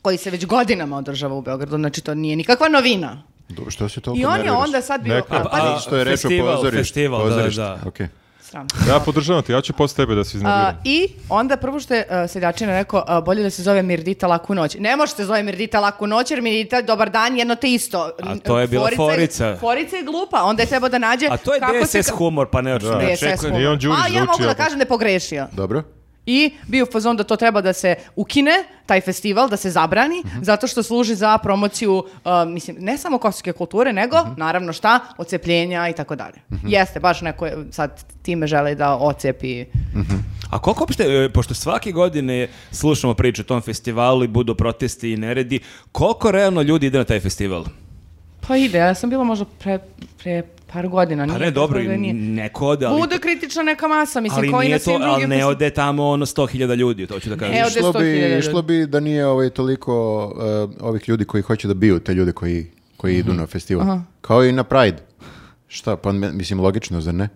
S4: koji se već godinama održava u Beogradu, znači to nije nikakva novina.
S1: Do- Što si toliko
S4: I on je
S1: nerviraš?
S4: onda sad bio...
S2: Neka-
S4: a, pa-
S3: A,
S1: Što je reč o
S3: festival,
S1: pozorištu.
S3: festival, da,
S1: pozorištu.
S3: da.
S1: Okej.
S4: sram.
S2: Ja podržavam te, ja ću posle tebe da se
S4: A,
S2: iznerviram.
S4: I onda prvo što je uh, Seljačina rekao, a, bolje da se zove Mirdita laku noć. Ne može se zove Mirdita laku noć, jer Mirdita dobar dan jedno te isto.
S3: A to je bila forica.
S4: Forica je glupa, onda je trebao da nađe...
S3: A to je
S4: kako se
S3: DSS
S4: ka-
S3: humor, pa ne, ne
S4: DSS
S3: očekujem.
S4: humor.
S2: I on Đurić
S4: A ja mogu
S2: zvuči
S4: da
S2: jako.
S4: kažem da je pogrešio.
S1: Dobro.
S4: I bio fazon da to treba da se ukine, taj festival, da se zabrani,
S3: Mhm.
S4: zato što služi za promociju, uh, mislim, ne samo kosovske kulture, nego,
S3: Mhm.
S4: naravno šta, ocepljenja i tako dalje. Jeste, baš neko je- sad time žele da ocepi
S3: A koliko uopšte, e, pošto svake godine slušamo priču o tom festivalu i budu protesti i neredi, koliko realno ljudi ide na taj festival?
S4: Pa ide, ja sam bila možda pre, pre par godina.
S3: Pa
S4: nije
S3: ne, dobro,
S4: tako da
S3: i
S4: nije.
S3: neko ode, ali...
S4: Bude kritična neka masa, mislim,
S3: ali
S4: koji na
S3: nije to,
S4: svim
S3: ali
S4: drugim...
S3: ne
S4: festi-
S3: ode tamo ono 100.000 ljudi, to ću da kažem.
S4: Evo, ode
S1: Išlo
S4: 100.000
S1: bi,
S4: ljudi.
S1: išlo bi da nije ovaj toliko eh, ovih ljudi koji hoće da biju te ljude koji, koji
S4: Mhm.
S1: idu na festival. Kao i na Pride. Šta, pa me- mislim logično, zar ne?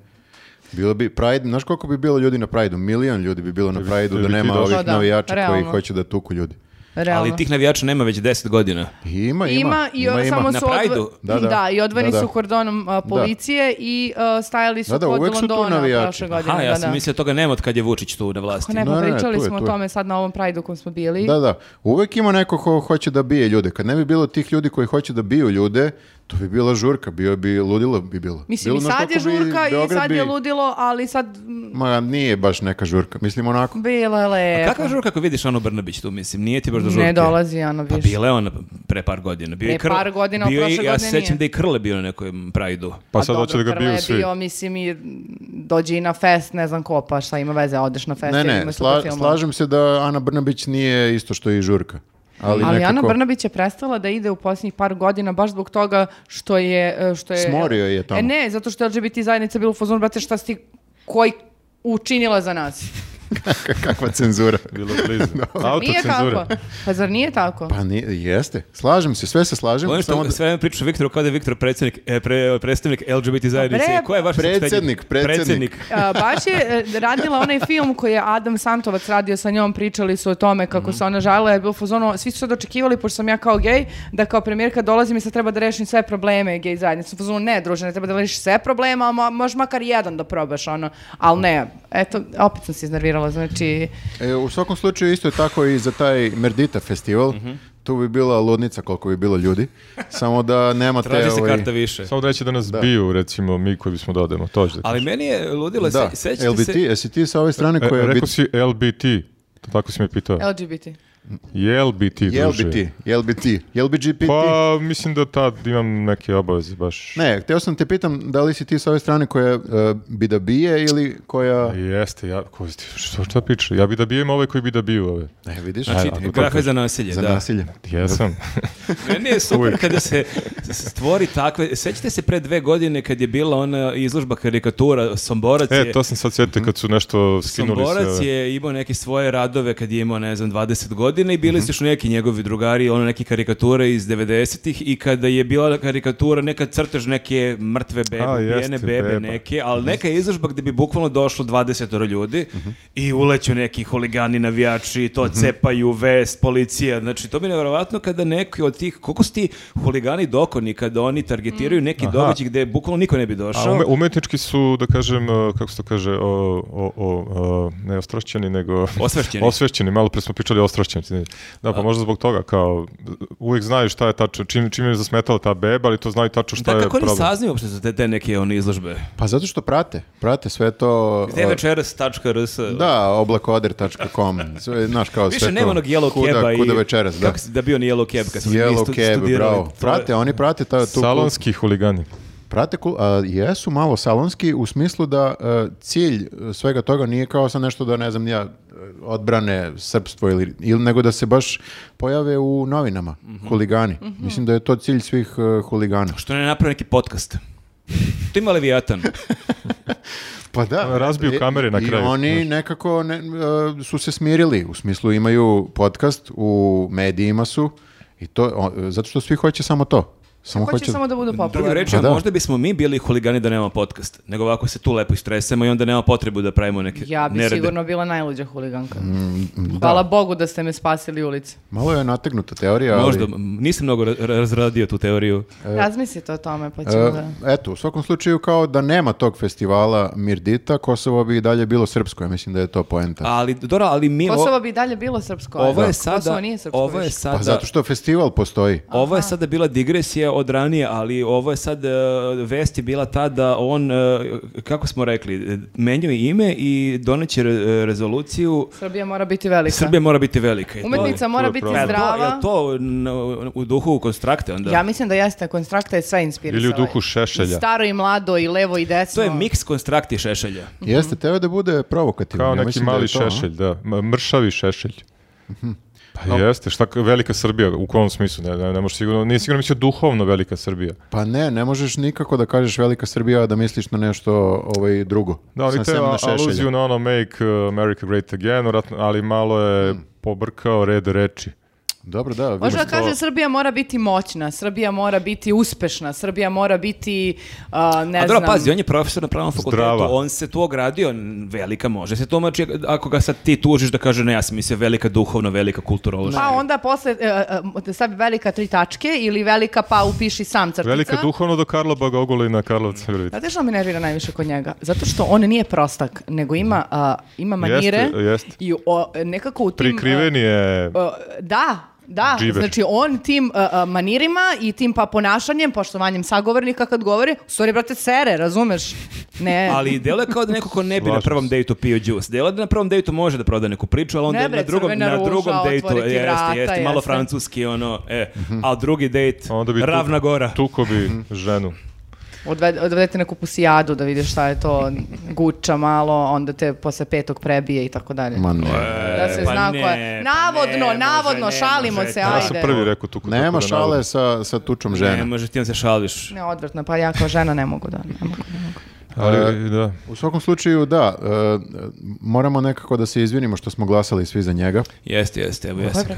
S1: Bilo bi Pride, znaš koliko bi bilo ljudi na Pride-u? Milion ljudi bi bilo na Pride-u
S2: bi
S1: da
S2: ti
S1: nema
S2: došlo.
S1: ovih
S4: Pa da,
S1: navijača koji
S4: realno.
S1: hoće da tuku ljudi.
S4: Realno.
S3: ali tih navijača nema već 10 godina.
S1: I Ima, ima.
S4: Ima, i
S1: ima,
S4: o-
S1: ima.
S4: samo
S3: Na
S4: su odvo-
S3: Prajdu?
S1: Da, da.
S4: i odvojeni
S1: Da, da.
S4: su kordonom a, policije i a, stajali su
S1: Da, da,
S4: kod
S1: uvek su tu
S4: Londona
S1: navijači.
S4: prošle godine.
S3: Aha, ja
S4: da,
S3: sam
S4: da.
S3: mislio da toga nema od kad je Vučić tu na vlasti.
S4: Ako ne, pa
S1: Ne, ne, ne,
S4: pričali
S1: tu je,
S4: smo
S1: tu
S4: o
S1: je.
S4: tome sad na ovom Prajdu kom smo bili.
S1: Da, da. Uvek ima neko ko hoće da bije ljude. Kad ne bi bilo tih ljudi koji hoće da biju ljude, to bi bila žurka, bio bi ludilo bi bilo.
S4: Mislim,
S1: bilo
S4: i
S1: znaš
S4: sad je
S1: koliko bi
S4: žurka i
S1: Beograd
S4: sad je
S1: bi-
S4: ludilo, ali sad m,
S1: Ma nije baš neka žurka. Mislim onako.
S4: bila je lepo.
S3: Kakva je žurka ako vidiš Anu Brnabić tu, mislim, nije ti baš do žurke.
S4: Ne dolazi, ono,
S3: Pa
S4: više.
S3: bila je ona pre par godina. Bio je
S4: Pre par godina, ali
S3: bio je-
S4: prošle
S3: Ja se
S4: godine
S3: sećam
S4: nije.
S3: da je i Krle bio na nekom prajdu.
S2: Pa
S4: A
S2: sad hoće da
S4: dobro,
S2: ga
S4: Krle
S2: biju
S4: je
S2: svi.
S4: bio, mislim, i dođi i na fest, ne znam ko, pa šta ima veze, odeš na fest.
S1: Ne,
S4: jer
S1: ne,
S4: ima
S1: sla-
S4: super filmova.
S1: slažem se da Ana Brnabić nije isto što i žurka. Ali,
S4: Ali
S1: nekako
S4: Ana Brnabić je prestala da ide u posljednjih par godina baš zbog toga što je... e, Što je
S1: Smorio je tamo.
S4: E, ne, zato što je LGBT zajednica bila u fazonu, brate, šta si ti, koji učinila za nas?
S1: kakva cenzura.
S2: Bilo je blizu.
S4: Nije
S2: Autocenzura.
S4: tako. Pa zar nije tako?
S1: Pa nije, jeste. Slažem se, sve se slažem.
S3: Ono
S1: samo
S3: što
S1: da-
S3: sve vreme pričaš o Viktoru kao da je Viktor predstavnik, e, pre- predstavnik LGBT
S4: Pa
S3: zajednice.
S4: bre,
S3: Ko je vaš
S1: predsednik, predsednik.
S4: A, baš je e, radila onaj film koji je Adam Santovac radio sa njom, pričali su o tome kako se ona žalila, je bilo fuzono, svi su sad očekivali, pošto sam ja kao gej, da kao premijerka dolazim i sad treba da rešim sve probleme gej zajednice. U Fuzonu, ne, druže, ne treba da rešiš sve problema, a mo- možeš makar jedan da probaš, ono, ali ne, eto, opet sam se iznervirala, znači,
S1: E, u svakom slučaju isto je tako i za taj Merdita festival.
S3: Mhm.
S1: Tu bi bila ludnica koliko bi bilo ljudi. Samo da nema te...
S3: Traži se
S1: ovaj,
S3: karta više.
S2: Samo da neće da nas biju, recimo, mi koji bismo da odemo. To ću da
S3: Ali meni je ludilo,
S1: Da,
S3: se, sećate
S1: LBT,
S3: se...
S1: jesi ti sa ove strane
S2: kažem.
S1: koja
S2: E,
S1: je...
S2: rekao si LBT. To tako si me pitao.
S4: LGBT.
S2: Je LBT, druže?
S1: LBT, LBT, LBGPT.
S2: Pa, mislim da tad imam neke obaveze baš.
S1: Ne, htio sam te pitam da li si ti sa ove strane koja e, bi da bije ili koja...
S2: Jeste, ja, ko, ti- što, šta piče? Ja bi da bijem ove koji bi da biju ove.
S1: E, vidiš,
S3: Znači,
S2: ako to
S3: grafa je
S2: kažeš.
S3: za nasilje,
S1: za
S3: da.
S1: nasilje.
S2: Jesam. E,
S3: Meni je super kada se stvori takve... Sećate se pre dve godine kad je bila ona izložba karikatura Somborac je...
S2: e, to sam sad sjetio kad su nešto skinuli
S3: Somborac
S2: sve.
S3: je imao neke svoje radove kad je imao, ne znam, 20 godina i
S2: Mhm.
S3: bili su još neki njegovi drugari, ono neke karikature iz 90-ih i kada je bila karikatura, neka crtež neke mrtve bebe,
S2: A, jeste,
S3: ubijene bebe
S2: beba.
S3: neke, ali neka izložba gde bi bukvalno došlo 20 ljudi
S2: Mhm.
S3: i uleću neki huligani, navijači, to cepaju, vest, policija, znači to mi je nevjerovatno kada neki od tih, koliko su ti huligani dokoni kada oni targetiraju neki događaj gde bukvalno niko ne bi
S2: A
S3: došao.
S2: ume, umetnički su, da kažem, e, kako se to kaže, o, o, o, o, e, ne ostrašćeni, nego...
S3: Osvešćeni.
S2: Osvešćeni, malo pre smo pričali o ostrašćeni. Da, pa možda zbog toga, kao, uvijek znaju šta je tačno, čim, čim je zasmetala ta beba, ali to znaju tačno šta
S3: Da,
S2: je
S3: kako oni
S2: problem.
S3: saznaju uopšte za te, te neke one izložbe?
S1: Pa zato što prate, prate sve to...
S3: Gde
S1: o,
S3: večeras.rs?
S1: Ovaj- Da, oblakoder.com, sve, znaš kao sve
S3: Više nema
S1: to.
S3: onog yellow
S1: kuda,
S3: caba i...
S1: Kuda večeras, da.
S3: Kako si, da bio ni yellow cab kad smo mi
S1: Yellow
S3: stu-
S1: cab,
S3: studirali.
S1: bravo.
S3: To je-
S1: Prate, oni prate ta, tu...
S2: Salonski huligani.
S1: Prate, ku- a, jesu malo salonski u smislu da e, cilj e, svega toga nije kao sad nešto da, ne znam, ni ja, e, odbrane srpstvo ili, ili nego da se baš pojave u novinama,
S3: Mhm.
S1: huligani. Mislim da je to cilj svih e, huligana.
S3: Što ne naprave neki podcast? To ima Leviatan.
S1: Pa da.
S2: Razbiju
S1: i-
S2: kamere na kraju,
S1: I oni nekako ne- e, su se smirili, u smislu imaju podcast, u medijima su, i to, o, zato što svi hoće samo to. Samo
S4: Hoće samo da budu
S3: Druga
S4: popularni.
S3: reč,
S1: Pa da.
S3: možda bismo mi bili huligani da nemamo podcast, nego ovako se tu lepo istresemo i onda nema potrebu da pravimo neke
S4: Ja bi
S3: nerede. Mm,
S4: sigurno bila najluđa huliganka. Hvala Bogu da ste me spasili ulice.
S1: Malo je nategnuta teorija, ali- e,
S3: Možda, m, nisam mnogo ra- ra- razradio tu teoriju.
S4: Razmislite o tome, pa ćemo da...
S1: E, eto, u svakom slučaju kao da nema tog festivala Mirdita, Kosovo bi i dalje bilo srpsko, ja mislim da je to poenta.
S3: Ali, Dora, ali mi... o-
S4: Kosovo bi i dalje bilo srpsko. ali
S3: ovo je
S4: Kosovo
S3: sada...
S4: nije srpsko
S3: Ovo je
S4: više.
S1: Pa
S3: sada...
S1: zato što festival postoji.
S4: Mhm.
S3: Ovo je sada bila digresija od ranije, ali ovo je sad, e, vest je bila ta da on, e, kako smo rekli, e, menjuje ime i doneće re- rezoluciju
S4: Srbija mora biti velika.
S3: Srbija mora biti velika. E, to je-
S4: Umetnica
S2: to
S4: mora
S2: je
S4: biti
S2: problem.
S3: Je li to- je
S4: zdrava.
S3: li to n- u duhu konstrakte onda?
S4: Ja mislim da jeste, konstrakta je sve inspirisala.
S2: Ili u duhu Šešelja.
S4: I staro i mlado, i levo i
S3: To
S4: desno.
S3: je miks konstrakti i šešelja.
S1: Jeste, teo da bude provokativan.
S2: Kao
S1: ja
S2: neki
S1: mislim da je
S2: mali
S1: to, a? Mhm.
S2: šešelj, da. M- Mršavi šešelj. Pa jeste, šta, ka- velika Srbija, u kom smislu, ne, ne, ne možeš sigurno, nije sigurno mislio duhovno velika Srbija.
S1: Pa ne, ne možeš nikako da kažeš Velika Srbija a da misliš na nešto ovaj, drugo.
S2: Da, on je
S1: Sam- sem
S2: teo
S1: na Šešelja.
S2: aluziju na ono make uh, America great again, vratno- ali malo je
S1: Hmm.
S2: pobrkao red reči.
S1: Dobro, da. vidim.
S4: Može da kaže Srbija mora biti moćna, Srbija mora biti uspešna, Srbija mora biti, a, ne
S3: A dobro,
S4: znam...
S3: pazi, on je profesor na pravnom fakultetu,
S2: Zdrava.
S3: on se tu ogradio, n- velika može se tumači, ako ga sad ti tužiš da kaže ne, ja sam mislio velika duhovno, velika kulturološka.
S4: Pa onda posle, e, e, stavi velika tri tačke ili velika pa upiši sam crtica.
S2: Velika duhovno do Karla Bagogolina, Karlovca Virovita.
S4: Znate što me nervira najviše kod njega? Zato što on nije prostak, nego ima, a, ima manire
S2: Jeste, jeste.
S4: i o, nekako u tim... a,
S2: Prikriven je...
S4: Uh, da, da,
S2: Džiber.
S4: znači on tim uh, uh, manirima i tim pa ponašanjem, poštovanjem sagovornika kad govori, u stvari, brate, sere, razumeš? Ne,
S3: Ali delo je kao da neko ko ne bi na
S2: Slažem
S3: prvom
S2: se.
S3: dejtu pio džus. Delo je da na prvom dejtu može da proda neku priču, ali onda
S4: Ne bre,
S3: na drugom,
S4: crvena
S3: na
S4: ruža,
S3: drugom dejtu e,
S4: otvoriti
S3: jeste,
S4: vrata,
S3: jeste, malo
S4: jeste.
S3: francuski ono, e, a drugi dejt,
S2: Mhm. Onda bi tu-
S3: ravna gora.
S2: Tuko
S1: Hmm.
S2: bi ženu.
S4: odved, odvedete neku pusijadu da vidiš šta je to, guča malo, onda te posle petog prebije i tako dalje.
S1: Ma ne.
S4: Da se
S3: pa
S4: zna
S3: ne,
S4: ko je.
S3: pa ne
S4: Navodno,
S3: može,
S4: navodno,
S3: ne
S4: šalimo
S3: može,
S4: se,
S3: da.
S2: Ja sam
S4: ajde.
S2: prvi rekao tuko. tako
S1: Nema
S2: da navodno.
S1: šale sa, sa tučom žena.
S3: Ne može, ti on se šališ.
S4: Ne, odvratno, pa ja kao žena ne mogu da, ne mogu.
S2: Ali, da.
S1: U svakom slučaju, da, e, moramo nekako da se izvinimo što smo glasali svi za njega.
S3: Jeste, jeste, evo jeste.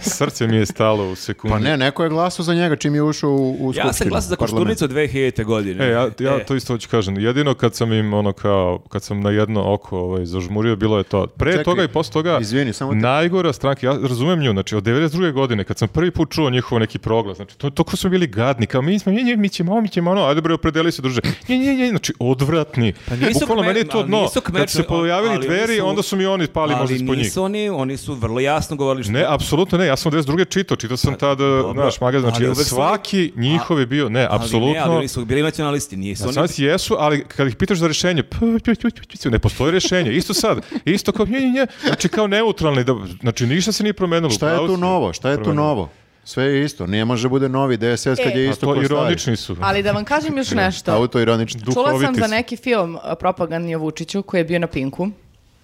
S2: Srce mi je stalo u sekundi.
S1: Pa ne, neko je glasao za njega čim je ušao u, u
S3: Ja sam
S1: Skupštinu,
S3: glasao za
S1: parlament.
S3: Koštunicu 2000. godine.
S2: E, ja, ja
S3: E.
S2: to isto hoću kažem. Jedino kad sam im ono kao, kad sam na jedno oko ovaj, zažmurio, bilo je to. Pre
S1: Čekaj,
S2: toga i posle toga,
S1: izvini, samo te-
S2: najgora stranka, ja razumem nju, znači od 92. godine, kad sam prvi put čuo njihov neki proglas, znači to, toliko smo bili gadni, kao mi smo, nje, nje, mi ćemo, ovo, mi ćemo, ono, ajde bre, opredeli se druže. Nje, nje, nje, znači odvratni. Pa
S3: nisu
S2: Bukvalno
S3: kme-
S2: meni je to
S3: ali
S2: dno.
S3: nisu kmečari,
S2: Kad su se pojavili
S3: ali oni
S2: dveri,
S3: su-
S2: onda su mi oni pali možda
S3: Ali
S2: ispod njih.
S3: nisu oni, oni su vrlo jasno govorili što
S2: Ne, apsolutno ne, ja sam od 92. čitao, čitao sam tada, znaš, magazin,
S3: Pa, ali
S2: znači
S3: uvek su-
S2: svaki njihov je bio, ne,
S3: Ali ne, ali
S2: apsolutno,
S3: oni su bili nacionalisti, nisu
S2: A
S3: oni...
S2: sad jesu, ali kad ih pitaš za rješenje, p- p- p- p- p- ne postoji rješenje. Isto sad, isto kao nje, nje, nje, znači kao neutralni, da, znači ništa se nije promenilo.
S1: Šta je
S2: Pravo
S1: tu
S2: si.
S1: novo? Šta je tu
S2: Promenilo.
S1: novo? Sve je isto. Nije može da bude novi DSS kad
S4: E.
S1: je
S2: A
S1: isto
S2: to
S1: ko stari.
S2: ironični su.
S4: Ali da vam kažem još nešto.
S1: Autoironično.
S4: Čula sam
S2: Duhoviti
S4: za
S2: su.
S4: neki film a, propagandni o Vučiću koji je bio na Pinku.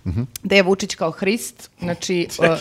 S2: Mhm.
S4: Da je Vučić kao Hrist, znači... a,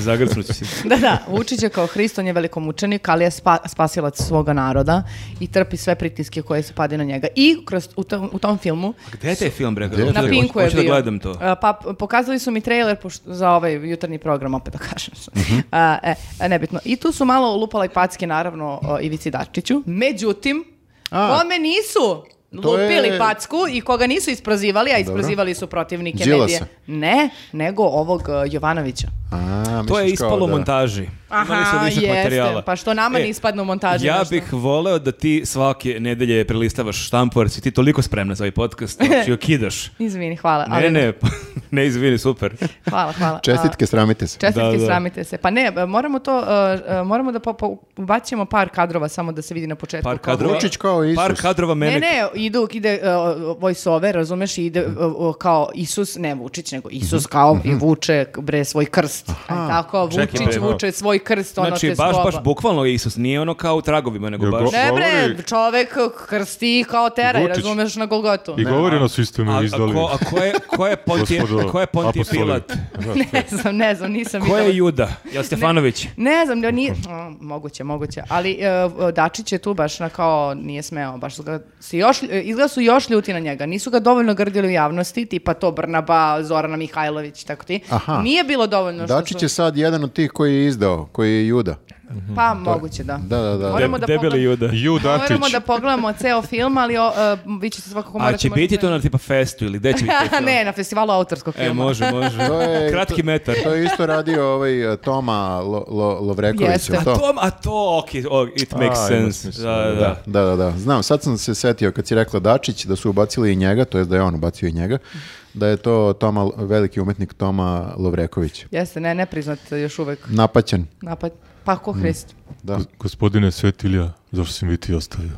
S3: Zagrsnut ću si.
S4: da, da, Vučić je kao Hrist, on je velikomučenik, ali je spa, spasilac svoga naroda i trpi sve pritiske koje se pade na njega. I kroz, u, tom, u tom filmu
S3: Gde je taj film, Brega?
S1: je
S3: Hoću da-
S4: na Pinku je
S3: Hoću
S4: bio.
S3: da gledam to.
S4: A, Pa p- pokazali su mi trailer pošto- za ovaj jutarnji program, opet da kažem.
S3: Mhm.
S4: A, e, e, nebitno. I tu su malo lupala i packe, naravno, o Ivici Dačiću. Međutim,
S1: A.
S4: kome nisu
S1: To je-
S4: lupili packu i koga nisu isprozivali, a isprozivali su protivnike
S1: Đilasa.
S4: medije. Ne, nego ovog e, Jovanovića.
S1: A,
S3: To je
S1: misliš kao
S3: ispalo u
S1: da-
S3: montaži. Imali su
S4: Aha,
S3: višak
S4: jeste.
S3: materijala.
S4: Pa što nama
S3: E,
S4: ne ispadne u montaži
S3: Ja
S4: nešto?
S3: bih voleo da ti svake nedelje prelistavaš štampu, jer si ti toliko spremna za ovaj podcast, znači okidaš.
S4: Izvini, hvala.
S3: Ne, ne, pa- ne izvini, super.
S4: Hvala, hvala. A,
S1: Čestitke, sramite se.
S4: Čestitke,
S3: Da, da.
S4: sramite se. Pa ne, e, moramo to, e, e, moramo da po, po- ubacimo par kadrova samo da se vidi na početku.
S3: Par
S4: kao-
S3: kadrova,
S1: Vučić kao Isus.
S3: Par kadrova mene.
S4: e, Ne, ne, idu, ide uh, voice-over, razumeš, ide uh, uh, kao Isus, ne Vučić, nego Isus kao i vuče bre svoj krst. A tako,
S3: Mhm. Čekaj,
S4: Vučić
S3: bre,
S2: malo.
S4: vuče svoj krst, ono
S3: Znači,
S4: te
S3: baš,
S4: zgoba.
S3: baš bukvalno je Isus, nije ono kao u tragovima, nego
S2: Jel
S3: baš...
S2: go-
S4: Ne bre,
S2: Govori-
S4: čovek e, krsti kao tera,
S2: Vučić.
S4: razumeš na Golgotu.
S2: I govori ono nas istinu
S3: A, a,
S2: izdali.
S3: ko, a ko je, ko je Pontije,
S2: Gospodo
S3: ko je Pontije
S2: apostoli.
S3: Pilat?
S4: Ne znam, ne znam, nisam
S3: Ko
S4: videla.
S3: je Juda? Jel Stefanović?
S4: Ne znam, da nije, a, moguće, moguće, ali e, Dačić je tu baš na kao nije smeo, baš su ga se još, e, izgleda su još ljuti na njega, nisu ga dovoljno grdili u javnosti, tipa to Brnaba, Zorana Mihajlović, tako ti.
S1: Aha.
S4: Nije bilo dovoljno što
S1: Dačić
S4: su-
S1: je sad jedan od tih koji je izdao, koji je Juda.
S4: pa moguće da.
S1: Mhm, Da, da, da.
S4: Moramo da
S3: Debeli
S4: pogledamo-
S3: Juda.
S2: Ju Datić.
S4: Moramo da pogledamo ceo film, ali o, e, vi ćete svakako
S3: A
S4: morati...
S3: će
S4: možda-
S3: biti to na tipa festu ili gde će biti taj film?
S4: ne, na festivalu autorskog
S3: E,
S4: filma.
S3: može, može.
S1: To je-
S3: Kratki metar.
S1: To je isto radio ovaj eh, Toma Lo, Lo- Lovreković.
S4: Jeste.
S1: jel to?
S3: A to, a to, ok, o, it makes
S2: ima
S3: sense.
S2: smisla,
S3: Da, da, da.
S1: Da, da, da. Znam, sad sam se setio kad si rekla Dačić da su ubacili i njega, to jest da je on ubacio i njega, da je to Toma, veliki umetnik Toma Lovreković.
S4: Jeste, ne, ne priznat još uvek
S1: Napaćen.
S4: napad. Pa
S1: Mhm.
S4: ko Hrist.
S1: Da.
S2: Gospodine Svetilja, zašto si mi ti ostavio?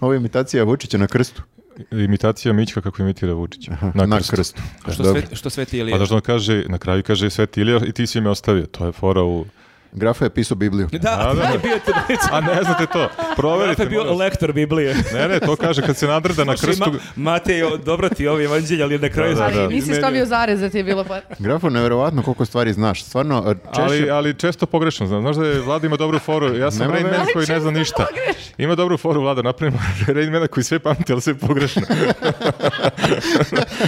S1: Ovo je imitacija Vučića na krstu.
S2: Imitacija Mićka kako imitira Vučića. Na,
S1: Na
S2: krstu.
S1: krstu.
S3: A Što,
S1: Dobro.
S3: sve, što sve ti je
S2: Pa da što on kaže, na kraju kaže Svetilja i ti si me ostavio. To je fora u...
S1: Grafa je pisao Bibliju.
S3: Da,
S2: A, da, da.
S3: bio te
S2: A ne znate to,
S3: Zato
S2: proverite.
S3: je bio
S2: molim vas.
S3: lektor Biblije.
S2: Ne, ne, to kaže kad se nadrda na
S3: Znači,
S2: krstu...
S3: Ma, Matejo, dobro ti je ovo evanđelje, ali na kraju...
S2: Da, da,
S4: Ali
S2: da.
S4: nisi stavio zarez da ti je bilo pa...
S1: Grafo, nevjerovatno koliko stvari znaš. Stvarno, eh, češće...
S2: Ali, ali često pogrešno, znam. Znaš da je Vlada ima dobru foru, ja sam
S1: Nema
S2: Rain
S1: veze.
S2: Man koji ne zna
S4: Ali često
S2: ništa.
S4: pogrešno.
S2: Ima dobru foru Vlada, napravimo Rain Mana koji sve pamti, ali sve pogrešno.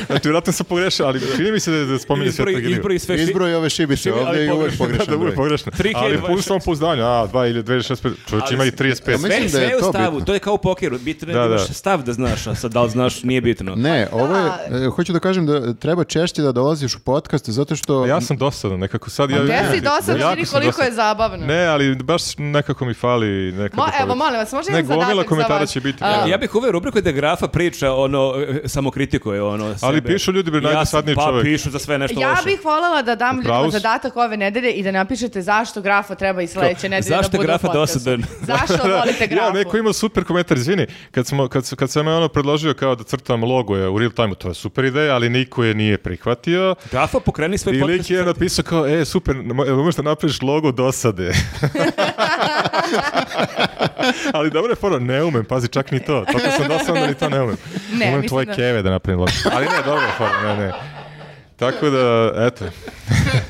S2: znači, vratno sam pogrešao, ali čini mi se da, da spominje sve
S3: Izbroj, izbroj sve fi-
S1: Izbroj ove šibice,
S3: Šibi- ali
S1: ovdje je uvek
S3: pogrešno.
S1: pogrešan
S2: Da, da bude
S1: broj.
S2: pogrešno.
S3: Tri
S2: Ali
S3: hiljade
S2: po svom pouzdanju, a, 2 ili 2065, čovječ
S3: Ali
S2: ima i
S3: s-
S2: 35.
S1: Mislim
S3: Sve,
S1: da
S3: sve
S1: je
S3: je
S1: to
S3: u stavu,
S1: bitno.
S3: to je kao u pokeru, bitno je da,
S2: Da, da.
S3: imaš stav da znaš, a sad da li znaš nije bitno.
S1: Ne, ovo je, eh, hoću da kažem da treba češće da dolaziš u podcast zato što...
S2: Ja sam dosadan, nekako sad... Ja,
S4: Gde si dosadno,
S2: Jako
S4: vidi
S2: sam
S4: koliko
S2: dosadan.
S4: je zabavno.
S2: Ne, ali baš nekako mi fali nekako.
S4: Mo- evo, molim vas, može
S2: Ne,
S4: jedan zadatak za vas?
S2: gomila komentara će biti.
S4: A,
S2: ne.
S3: Ja bih uveo rubriku da grafa priča, ono, e, samo kritikuje, ono, sebe.
S2: pišu ljudi, bre,
S3: Ja sam-
S2: najdosadniji čovjek.
S3: Pa pišu za sve nešto
S4: Ja
S3: loše.
S4: bih voljela da dam ljudima
S2: pravu si.
S4: zadatak ove nedelje i da napišete zašto grafa treba i sledeće nedelje
S3: zašto
S4: da bude u
S3: grafa
S4: podcastu.
S3: dosadan?
S4: Zašto volite grafu?
S2: Ja, neko ima super komentar, izvini, kad, smo, kad, su- kad sam ja ono predložio kao da crtam logo je u real time, to je super ideja, ali niko je nije prihvatio.
S3: Grafa pokreni svoj
S2: I
S3: podcast.
S2: lik je napisao kao, e, super, mo- možeš da napraviš logo dosade. ali dobro je fora, ne umem, pazi, čak ni to. Toliko sam dosadan da ni to ne umem.
S4: Ne,
S2: umem
S4: mislim
S2: tvoje
S4: da-
S2: keve da napravim logo. Ali ne, dobro je fora, ne, ne. Tako da, eto,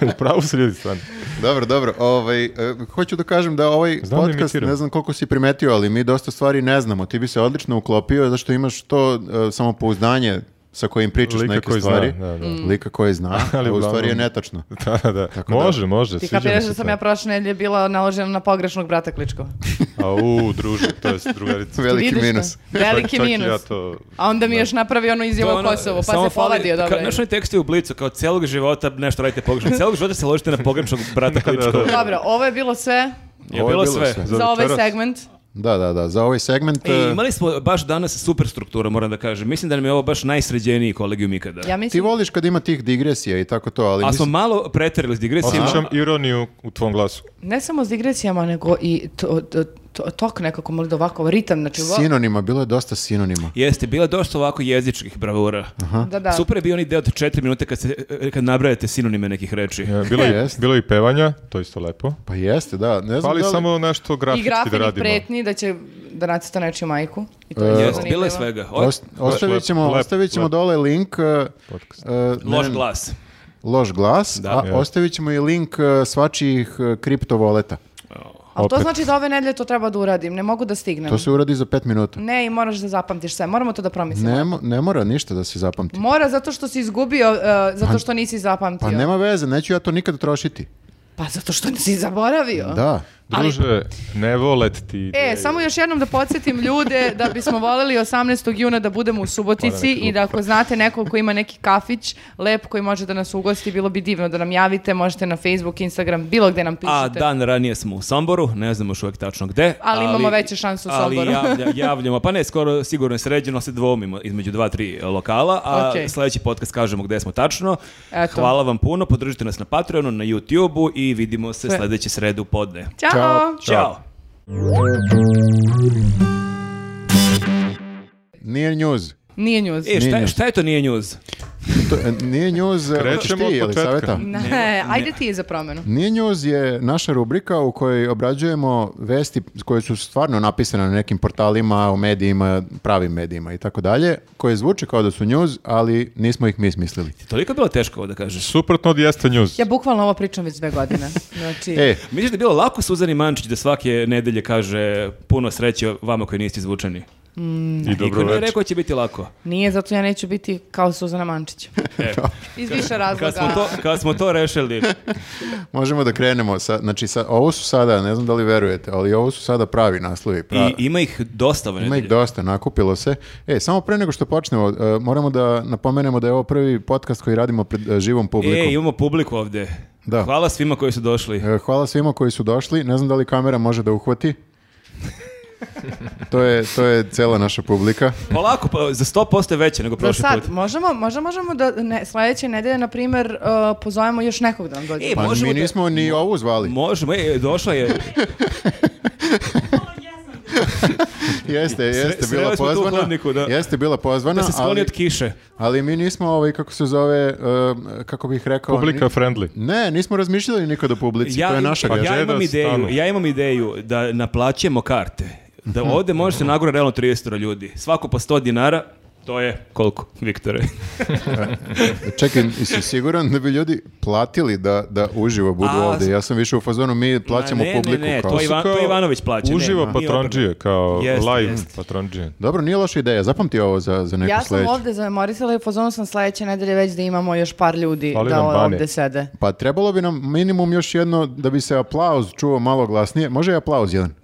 S2: u pravu su ljudi stvarno.
S1: Dobro, dobro. Ovaj, eh, hoću da kažem da ovaj
S2: Znam da
S1: podcast,
S2: imitiram.
S1: ne znam koliko si primetio, ali mi dosta stvari ne znamo. Ti bi se odlično uklopio zašto imaš to eh, samopouzdanje sa kojim pričaš
S2: Lika
S1: neke
S2: koji zna,
S1: stvari.
S2: da, da.
S3: Mm.
S1: Lika koji zna, ali
S2: Ali
S1: a u stvari je
S2: uglavnom-
S1: netačno.
S2: Da, da. može, može.
S4: Ti
S2: sviđa mi
S4: kapiraš
S2: se
S4: da sam
S2: to.
S4: ja prošle nedelje bila naložena na pogrešnog brata Kličkova.
S2: A u, druže, to je drugarica.
S1: Veliki
S4: Vidiš to?
S1: minus.
S2: Čak-
S4: Veliki
S2: čak i
S4: minus.
S2: Ja to...
S4: A onda mi je još napravi ono izjavu o Kosovo, pa se povadio, dobro.
S3: Kao, znaš onaj tekst je u blicu, kao celog života nešto radite pogrešno. Celog života se ložite na pogrešnog brata
S2: da,
S3: Kličkova.
S2: da.
S4: Dobro, ovo je bilo sve
S3: Je
S1: Ovo je
S3: bilo
S1: bilo
S3: sve. E,
S1: sve.
S4: za, ovaj segment.
S1: Da, da, da. Za ovaj segment...
S3: I
S1: eh,
S3: E, imali smo baš danas super strukturu, moram da kažem. Mislim da nam je ovo baš najsređeniji kolegijum ikada.
S4: Ja
S1: Ti
S4: mislim,
S1: voliš kad ima tih digresija i tako to, ali
S3: A smo
S1: mislim...
S3: malo preterili s digresijama.
S2: Osjećam ironiju u tvom glasu.
S4: ne samo s digresijama, nego i to, to, to- tok nekako, možda ovako, ritam, znači... vo-
S1: Sinonima, bilo je dosta sinonima.
S3: Jeste, bilo je dosta ovako jezičkih bravura.
S4: Da, da.
S3: Super je bio onaj deo od četiri minute kad, se, e, kad nabrajate sinonime nekih reči.
S2: E, Bilo je,
S1: Jest.
S2: bilo je i pevanja, to je isto lepo.
S1: Pa jeste, da. Ne znam
S2: Fali
S1: da li-
S2: samo nešto
S4: I
S2: grafički da
S4: grafinih
S2: radimo.
S4: pretnji da će da nacrta nečiju majku. I to
S1: E,
S4: je isto
S3: Jeste,
S4: zanimljivo.
S3: bilo Pa je svega. O,
S1: Ost- ostavit
S2: lep,
S1: ćemo,
S2: lep,
S1: ostavit ćemo
S2: lep.
S1: dole link... eh, eh, ne,
S3: loš
S1: ne,
S3: glas.
S1: Loš glas, a
S2: je.
S1: ostavit ćemo i link eh, svačijih eh, kriptovoleta.
S4: Ali to
S2: Opet.
S4: znači da ove nedelje to treba da uradim, ne mogu da stignem.
S1: To se uradi za pet minuta.
S4: Ne, i moraš da zapamtiš sve, moramo to da promislimo.
S1: Ne, mo- ne mora ništa da se zapamti.
S4: Mora zato što si izgubio, e, zato što nisi zapamtio.
S1: Pa nema veze, neću ja to nikad trošiti.
S4: Pa zato što si zaboravio.
S1: Da.
S2: Druže, ne volet ti.
S4: E, samo još jednom da podsjetim ljude da bismo voleli 18. juna da budemo u Subotici i da ako znate nekog ko ima neki kafić lep koji može da nas ugosti, bilo bi divno da nam javite, možete na Facebook, Instagram, bilo gde nam pišete.
S3: A dan ranije smo u Somboru, ne znamo još uvek tačno gde.
S4: Ali imamo veće šanse u Somboru.
S3: Ali javlja, javljamo, pa ne, skoro sigurno je sređeno, se dvomimo između dva, tri e, lokala, a
S4: Ok.
S3: sljedeći podcast kažemo gde smo tačno.
S4: Eto.
S3: Hvala vam puno, podržite nas na Patreonu, na YouTubeu i vidimo se
S4: Sve.
S3: sljedeće sredu podne.
S4: Ćao!
S1: Ćao.
S3: Ćao!
S1: Nije news.
S4: Nije njuz.
S3: E, šta,
S1: Nije.
S3: je- šta je to nije njuz?
S1: To, e, nije njuz,
S2: Krećemo od
S1: ti,
S2: početka.
S1: Elisaveta?
S4: Ne, ajde ti za promenu.
S1: Nije njuz je naša rubrika u kojoj obrađujemo vesti koje su stvarno napisane na nekim portalima, u medijima, pravim medijima i tako dalje, koje zvuče kao da su njuz, ali nismo ih mi smislili.
S3: Toliko je bilo teško ovo da kažeš.
S2: Suprotno od jeste news.
S4: Ja bukvalno ovo pričam već dve godine. Znači,
S1: E,
S3: Misliš da je bilo lako Suzani Mančić da svake nedelje kaže puno sreće vama koji niste izvučeni?
S4: Mm.
S2: I
S3: Niko
S2: dobro
S3: nije
S2: večer.
S3: rekao da će biti lako. E,
S4: nije, zato ja neću biti kao Suzana Mančić. Iz više razloga.
S3: Kad smo to, kad smo to rešili,
S1: možemo da krenemo. Sa, znači, sa, ovo su sada, ne znam da li verujete, ali ovo su sada pravi naslovi. pra-
S3: i ima ih dosta ove
S1: Ima ih
S3: nedelje.
S1: dosta, nakupilo se. E, samo pre nego što počnemo, e, moramo da napomenemo da je ovo prvi podcast koji radimo pred e, živom publikom.
S3: E, imamo publiku ovde.
S1: Da.
S3: Hvala svima koji su došli.
S1: E, Hvala svima koji su došli. Ne znam da li kamera može da uhvati. To je, to je cela naša publika.
S3: Polako, pa, za 100% je veće nego
S4: Za
S3: prošli
S4: sad,
S3: put.
S4: možemo, možda možemo da ne, sledeće nedelje, na primjer, uh, pozovemo još nekog da nam dođe.
S3: E,
S1: Pa
S3: možemo
S1: mi
S3: da-
S1: nismo ni ovu zvali.
S3: Možemo, e, došla je.
S1: Jeste, jeste
S3: sreli
S1: bila
S3: smo tu u
S1: pozvana.
S3: hodniku, da.
S1: Jeste bila pozvana,
S3: Da se skloni
S1: ali,
S3: od kiše.
S1: ali mi nismo ovaj kako se zove, um, kako bih rekao,
S2: Publika
S1: ni-
S2: friendly.
S1: Ne, nismo razmišljali nikada o publici, to je naša
S2: Pa
S1: greška.
S3: ja imam
S2: Jedan
S3: ideju,
S2: stanu.
S3: ja imam ideju da naplaćujemo karte. Da
S1: Mhm.
S3: ovde može se nagura realno 30 ljudi. Svako po 100 dinara, to je koliko, Viktore?
S1: Čekaj, jesi siguran da bi ljudi platili da, da uživo budu
S3: A,
S1: ovde? Ja sam više u fazonu, mi plaćamo
S3: Ma ne, ne,
S1: publiku.
S3: ne,
S1: kao
S3: Pa, to je
S1: su-
S3: Ivan-
S2: Kao
S3: Ivanović plaća,
S2: Uživo
S3: nema.
S2: patronđije, kao
S3: Jeste,
S2: live
S3: jeste.
S2: patronđije.
S1: Dobro, nije loša ideja, zapamti ovo za, za neku
S4: ja sam
S1: sledeću.
S4: ovdje zamemorisala i pozvao sam sledeće nedelje već da imamo još par ljudi
S2: Fali
S4: da
S2: nam Bane.
S4: ovdje sede.
S1: Pa trebalo bi nam minimum još jedno da bi se aplauz čuo malo glasnije. Može i aplauz jedan?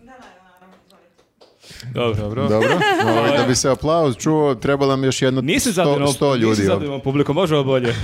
S3: Dobro.
S1: Dobro.
S3: Pa
S1: Ovaj, da bi se aplauz čuo, treba nam još jedno
S3: Nisu
S1: sto,
S3: zadovoljno,
S1: sto ljudi.
S3: nisu
S1: ovdje.
S3: zadovoljno publiko, može ovo bolje.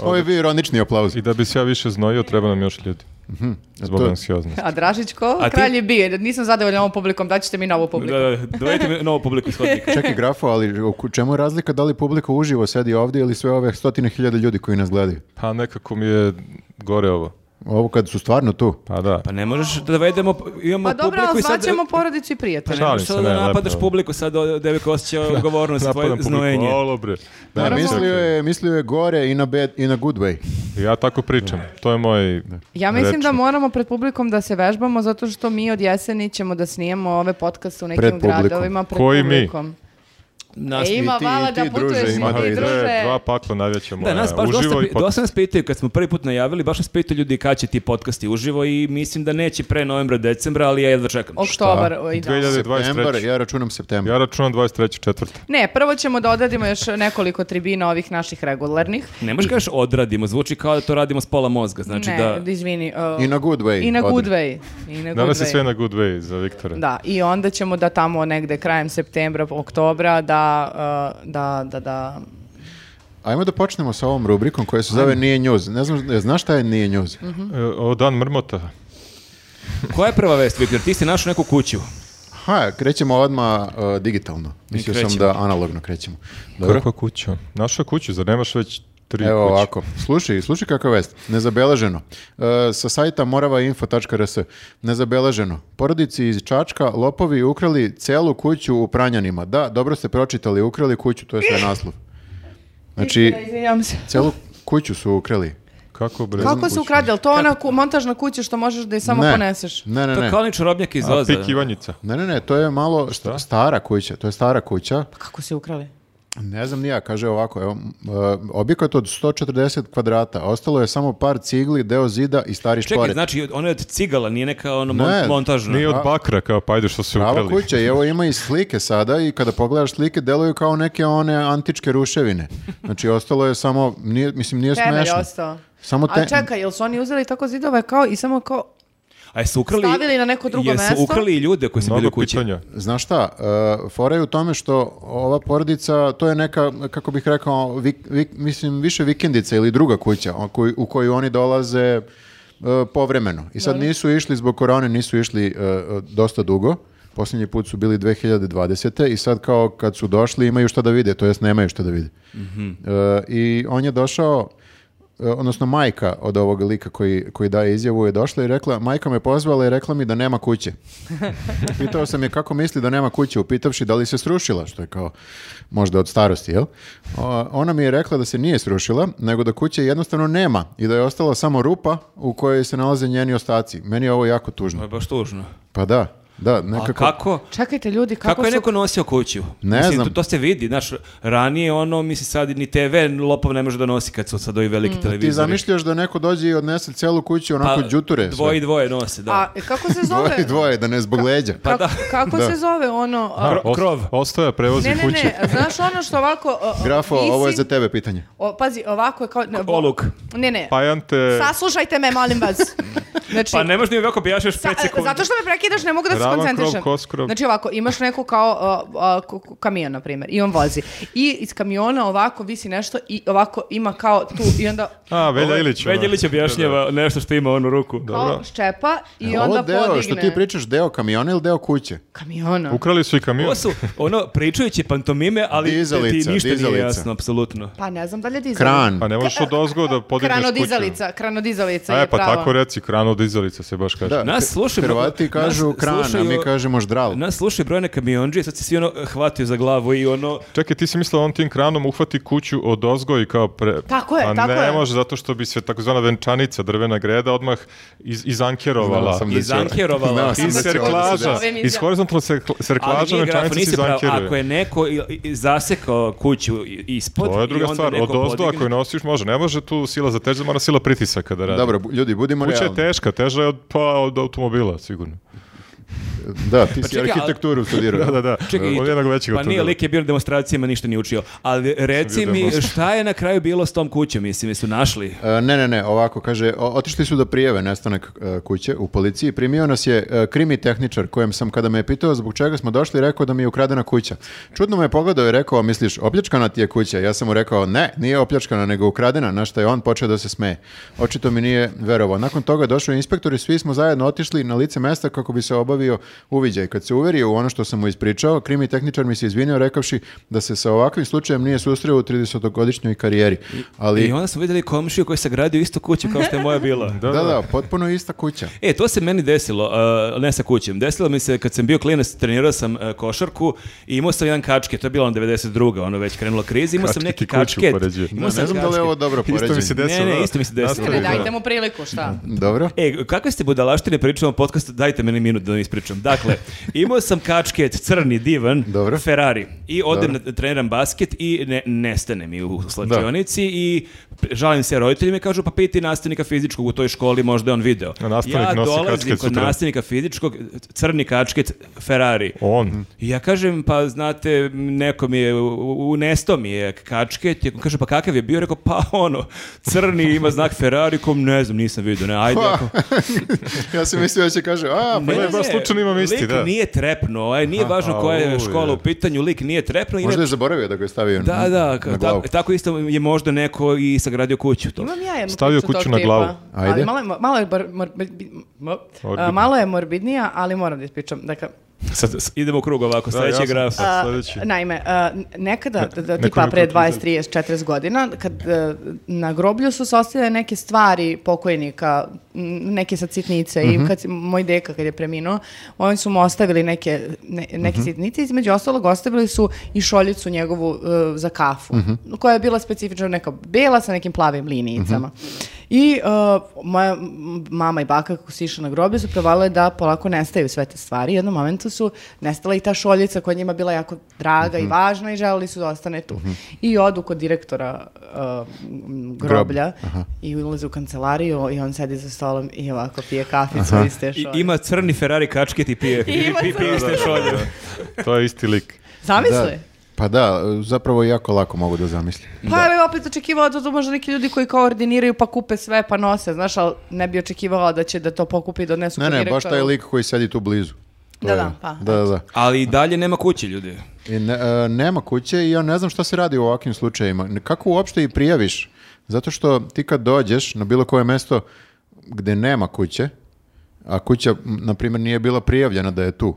S1: Ovo je bio ironični aplauz.
S2: I da bi se ja više znojio, treba nam još ljudi. Zbog
S1: Mhm, e, To je-
S2: anksioznosti.
S4: A Dražić ko?
S3: A ti?
S4: Kralj je bio. Nisam zadovoljna ovom publikom, daćete mi novu publiku.
S3: Da, da, dovedite mi novu publiku iz hodnika.
S1: Čekaj, grafo, ali u ku- čemu je razlika da li publika uživo sedi ovdje ili sve ove stotine hiljada ljudi koji nas gledaju?
S2: Pa nekako mi je gore ovo.
S1: Ovo kad su stvarno tu.
S2: Pa da.
S3: Pa ne možeš da dovedemo, imamo
S4: Pa dobro,
S3: publiku
S4: ali
S3: i sad...
S4: zvaćemo porodicu i prijatelje.
S2: Pa
S3: Ne možeš
S2: Šalim se,
S3: sada da
S2: ne, lepo
S3: napadaš
S2: je ovo.
S3: publiku sad, o- devojka osjeća odgovornost,
S2: Napadam
S3: svoje
S2: publiku.
S3: znojenje.
S2: Olo, bre.
S1: Da, mislio, je, mislio je gore i na, bad, i na good way.
S2: Ja tako pričam. To je moj...
S4: Ja mislim da
S2: rečnik.
S4: moramo pred publikom da se vežbamo zato što mi od jeseni ćemo da snijemo ove podcaste u nekim
S1: Pred publikom.
S4: gradovima pred
S2: Koji mi?
S4: publikom.
S3: Nas-
S4: E, ima
S1: ti-
S4: vala
S1: i
S4: da
S1: ti, druže,
S4: putuješ
S1: ima
S2: Ma,
S4: i
S1: da
S4: ti,
S1: ide.
S4: druže.
S2: dve- dva pakla najveća moja.
S3: Da, nas baš dosta,
S2: Uživo i
S3: pi-
S2: pot-
S3: dosta nas pitaju, kad smo prvi put najavili, baš nas pitaju ljudi kad će ti podcasti uživo i mislim da neće pre novembra, decembra, ali ja jedva čekam.
S4: Oktobar i da.
S2: 2023.
S1: Septembar, ja računam septembar.
S2: Ja računam 23. četvrta.
S4: Ne, prvo ćemo da odradimo još nekoliko tribina ovih naših regularnih.
S3: Ne možeš kažeš odradimo, zvuči kao da to radimo s pola mozga, znači
S4: ne,
S3: da...
S4: izvini. uh,
S1: I na good way.
S4: I na
S1: odmah.
S4: good way. I na
S2: Danas
S4: good
S2: je
S4: way.
S2: sve na good way za Viktora.
S4: Da, i onda ćemo da tamo negde krajem septembra, oktobra, da, uh, da, da, da,
S1: Ajmo da počnemo sa ovom rubrikom koja se zove Nije njuz. Ne znam, znaš šta je Nije njuz?
S2: E, o dan mrmota.
S3: Koja je prva vest, Viktor? Ti si našao neku kuću.
S1: Ha, krećemo odmah e, digitalno. Mislio sam
S3: krećemo.
S1: da analogno krećemo. Dobro.
S2: Kako kuća? Naša kuća, zar nemaš već tri
S1: Evo
S2: kuće?
S1: ovako, slušaj, slušaj kakva vest, nezabeleženo. E, sa sajta moravainfo.rs, nezabeleženo. Porodici iz Čačka lopovi ukrali celu kuću u Pranjanima. Da, dobro ste pročitali, ukrali kuću, to je sve naslov. Znači,
S4: Izvinjavam se.
S1: celu kuću su ukrali.
S2: Kako bre?
S4: Kako se ukrade? Jel to ona ku- montažna kuća što možeš da je samo poneseš?
S1: Ne, ne,
S3: To je
S1: ne.
S3: kao oni čarobnjak iz
S2: A,
S3: Oza.
S2: pik Ivanjica.
S1: Ne, ne, ne, to je malo stara kuća, to je stara kuća.
S4: Kako se ukrali?
S1: Ne znam ni ja, kaže ovako, evo, m, e, objekat od 140 kvadrata, ostalo je samo par cigli, deo zida i stari
S3: Čekaj,
S1: šporet.
S3: znači ona je od cigala, nije neka ono
S1: Ne,
S3: mon- montažna.
S2: Nije od bakra, kao pa ajde što se
S1: Prava
S2: ukrali.
S1: kuća i evo ima i slike sada i kada pogledaš slike deluju kao neke one antičke ruševine. Znači ostalo je samo, nije, mislim nije
S4: Temelj
S1: smešno.
S4: ostao.
S1: Samo te-
S4: A čekaj, jel su oni uzeli tako zidove kao i samo kao...
S3: A jesu ukrali...
S4: Stavili na neko drugo
S3: Jesu
S4: mesto?
S3: ukrali i ljude koji su bili u
S2: Mnogo
S3: kući.
S2: pitanja.
S1: Znaš šta, e, fora je u tome što ova porodica, to je neka, kako bih rekao, vik- vik- mislim više vikendica ili druga kuća o koj- u koju oni dolaze e, povremeno. I sad nisu išli zbog korone, nisu išli e, e, dosta dugo. Posljednji put su bili 2020. i sad kao kad su došli imaju šta da vide, to jest nemaju šta da vide. E, I on je došao e, odnosno majka od ovog lika koji, koji daje izjavu je došla i rekla, majka me pozvala i rekla mi da nema kuće. Pitao sam je kako misli da nema kuće, upitavši da li se srušila, što je kao možda od starosti, jel? O, ona mi je rekla da se nije srušila, nego da kuće jednostavno nema i da je ostala samo rupa u kojoj se nalaze njeni ostaci. Meni je ovo jako
S3: To je
S1: tužno.
S3: baš tužno.
S1: Pa da, da, nekako... Pa
S3: A kako?
S4: Čekajte ljudi, kako,
S3: Kako, je
S4: su...
S3: neko nosio kuću?
S1: Ne
S3: mislim,
S1: znam.
S3: To, to se vidi, znaš, ranije ono, mislim, sad ni TV lopov ne može da nosi kad su sad ovi
S4: Mm.
S3: veliki televizori.
S1: Ti zamišljaš da neko dođe i odnese celu kuću onako
S3: Pa,
S1: đuture sve.
S3: Dvoje i dvoje nose, da.
S4: A e, kako se zove?
S1: Dvoje i dvoje, da ne zbog leđa.
S3: Pa da.
S4: Kako- Kako se zove ono... a,
S2: Ost-
S3: krov.
S2: Ostaja, prevozi
S4: Ne, ne,
S2: kuće.
S4: ne, znaš ono što ovako... a, a,
S1: Grafo, ovo je
S4: visi-
S1: za tebe pitanje.
S4: o, pazi, ovako je kao... Ne, vo-
S3: Oluk.
S4: Ne, ne.
S2: Pajante,
S4: Saslušajte me, molim vas. Znači,
S3: Pa ne možeš ni ovako objašnjaš
S4: Sa- e,
S3: 5 sekundi.
S4: zato što me prekidaš, ne mogu da se
S2: Ravan krov,
S4: koncentrišem.
S2: koskrov.
S4: Znači ovako, imaš neku kao a, a, k- k- kamion, na primjer, i on vozi. I iz kamiona ovako visi nešto i ovako ima kao tu i onda
S2: a, Velja Ilić. ono.
S3: Veljilić Ovaj, objašnjava nešto što ima on u ruku.
S4: kao
S2: Dobro.
S4: ščepa i
S1: Ovo
S4: onda
S1: deo
S4: podigne.
S1: E, što ti pričaš, deo kamiona ili deo kuće?
S4: Kamiona.
S2: Ukrali su i kamion.
S3: Ovo su, ono, pričajući pantomime, ali ti
S1: Dizalica,
S3: ništa nije
S1: dizalica.
S3: jasno, apsolutno.
S4: Pa ne znam da li je dizalica.
S1: Kran.
S2: Pa ne možeš od ozgo da podigneš kuću.
S4: Kranodizalica, kranodizalica
S2: E,
S4: je
S2: pa
S4: prava.
S2: tako reci, krano dizalica se baš kaže.
S1: Da,
S3: Nas
S1: H-
S3: slušaju,
S1: Hrvati
S3: nas
S1: kažu kran, a mi
S3: slušaju-
S1: kažemo ždral.
S3: Nas slušaju brojne kamionđe, sad se svi ono eh, hvataju za glavu i ono...
S2: Čekaj, ti si mislila on tim kranom uhvati kuću od ozgo i kao pre...
S4: Tako je,
S2: a
S4: tako
S2: ne
S4: je.
S2: može, zato što bi se takozvana venčanica, drvena greda, odmah iz,
S1: Znao
S2: izankerovala.
S1: sam da će-
S3: I zankjerovala.
S1: Znao sam
S2: Iz
S1: da će ovo da se
S2: serklaža,
S1: desi.
S4: desi.
S2: iz horizontalno ser- serklaža
S3: nije grafo,
S2: venčanica se
S3: nisi pravo.
S2: izankeruje.
S3: Ako je neko i- i- zasekao kuću i- ispod...
S2: To je druga
S3: i onda
S2: stvar, od
S3: neko
S2: ozdo ako
S3: podigne-
S2: je nosiš može, ne može tu sila za teža, mora sila pritisaka da radi.
S1: Dobro, bu- ljudi, budimo
S2: Kuća je
S1: realni.
S2: teška, teža je od, pa, od automobila, sigurno.
S1: Da, ti si
S3: čekaj, ali-
S1: arhitekturu studirao.
S2: Da, da, da.
S3: Čekaj,
S2: od jednog većeg
S3: pa nije
S2: automobila.
S3: lik je bio na demonstracijama, ništa nije učio. Ali reci
S2: bio
S3: mi,
S2: demonstrant.
S3: šta je na kraju bilo s tom kućom, mislim, jesu našli?
S1: E, Ne, ne, ne, ovako, kaže, o- otišli su da prijeve nestanak e, kuće u policiji. Primio nas je e, krimi tehničar kojem sam kada me je pitao zbog čega smo došli, rekao da mi je ukradena kuća. Čudno me je pogledao i rekao, misliš, opljačkana ti je kuća? Ja sam mu rekao, ne, nije opljačkana, nego ukradena, na što je on počeo da se smeje. Očito mi nije verovao. Nakon toga došao je inspektor i svi smo zajedno otišli na lice mesta kako bi se obavio uviđaj. Kad se uverio u ono što sam mu ispričao, krimi tehničar mi se izvinio rekavši da se sa ovakvim slučajem nije susreo u 30-godišnjoj karijeri. Ali...
S3: I onda smo vidjeli komšiju koji se gradio istu kuću kao što je moja bila.
S1: Da, da, potpuno ista kuća.
S3: E, to se meni desilo, uh, ne sa kućem. Desilo mi se kad sam bio klinac, trenirao sam uh, košarku i imao sam jedan kačket, to je bilo ono 92. ono već krenulo krizi, imao sam
S2: Kačket
S3: neki
S2: i kuću
S3: kačket.
S2: upoređuje.
S3: Imao
S1: Da, ne
S3: sam
S1: znam da li je
S3: kačket.
S1: ovo dobro
S2: Isto mi se
S1: poređenje.
S2: desilo.
S3: Ne, ne,
S2: da.
S3: isto mi se desilo.
S2: Nastavi,
S4: Ne,
S2: da.
S4: dajte mu priliku, šta?
S1: Dobro.
S3: E, kakve ste budalaštine pričamo u podcastu, dajte meni minut da vam ispričam. Dakle, imao sam kačket, crni, divan,
S1: Dobro.
S3: Ferrari i odem na treniram basket i ne, nestane mi u slačionici i žalim se roditeljima i kažu pa piti nastavnika fizičkog u toj školi, možda je on video.
S2: A nastavnik
S3: ja
S2: nosi
S3: dolazim
S2: kačket
S3: kod
S2: sutra.
S3: nastavnika fizičkog, crni kačket, Ferrari.
S1: Mm.
S2: On.
S3: I ja kažem, pa znate, neko mi je, u- unesto mi je kačket, i on kaže, pa kakav je bio? Rekao, pa ono, crni, ima znak Ferrari, kom ne znam, nisam vidio, ne, ajde, ako,
S1: ja sam mislio da će kaže, a, pa
S2: Ne, baš slučajno imam isti,
S3: lik
S2: da.
S3: nije trepno, aj, nije važno koja je
S2: au,
S3: škola
S2: je.
S3: u pitanju, lik nije trepno. i
S1: možda
S3: ne-
S1: je zaboravio da ga je stavio
S3: Da, da, ka-
S1: na
S3: ta-
S1: glavu.
S3: tako isto je možda neko i sagradio kuću. To.
S4: Imam ja jednu
S2: Stavio
S4: priču tog
S2: kuću na
S4: tipa,
S2: glavu.
S4: ali
S1: Ajde.
S4: Malo je, malo je, bar- morbi- m-
S2: Morbidna.
S4: a, malo je morbidnija, ali moram da ispričam. Dakle,
S3: Sad, s- idemo u krug ovako,
S2: Da, ja
S3: sledeći
S2: sam-
S3: graf.
S2: sad
S4: a,
S2: sledeći.
S4: naime, a, n- nekada, da- da,
S2: neko
S4: tipa
S2: mi
S4: pre
S2: pročita.
S4: 20, 30, 40 godina, kad e, na groblju su se ostavljale neke stvari pokojnika, m, neke sad sitnice i kad, se- moj deka kad je preminuo, oni su mu ostavili neke, ne- neke sitnice, između ostalog ostavili su i šoljicu njegovu e, za kafu, koja je bila specifična neka bela sa nekim plavim linijicama. I uh, moja m- mama i baka kako su išle na groblje su provale da polako nestaju sve te stvari. U jednom momentu su nestala i ta šoljica koja je njima bila jako draga i važna i želeli su da ostane tu. I odu kod direktora uh, m, groblja i ulaze u kancelariju i on sedi za stolom i ovako pije kaficu iz te
S3: I,
S4: šolje.
S3: ima crni Ferrari kačket i pije.
S4: I ima
S3: pi- pi- pije
S4: crni-
S3: iz te šolje.
S2: To je isti lik.
S4: Zamisli?
S1: Pa da, zapravo jako lako mogu da zamislim.
S4: Pa ja bih opet očekivala da to možda neki ljudi koji koordiniraju pa kupe sve pa nose, znaš, ali ne bi očekivala da će da to pokupi i donesu
S1: Ne,
S4: kod
S1: ne, baš taj
S4: direktora.
S1: lik koji sedi tu blizu. To
S4: Da,
S1: je-
S4: da, pa.
S1: Da, da, da.
S3: Ali i dalje nema kuće, ljudi.
S1: I ne- e, nema kuće i ja ne znam šta se radi u ovakvim slučajevima. Kako uopšte i prijaviš? Zato što ti kad dođeš na bilo koje mesto gde nema kuće, a kuća, m, na primjer, nije bila prijavljena da je tu,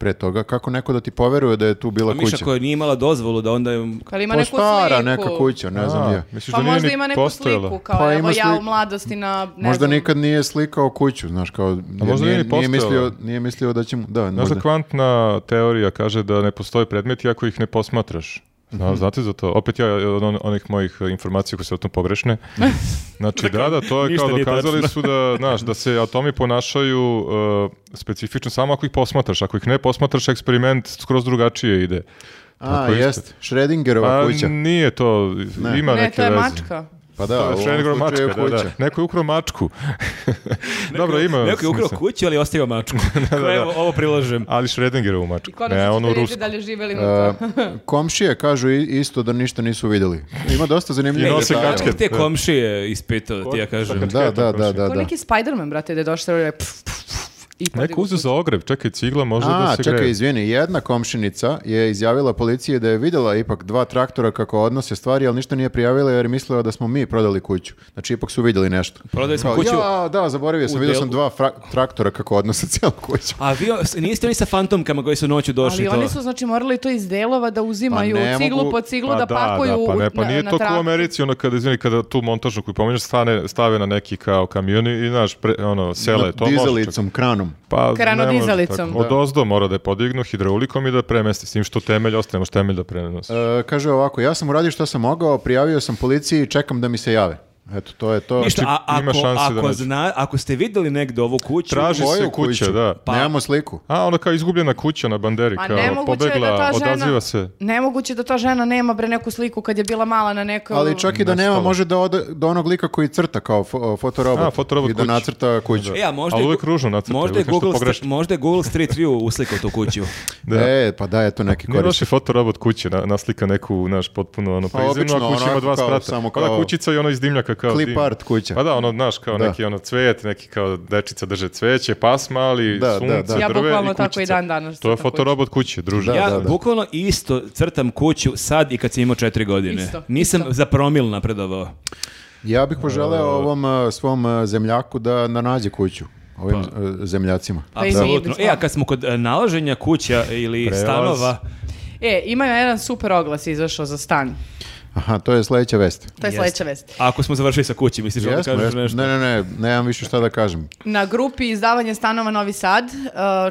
S1: pre toga, kako neko da ti poveruje da je tu
S2: Pa
S1: bila
S3: A Pa Miša
S1: kuća?
S3: koja nije imala dozvolu da onda... je-
S4: Ali ima
S1: Pa
S4: neku
S1: stara
S4: sliku.
S1: neka kuća, ne znam
S2: A,
S1: ni ja.
S2: Misliš
S4: Pa
S2: da nije
S4: možda
S2: ni
S4: ima neku
S2: postojala?
S4: sliku, kao
S1: Pa
S4: evo
S1: ima
S4: ja u
S1: sliku.
S4: mladosti na, ne
S1: Možda
S4: znam,
S1: nikad nije slikao kuću, znaš, kao jer
S2: možda
S1: nije,
S2: nije ni
S1: nije mislio,
S2: postojala.
S1: nije mislio da će mu, da,
S2: Znaš
S1: možda.
S2: da kvantna teorija kaže da ne postoji predmeti ako ih ne posmatraš. Zna,
S3: Mhm.
S2: Znate za to? Opet ja eh, od on- onih mojih eh, informacija koje su o tom pogrešne. Znači, da, da, to je
S3: Dakle, ništa
S2: kao
S3: nije
S2: dokazali
S3: tačno.
S2: su da, znaš, da se atomi ponašaju eh, specifično samo ako ih posmatraš. Ako ih ne posmatraš, eksperiment skroz drugačije ide.
S1: A,
S2: Tako isto.
S1: jest, Schrödingerova
S2: Pa
S1: kuća.
S2: nije to, ima
S4: ne,
S2: neke
S4: to je
S2: veze.
S4: mačka.
S1: Pa da, u ovom
S2: Schrödingerova
S1: slučaju je
S2: mačka, da, da.
S1: kuća.
S2: Neko je ukrao mačku. Dobro, ima.
S3: Neko je ukrao
S2: smisla.
S3: kuću, ali je ostavio mačku. Koja evo, ovo prilažem.
S2: Ali Schrödingerovu
S4: I
S2: mačku. Ne, ono onu
S4: konačno
S2: rusku.
S4: ćete vidjeti da li je žive ili
S1: E,
S4: mrtva.
S1: komšije kažu i- isto da ništa nisu vidjeli. Ima dosta zanimljivih
S2: I nose
S1: detalja.
S2: kačke.
S3: Te komšije ispitao, ti ja kažem.
S1: Da, da, da, da,
S4: Kao
S1: da.
S4: neki Spider-Man, brate, da je došao i pf, pf, pf, i
S2: Neko
S4: podigao
S2: uzeo za ogreb, čekaj, cigla može da
S1: A,
S2: se
S1: čekaj,
S2: greje.
S1: izvini, jedna komšinica je izjavila policiji da je vidjela ipak dva traktora kako odnose stvari, ali ništa nije prijavila jer je mislila da smo mi prodali kuću. Znači, ipak su vidjeli nešto.
S3: Prodali smo
S1: Kao,
S3: kuću.
S1: Ja, da, zaboravio sam,
S3: u
S1: vidio sam
S3: delu-
S1: dva fra- traktora kako odnose cijelu kuću.
S3: A vi o- s- niste oni sa fantomkama koji su noću došli?
S4: Ali
S3: to?
S4: oni su znači morali to iz delova da uzimaju
S1: Pa ne
S4: ciglu
S1: mogu-
S4: po ciglu da, pakuju
S2: da, pa
S4: u-
S2: ne, pa
S4: na,
S2: nije
S4: na
S2: to kao u
S4: traktor.
S2: Americi, ono kada, izvini, kada tu montažnu koju pominješ stane, stave na neki kao kamion i, znaš, pre, ono, sele, to može čak.
S1: Dizelicom, kranom.
S2: Pa, ne može
S4: Kranodizalicom.
S2: tako. Od ozdo mora da je podignu hidraulikom i da je premesti, s tim što temelj ostaje, ne može temelj da prenosi.
S1: E, kaže ovako, ja sam uradio što sam mogao, prijavio sam policiji i čekam da mi se jave. Eto, to je to.
S3: Ništa, a
S2: Znači, ima
S3: ako,
S2: šanse da
S3: ako,
S2: nađe.
S3: zna, ako ste vidjeli negde ovu kuću,
S2: Traži
S1: Koju
S2: se kuća,
S1: Znači, kuću?
S2: da.
S3: Pa-
S1: Nemamo sliku.
S2: A, ona kao izgubljena kuća na banderi,
S4: Pa
S2: kao
S4: nemoguće je da
S2: pobegla,
S4: ta žena...
S2: odaziva se.
S4: Nemoguće da ta žena nema bre neku sliku kad je bila mala na nekoj... ono-
S1: Ali čak i da nema,
S2: Nestalo.
S1: može da ode do onog lika koji crta kao fo- e, fotorobot.
S2: A, fotorobot
S1: I da
S2: kuću.
S1: nacrta kuću.
S3: E, a možda
S2: Ali
S3: je
S2: uvijek
S3: Gu-
S2: ružno nacrtaju,
S3: možda je,
S2: uvijek nešto
S3: Google, Stre-
S2: pogrešno.
S3: možda je Google Street View uslikao tu kuću.
S2: Da.
S1: E, pa da, eto neki
S2: Nije
S1: korist.
S2: loši fotorobot kuće, na, naslika neku, znaš, potpuno ono,
S1: Pa
S2: pa izimno,
S1: obično,
S2: a kuća
S1: onako
S2: ima dva
S1: kao,
S2: sprata.
S1: samo
S2: Samo
S1: kao-
S2: kućica i ono iz dimljaka kao
S1: Clip
S2: dim.
S1: art kuća.
S2: Pa da, ono, znaš, kao
S1: Da.
S2: neki ono cvet, neki kao dečica drže cveće, pas mali,
S1: Da, da,
S2: sunce,
S1: da.
S2: drve
S1: Ja
S4: bukvalno
S2: i
S4: tako
S2: kućica.
S4: i dan danas
S2: To je
S4: crtam kuće.
S2: fotorobot kuće, druže.
S1: Da,
S3: ja
S1: da, da.
S3: bukvalno isto crtam kuću sad i kad sam imao četiri godine.
S4: Isto,
S3: Nisam
S4: isto.
S3: za promil napredovao.
S1: Ja bih poželeo ovom e, svom e, zemljaku da na nađe kuću. Ovim e, zemljacima.
S4: Pa i mi
S3: Apsolutno.
S4: bismo.
S3: E, a kad smo kod e, nalaženja kuća ili
S2: Prelaz.
S3: stanova,
S4: E, ima jedan super oglas izašao za stan.
S1: Aha, to je sledeća vest.
S4: To je
S3: Jeste.
S4: sledeća vest.
S3: ako smo završili sa kući, misliš da
S1: Jesmo,
S3: kažeš
S1: jesmo.
S3: nešto?
S1: Ne, ne, ne, nemam više šta da kažem.
S4: Na grupi izdavanje stanova Novi Sad, uh,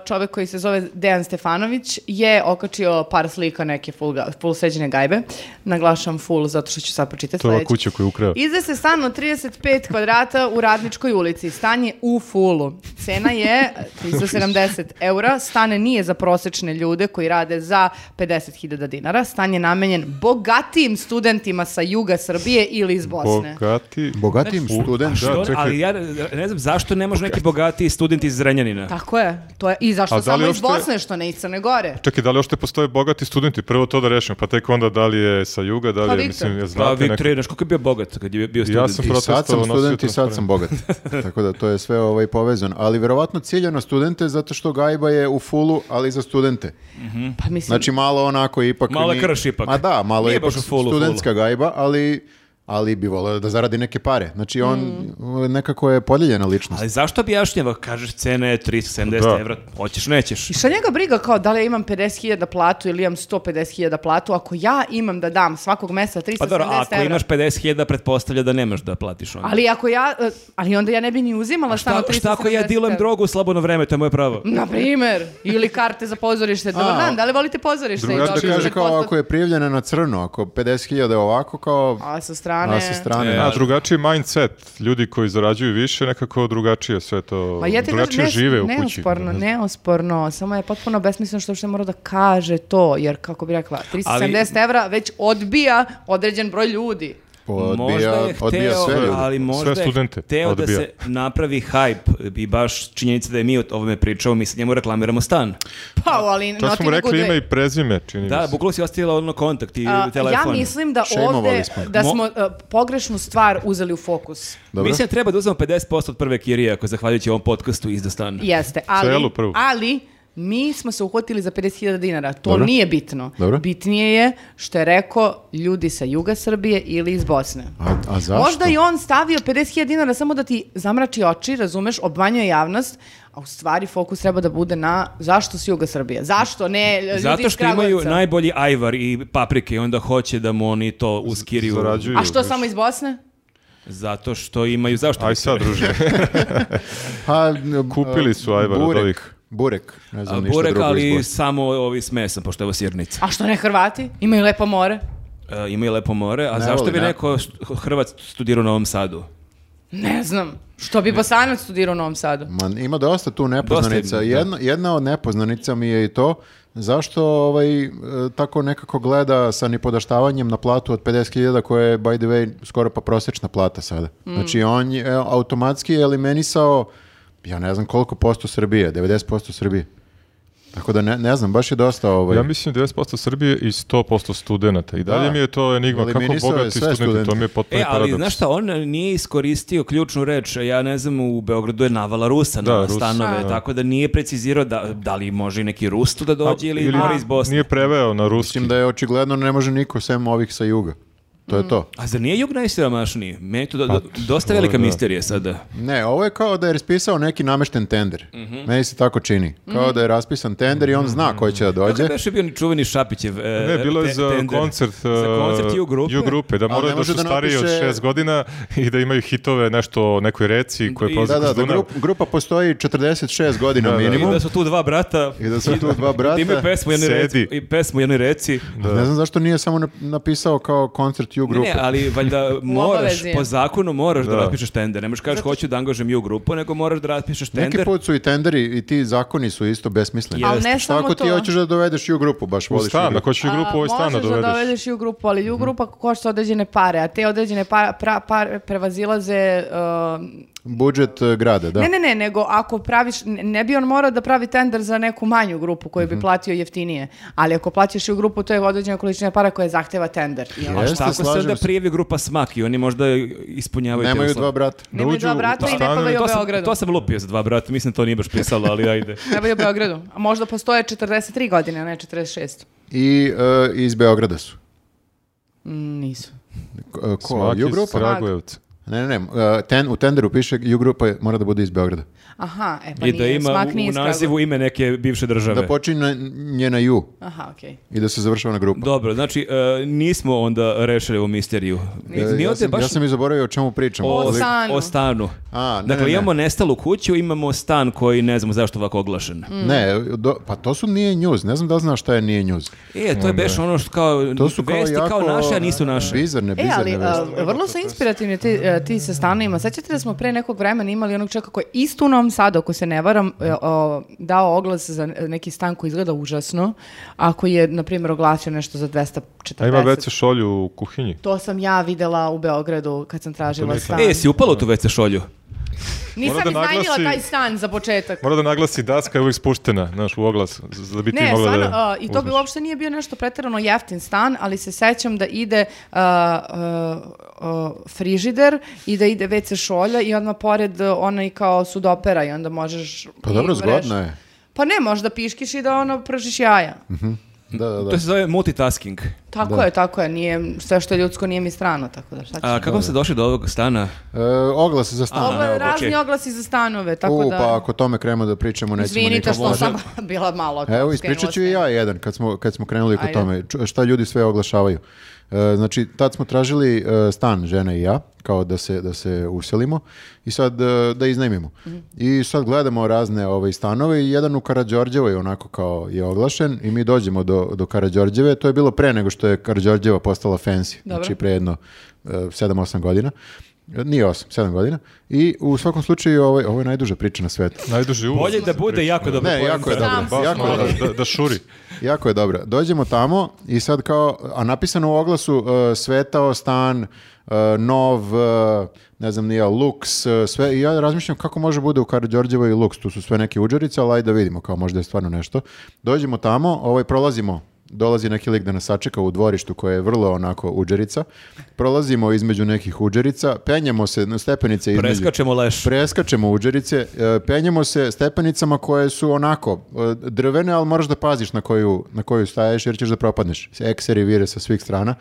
S4: čovek koji se zove Dejan Stefanović je okačio par slika neke full, ga- full seđene gajbe. Naglašam full zato što ću sad pročitati
S2: To je ova
S4: sledeće.
S2: kuća koju je ukrao.
S4: Izde se stan od 35 kvadrata u Radničkoj ulici. Stan je u fulu. Cena je 370 eura. Stan nije za prosečne ljude koji rade za 50.000 dinara. Stan je namenjen bogatijim studentima sa juga Srbije ili iz Bosne.
S2: Bogati...
S1: Bogatim
S2: Znači, U-
S1: student.
S2: Da,
S3: Dobro,
S2: čekaj.
S3: ali ja ne znam zašto ne može neki bogatiji student iz Zrenjanina.
S4: Tako je. To je i
S2: A
S4: zašto
S2: da li
S4: samo iz
S2: uopšte-
S4: Bosne što ne iz Crne Gore.
S2: Čekaj, da li ošte postoje bogati studenti? Prvo to da rešimo, pa tek onda da li je sa juga, da
S4: Pa
S2: li je,
S4: Viktor.
S2: mislim, ja
S3: Pa
S2: znate
S3: vi
S2: neko-
S3: treniraš, koliko je bio bogat kad je bio student?
S2: sam
S1: I sad sam
S2: protestovao, nosio
S1: student i sad
S2: transparent.
S1: sam bogat. Tako da to je sve ovaj povezano. Ali verovatno ciljano studente zato što gajba je u fulu, ali za studente.
S4: Pa mislim,
S1: Znači malo onako ipak...
S3: Malo je
S1: ni-
S3: krš ipak.
S1: Ma da, malo je
S3: Nije
S1: ipak
S3: baš u fulu,
S1: studentska gajba, ali ali bi volio da zaradi neke pare. Znači on uh, nekako je podijeljena ličnost.
S3: Mm. Ali zašto objašnjava? Kažeš cena je 370
S2: Da.
S3: evra, hoćeš, nećeš.
S4: I šta njega briga kao da li ja imam 50.000 platu ili imam 150.000 platu, ako ja imam da dam svakog mesa 370
S3: Pa dobro, a ako
S4: evra.
S3: imaš 50.000, pretpostavlja da nemaš da platiš onda.
S4: Ali ako ja, e, ali onda ja ne bi ni uzimala šta,
S3: šta,
S4: na 370
S3: šta ako ja dilujem
S4: evra?
S3: drogu u slobodno vreme, to je moje pravo.
S4: Na primer, ili karte za pozorište. Dobar
S1: A,
S4: dan, da li volite pozorište? I
S2: drugačije
S4: dobiješ
S1: Da kaže kao
S4: 5%.
S1: ako je prijavljena na crno, ako 50.000 ovako kao
S4: A sa strane...
S1: a sa strane.
S3: E,
S2: A drugačiji mindset, ljudi koji zarađuju više nekako drugačije sve to,
S4: Ma ja ti
S2: drugačije
S4: kažem, ne,
S2: žive u kući.
S4: neosporno, neosporno, samo je potpuno besmisleno što uopšte mora da kaže to, jer kako bi rekla, 370 evra već odbija određen broj ljudi.
S1: Odbija, odbija sve
S2: hteo,
S1: ljude.
S3: ali možda
S2: Sve studente
S3: je hteo da
S2: odbija.
S3: se napravi hype i baš činjenica da je mi o ovome pričamo, mi sa njemu reklamiramo stan.
S4: Pa, ali
S2: Čak smo mu
S4: Nottingham Good
S2: rekli
S4: Way-
S2: ime i prezime, čini mi
S3: Da,
S2: se.
S3: bukvalno si ostavila ono kontakt i
S4: A,
S3: telefon.
S4: Ja mislim da
S1: Shameovali
S4: ovde,
S1: smo.
S4: da
S3: Mo-
S4: smo e, pogrešnu stvar uzeli u fokus.
S1: Dobro.
S3: Mislim da treba da uzmemo 50% od prve kirije ako zahvaljujući ovom podcastu izda stan.
S4: Jeste, ali,
S2: Celu prvu.
S4: ali Mi smo se uhvatili za 50.000 dinara. To
S1: Dobro.
S4: nije bitno.
S1: Dobro.
S4: Bitnije je što je rekao ljudi sa juga Srbije ili iz Bosne.
S1: A, a zašto?
S4: Možda je on stavio 50.000 dinara samo da ti zamrači oči, razumeš, obmanjuje javnost, a u stvari fokus treba da bude na zašto si juga Srbije. Zašto ne ljudi
S3: Zato
S4: iz
S3: što imaju
S4: Kragujevca?
S3: najbolji ajvar i paprike i onda hoće da mu oni to uskiriju.
S2: Zarađuju,
S4: A što
S2: znaš.
S4: samo iz Bosne?
S3: Zato što imaju, zašto?
S2: Aj sad, druže.
S1: Pa, n-
S2: Kupili
S1: a,
S2: su ajvar od
S1: burek,
S2: ovih.
S1: Burek, ne znam
S3: A
S1: ništa
S3: burek,
S1: drugo
S3: ali
S1: ali...
S3: samo ovi s mesom, pošto je ovo sirnica.
S4: A što ne Hrvati? Imaju lepo more.
S3: E, imaju lepo more, a
S1: Ne
S3: zašto
S1: voli,
S3: bi
S1: ne.
S3: neko št- Hrvat studirao u Novom Sadu?
S4: Ne znam. Što bi Bosanac studirao u Novom Sadu?
S1: Man, ima dosta tu nepoznanica.
S3: Dosta ima, da.
S1: jedna, jedna od nepoznanica mi je i to zašto ovaj, e, tako nekako gleda sa nipodaštavanjem na platu od 50.000 koja je, by the way, skoro pa prosječna plata sada. Znači, on je e, automatski eliminisao, ja ne znam koliko posto Srbije, 90% Srbije. Tako da ne, ne znam, baš je dosta ovaj...
S2: Ja mislim 90% Srbije i 100% studenata. I dalje
S1: Da.
S2: mi je to enigma
S1: Ali
S2: kako
S1: mirisao je
S2: bogati
S1: sve
S2: studenti, to
S1: studente.
S2: mi je potpuno
S3: E, ali
S2: paradoks.
S3: znaš šta, on nije iskoristio ključnu reč, ja ne znam, u Beogradu je navala Rusa na
S2: Da, Rusa,
S3: stanove,
S2: da.
S3: tako da nije precizirao da, da li može i neki Rus tu da
S2: A,
S3: dođe ili, mora iz Bosne.
S2: Nije preveo na ruski.
S1: Mislim da je očigledno ne može niko sem ovih sa juga. To je to.
S3: A zar nije jug najsiromašniji? Meni je to do-
S2: Pa,
S3: do- dosta
S2: to je
S3: velika
S2: da.
S3: misterija sada.
S1: Ne, ovo je kao da je raspisao neki namešten tender. Meni se tako čini. Kao
S4: Mhm.
S1: da je raspisan tender i on zna ko će da
S3: Kako
S1: dođe.
S3: je beše bio ni čuveni Šapićev e,
S2: Ne, bilo je
S3: te-
S2: za
S3: tender?
S2: koncert, e,
S3: Za koncert i u grupe?
S2: da
S1: Ali ne
S2: moraju da
S1: može
S2: su
S1: da
S2: stariji
S1: napiše-
S2: od šest godina i da imaju hitove nešto o nekoj reci koje
S3: I-
S2: prolaze
S1: Da,
S2: kroz
S1: da, da
S2: Dunav.
S1: grup- grupa postoji 46 godina
S2: Da, da.
S3: I
S1: minimum.
S3: da su tu dva brata.
S1: I da su tu dva brata.
S3: Da imaju pesmu u jednoj
S2: Sedi.
S3: reci. I pesmu u jednoj reci.
S1: Ne znam zašto nije samo nap- napisao kao koncert u
S3: Ne,
S1: grupe.
S3: Ne, ali valjda moraš,
S4: obavezi je.
S3: po zakonu moraš da,
S2: Da.
S3: raspišeš tender. Ne možeš kažeš hoću da angažujem ju grupu, nego moraš da raspišeš
S1: Neki
S3: tender.
S1: put su i tenderi i ti zakoni su isto besmisleni.
S3: Jeste.
S4: Ali ne
S1: Šta
S4: samo
S1: ako
S4: to.
S1: ti hoćeš da dovedeš u grupu, baš
S2: U
S1: voliš
S2: stan,
S1: U
S2: ako ćeš i grupu
S4: A,
S2: ovaj stan da
S4: Možeš da
S2: dovedeš.
S4: dovedeš i u grupu, ali i u grupa košta određene pare, a te određene pa- pra- pare prevazilaze... um,
S1: Budžet e, grada, da.
S4: Ne, ne, ne, nego ako praviš, ne- ne bi on morao da pravi tender za neku manju grupu koju bi platio jeftinije, ali ako plaćaš i u grupu, to je određena količina para koja zahteva tender. I ono onda-
S1: Jeste,
S3: Šta ako se
S1: slažem
S3: onda
S1: se.
S3: prijavi grupa smak i oni možda ispunjavaju te
S1: Nemaju
S3: uslove?
S1: dva brata.
S2: Da
S4: Nemaju
S2: uđu
S4: dva
S2: u
S4: brata i ne
S2: stanove.
S4: padaju
S3: To sam,
S4: Beogradu. Pa
S3: to sam lupio za dva brata, mislim to nije baš pisalo, ali ajde.
S4: Treba je u Beogradu. A možda postoje 43 godine, a ne 46.
S1: I e, iz Beograda su.
S4: Mm, nisu.
S1: Ko, e, ko?
S2: Svaki
S1: U
S2: iz
S1: grupa?
S2: Kragujevca.
S1: Ne, ne, ne, e, ten, u tenderu piše ju grupa je- mora da bude iz Beograda.
S4: Aha, e pa
S3: I
S4: nije.
S3: da ima
S4: Smak
S3: u,
S4: nije
S3: u
S4: iz Kragujevca.
S3: nazivu ime neke bivše države.
S1: Da počinje nje na ju
S4: Aha, okej.
S1: i da se završava na grupu.
S3: Dobro, znači e, nismo onda rešili ovu misteriju. Mi,
S1: E,
S3: mi
S1: ja,
S3: ovdje
S1: sam,
S3: baš
S1: ja sam i zaboravio o čemu pričam.
S4: O,
S1: ali-
S4: sa- stanu.
S3: o stanu.
S1: A, ne,
S3: dakle,
S1: ne, ne.
S3: imamo nestalu kuću, imamo stan koji ne znamo zašto ovako oglašen.
S1: Mm. Ne, do- pa to su nije news. Ne znam da li znaš šta je nije news.
S3: E, to je beš ono što kao
S1: To su
S3: vesti
S1: kao
S3: kao,
S1: jako...
S3: naše, a nisu naše.
S1: Bizarne,
S4: E, ali
S1: bizarne
S4: a,
S1: vesti.
S4: vrlo su inspirativni ti, e, ti sa stanovima. Sećate da smo pre nekog vremena imali onog čovjeka koji je isto u Novom Sadu, ako se ne varam, e, o, dao oglas za neki stan koji izgleda užasno, ako je, na primjer, oglasio nešto za
S2: A ima
S4: 240.
S2: WC šolju u kuhinji.
S4: To sam ja videla u Beogradu kad sam tražila
S2: nije
S4: stan.
S3: E, si upala u tu WC šolju?
S4: Nisam
S2: Mora da
S4: iznajmila
S2: naglasi-
S4: taj stan za početak.
S2: Mora da naglasi daska je uvijek spuštena, znaš, u oglas, z- da bi ti
S4: Ne,
S2: mogla
S4: stvarno,
S2: da...
S4: uh, i to bi
S2: uzmeš.
S4: uopšte nije bio nešto pretjerano jeftin stan, ali se sećam da ide uh, uh, uh, frižider i da ide WC šolja i odmah pored uh, onaj kao sudopera i onda možeš...
S1: Pa
S4: i
S1: dobro,
S4: vreš.
S1: zgodno je. Mhm,
S4: Pa ne, možda piškiš i da ono pržiš jaja.
S1: Da, da, da.
S3: To se zove multitasking.
S4: Tako je, tako je. Nije, sve što je ljudsko nije mi strano, tako da šta ću.
S1: Znači,
S3: A kako ste došli do ovog stana?
S1: E, oglas za stan.
S4: Ovo je
S3: evo,
S4: razni
S3: okej.
S4: oglasi za stanove, tako
S1: U,
S4: da...
S1: pa ako tome krenemo da pričamo, nećemo
S4: Izvinite
S1: nikad.
S4: što sam bila malo...
S1: Pa Evo,
S4: skrenula
S1: ispričat ću
S4: s
S1: i
S4: teme.
S1: ja jedan, kad smo, kad smo krenuli kod
S4: Ajde.
S1: tome, Ču- šta ljudi sve oglašavaju. E, znači, tad smo tražili e, stan, žena i ja, kao da se, da se uselimo i sad e, da iznajmimo.
S4: Mhm.
S1: I sad gledamo razne ove, stanove i jedan u Karadžorđevoj onako kao je oglašen i mi dođemo do, do Karadžorđeve, to je bilo pre nego što je Karadžorđeva postala fancy,
S4: Dobro.
S1: znači pre jedno e, 7-8 godina. E, Nije 8, 7 godina. I u svakom slučaju ovaj, ovo je najduža priča na svetu.
S2: Najduži uvod.
S3: Bolje da bude jako dobro.
S1: Ne, jako je
S4: Znam
S1: dobro.
S4: se,
S1: Jako je
S4: znam.
S1: dobro.
S2: Da, da šuri.
S1: Jako je dobro. Dođemo tamo i sad kao, a napisano u oglasu e, svetao stan, e, nov, e, ne znam nije, luks, e, sve. I ja razmišljam kako može bude u Karadžorđevoj luks. Tu su sve neke uđerice, ali ajde da vidimo, kao možda je stvarno nešto. Dođemo tamo, ovaj, prolazimo dolazi neki lik da nas sačeka u dvorištu koje je vrlo onako uđerica. Prolazimo između nekih uđerica, penjamo se na stepenice između...
S3: Preskačemo leš.
S1: Preskačemo uđerice, e, penjemo se stepenicama koje su onako e, drvene, ali moraš da paziš na koju, na koju staješ jer ćeš da propadneš. Ekseri vire sa svih strana.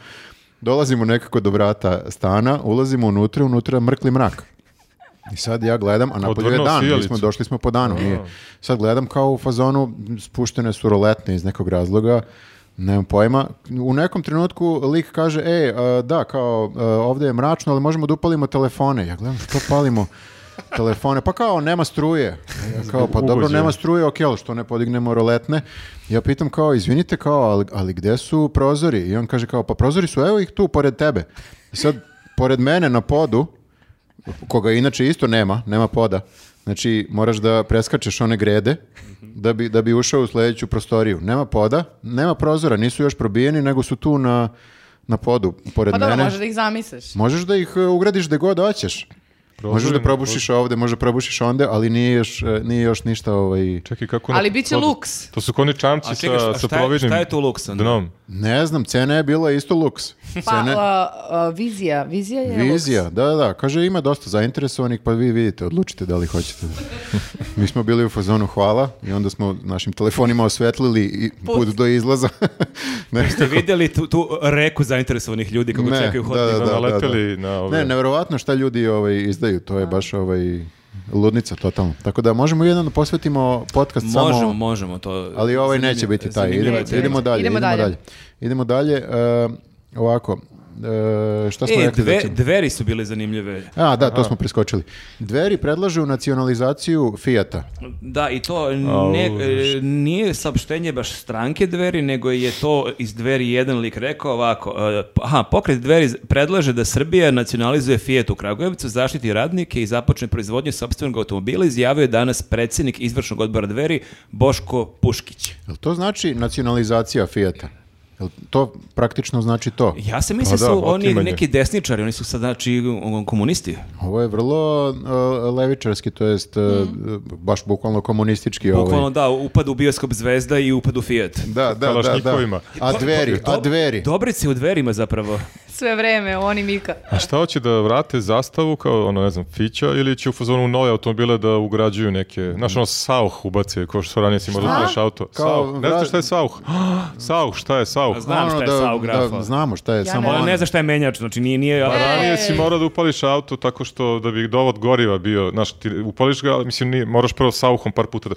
S1: Dolazimo nekako do vrata stana, ulazimo unutra, unutra mrkli mrak. I sad ja gledam, a napolju je
S2: Odvrnuo
S1: dan, mi
S2: sijalicu.
S1: smo, došli smo po danu. nije. Sad gledam kao u fazonu, spuštene su roletne iz nekog razloga, nemam pojma. U nekom trenutku lik kaže, e, a, da, kao, a, ovdje je mračno, ali možemo da upalimo telefone. Ja gledam, što palimo? telefone, pa kao nema struje. Ja kao, pa dobro,
S2: Ugođaj.
S1: nema struje, ok, ali što ne podignemo roletne? Ja pitam kao, izvinite, kao, ali, ali gde su prozori? I on kaže kao, pa prozori su, evo ih tu, pored tebe. I sad, pored mene na podu, koga inače isto nema, nema poda. Znači, moraš da preskačeš one grede da bi, da bi ušao u sljedeću prostoriju. Nema poda, nema prozora, nisu još probijeni, nego su tu na, na podu, pored
S4: Pa dobro,
S1: mene.
S4: možeš da ih zamisliš.
S1: Možeš da ih e, ugradiš gde god hoćeš.
S2: Prozori
S1: možeš da
S2: na
S1: probušiš ovdje, možeš da probušiš onda, ali nije još, e, nije još ništa ovaj...
S2: Čekaj, kako
S4: Ali
S2: na
S4: bit će
S2: podu?
S4: luks.
S2: To su koni čamci
S3: A čekaj, šta-
S2: sa, sa
S3: šta je-
S2: providnim
S3: šta je tu luks onda?
S2: dnom.
S1: Ne znam, cena je bila isto luks.
S4: Pa,
S1: Cene-
S4: a, a, vizija, vizija je luks.
S1: Vizija, da, da, da. Kaže, ima dosta zainteresovanih, pa vi vidite, odlučite da li hoćete. Mi smo bili u fazonu hvala i onda smo našim telefonima osvetlili i put, do izlaza. ne,
S3: Ste vidjeli tu, tu reku zainteresovanih ljudi kako
S1: Ne,
S3: čekaju hodnik?
S1: Da, da, da,
S2: naleteli na ove...
S1: ne, nevjerovatno šta ljudi ovaj, izdaju, to je baš ovaj, ludnica totalno. Tako da možemo jedan da posvetimo podcast
S3: Možemo,
S1: samo...
S3: možemo to.
S1: Ali ovaj
S3: Zanimljivo-
S1: neće biti taj.
S3: zanimljivo
S1: Idemo,
S3: je
S4: neće
S1: idemo,
S3: tema.
S1: dalje,
S4: biti. Idemo
S1: idemo
S4: dalje.
S1: dalje. Idemo dalje, e, ovako, e, šta smo
S3: E,
S1: rekli da
S3: dve-
S1: ćemo-
S3: dveri su bile zanimljive.
S1: A, da, to smo preskočili. Dveri predlažu nacionalizaciju Fijata.
S3: Da, i to
S2: Au,
S3: ne, e, nije saopštenje baš stranke dveri, nego je to iz dveri jedan lik rekao ovako. e, Aha, pokret dveri predlaže da Srbija nacionalizuje Fiat u Kragujevcu, zaštiti radnike i započne proizvodnju sobstvenog automobila, izjavio je danas predsjednik izvršnog odbora dveri Boško Puškić.
S1: Jel to znači nacionalizacija Fijata? Jel to praktično znači to?
S3: Ja se mislim
S2: Pa da,
S3: su oni
S2: otimanje.
S3: neki desničari, oni su sad znači komunisti.
S1: Ovo je vrlo uh, levičarski, to jest uh, baš bukvalno komunistički
S3: Mm. Bukvalno
S1: ovaj.
S3: da, upad u bioskop Zvezda i upad u Fiat.
S1: Da, da, da, da.
S2: Kalašnjikovima.
S1: A dveri, a dveri.
S3: Dobrice u dverima zapravo.
S4: Sve vreme, oni Mika.
S2: A šta hoće da vrate zastavu kao ono ne znam fića ili će u fazonu u nove automobile da ugrađuju neke znaš ono sauh ubace kao što su ranije si možda znaš auto
S1: Kao
S2: sauh ne
S1: vra-
S2: znaš šta je sauh sauh šta je sauh
S3: A Znam šta je Saugrafo.
S1: Ono da, znamo šta je, samo
S3: Ona
S1: ono-
S3: ne zna šta je menjač, znači nije... nije
S2: Pa ranije si
S4: Ej.
S2: morao da upališ auto tako što da bi dovod goriva bio, znaš, ti upališ ga, ali mislim, nije, moraš prvo sauhom par puta da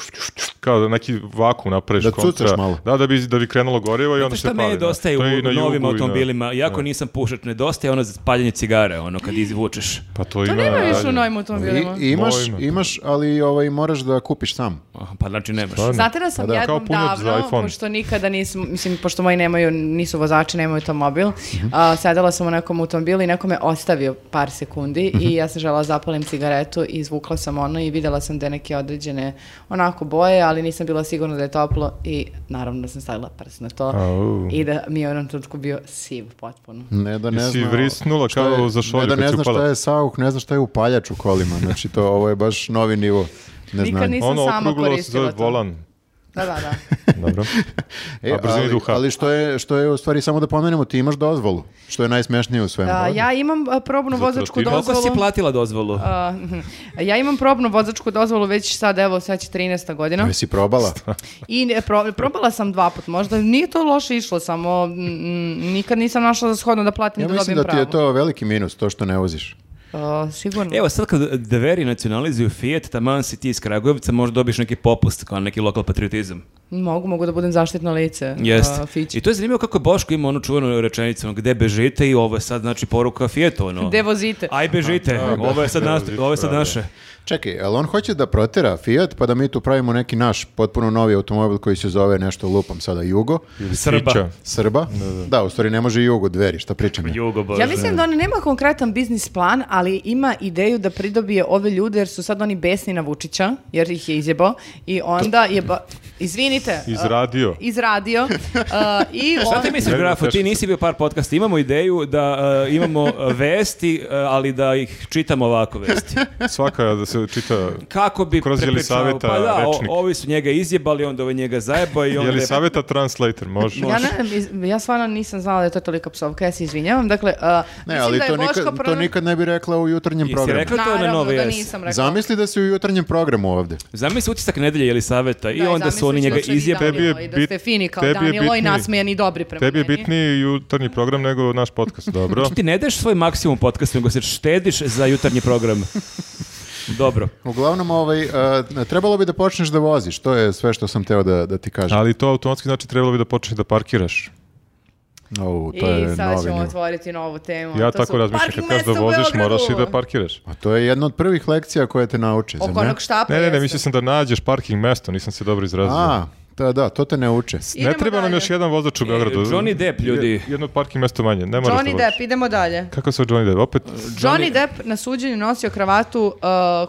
S2: kao da neki vakum napraviš
S1: Da cucaš malo.
S2: Da, da bi, da bi krenulo gorivo i
S3: Znate
S2: onda se
S3: šta
S2: pali.
S3: meni
S2: da.
S3: nedostaje
S2: To je i
S3: u
S2: na jugu i
S3: novim
S2: na-
S3: automobilima? Jako nisam pušač, nedostaje ono za paljenje cigare, ono kad izvučeš.
S2: Pa to,
S4: To
S2: ima
S4: nema više
S2: dalje.
S4: u novim automobilima.
S1: I, imaš,
S2: Mojima.
S1: imaš, ali ovaj, moraš da kupiš sam.
S3: Aha, Pa znači nemaš.
S2: Stvarno?
S4: Znate da sam
S1: Pa da.
S4: jednom
S2: Kao punjač za
S4: davno,
S2: iPhone.
S4: pošto nikada nisam, mislim, pošto moji nemaju, nisu vozači, nemaju automobil, a, sedela sam u nekom automobilu i neko me ostavio par sekundi i ja sam žela zapalim cigaretu i izvukla sam ono i vidjela sam da je neke određene onako boje, ali nisam bila sigurna da je toplo i naravno da sam stavila prst na to
S2: Au.
S4: i da mi je u jednom trenutku bio siv potpuno.
S1: Ne da ne
S2: Jesi
S1: zna-
S2: vrisnula
S1: šta
S2: kao
S1: je-
S2: za šolju
S1: Ne da
S2: kad
S1: ne
S2: si
S1: zna
S2: upala?
S1: šta je sauh, ne zna šta je upaljač u kolima. Znači to, ovo je baš novi nivo. Ne
S4: Nikad nisam
S2: Ono
S4: sama
S2: okruglo se
S4: koristila
S2: zove
S4: to.
S2: volan.
S4: Da, da, da.
S2: Dobro.
S1: E,
S2: A brzini
S1: ali,
S2: duha.
S1: ali što je, što je u stvari, samo da pomenemo, ti imaš dozvolu, što je najsmešnije u svemu.
S4: A, ja imam a, probnu
S2: Zato
S4: vozačku
S2: ti- Koliko
S3: Koliko
S4: dozvolu.
S3: si platila dozvolu?
S4: A, ja imam probnu vozačku dozvolu već sad, evo, sad će 13. godina.
S1: Jesi probala?
S4: I ne, pro- probala sam dva put, možda nije to loše išlo, samo mm, mm, nikad nisam našla za shodno da platim
S1: Ja
S4: da dobijem
S1: mislim da ti
S4: pravo.
S1: je to veliki minus, to što ne voziš.
S4: O, sigurno.
S3: Evo sad kad Deveri nacionalizuju Fiat, taman si ti iz Kragujevca, možda dobiš neki popust, kao neki lokal patriotizam.
S4: Mogu, mogu da budem zaštitno lice.
S3: Jeste.
S4: a, Fići.
S3: I to je zanimljivo kako je Boško ima onu čuvenu rečenicu, ono, gde bežite i ovo je sad znači poruka Fiatu, ono.
S4: Gde vozite?
S3: Aj bežite, ovo je sad, nas, ovo je sad naše.
S1: Čekaj, jel on hoće da protera Fiat pa da mi tu pravimo neki naš potpuno novi automobil koji se zove nešto lupam sada Jugo,
S3: Srba.
S2: Fića.
S1: Srba? Da, u stvari ne može Jugo dveri, šta pričam ja.
S3: Jugo, Bože.
S4: Ja mislim da on nema konkretan biznis plan, ali ima ideju da pridobije ove ljude jer su sad oni besni na Vučića, jer ih je izjebao i onda je... Ba... Izvinite. a,
S2: Izradio.
S4: izradio. a, i
S3: Šta
S4: on...
S3: ti misliš,
S2: Ne,
S3: Grafo, ti
S2: teško.
S3: nisi bio par podcasta, imamo ideju da e, imamo e, vesti, e, ali da ih čitamo ovako vesti.
S2: Svaka, se čita
S3: Kako bi
S2: kroz
S3: prepričao-
S2: Jelisaveta
S3: pa da, o-
S2: rečnik.
S3: ovi su njega izjebali, onda ovaj njega zajebao i onda...
S2: Jelisaveta translator, može?
S4: Ja, ne, iz- ja stvarno nisam znala da je to tolika psovka, ja se izvinjavam. Dakle, a,
S1: Ne,
S4: mislim
S1: ali
S4: da je
S1: to,
S4: Boško
S1: nikad, to
S4: prvo-
S1: nikad ne bi rekla u jutarnjem
S3: Jesi
S1: programu.
S3: rekla to na
S4: Naravno
S3: Novi
S4: da
S3: S?
S4: nisam rekla.
S1: Zamisli da si u jutarnjem programu ovde.
S3: Zamisli utisak nedelje Jelisaveta i
S4: Da,
S3: onda su
S4: zamislit
S3: oni
S4: ću
S3: njega
S4: slučaj i
S3: izjebali.
S2: Tebi je
S4: Danilo i Da
S2: bit-
S4: ste fini kao
S2: tebi je
S4: Danilo i
S2: bitniji-
S4: nasmejani i dobri prema
S2: Tebi je
S4: meni.
S2: bitniji jutarnji program nego naš podcast, dobro?
S3: Znači ti ne daješ svoj maksimum podcastu, nego se štediš za jutarnji program. Dobro.
S1: Uglavnom, ovaj, e, trebalo bi da počneš da voziš. To je sve što sam teo da, da ti kažem.
S2: Ali to automatski znači trebalo bi da počneš da parkiraš.
S1: Au, to je
S4: I sad
S1: novi
S4: ćemo
S1: nivo.
S4: otvoriti novu temu.
S2: Ja
S4: To
S2: tako
S4: su
S2: razmišljam,
S4: parking
S2: kad kažeš da
S4: mesta u
S2: voziš, moraš i
S4: Beogradu.
S2: da pa- parkiraš.
S1: A to je jedna od prvih lekcija koje te nauči. zar
S4: Oko
S1: ne?
S4: onog štapa
S2: Ne, ne, ne,
S4: pa jeste.
S2: mislio sam da nađeš parking mesto, nisam se dobro izrazio.
S1: A, da, da, to te ne uče.
S4: Idemo
S2: ne treba nam
S4: dalje.
S2: još jedan vozač u Beogradu.
S3: E, Johnny Depp, ljudi.
S2: Je- Jedno parking mesto manje, ne moraš da
S4: Johnny
S2: voziš.
S4: Depp, idemo dalje.
S2: Kako se Johnny Depp? Opet
S4: Johnny Depp na suđenju nosio kravatu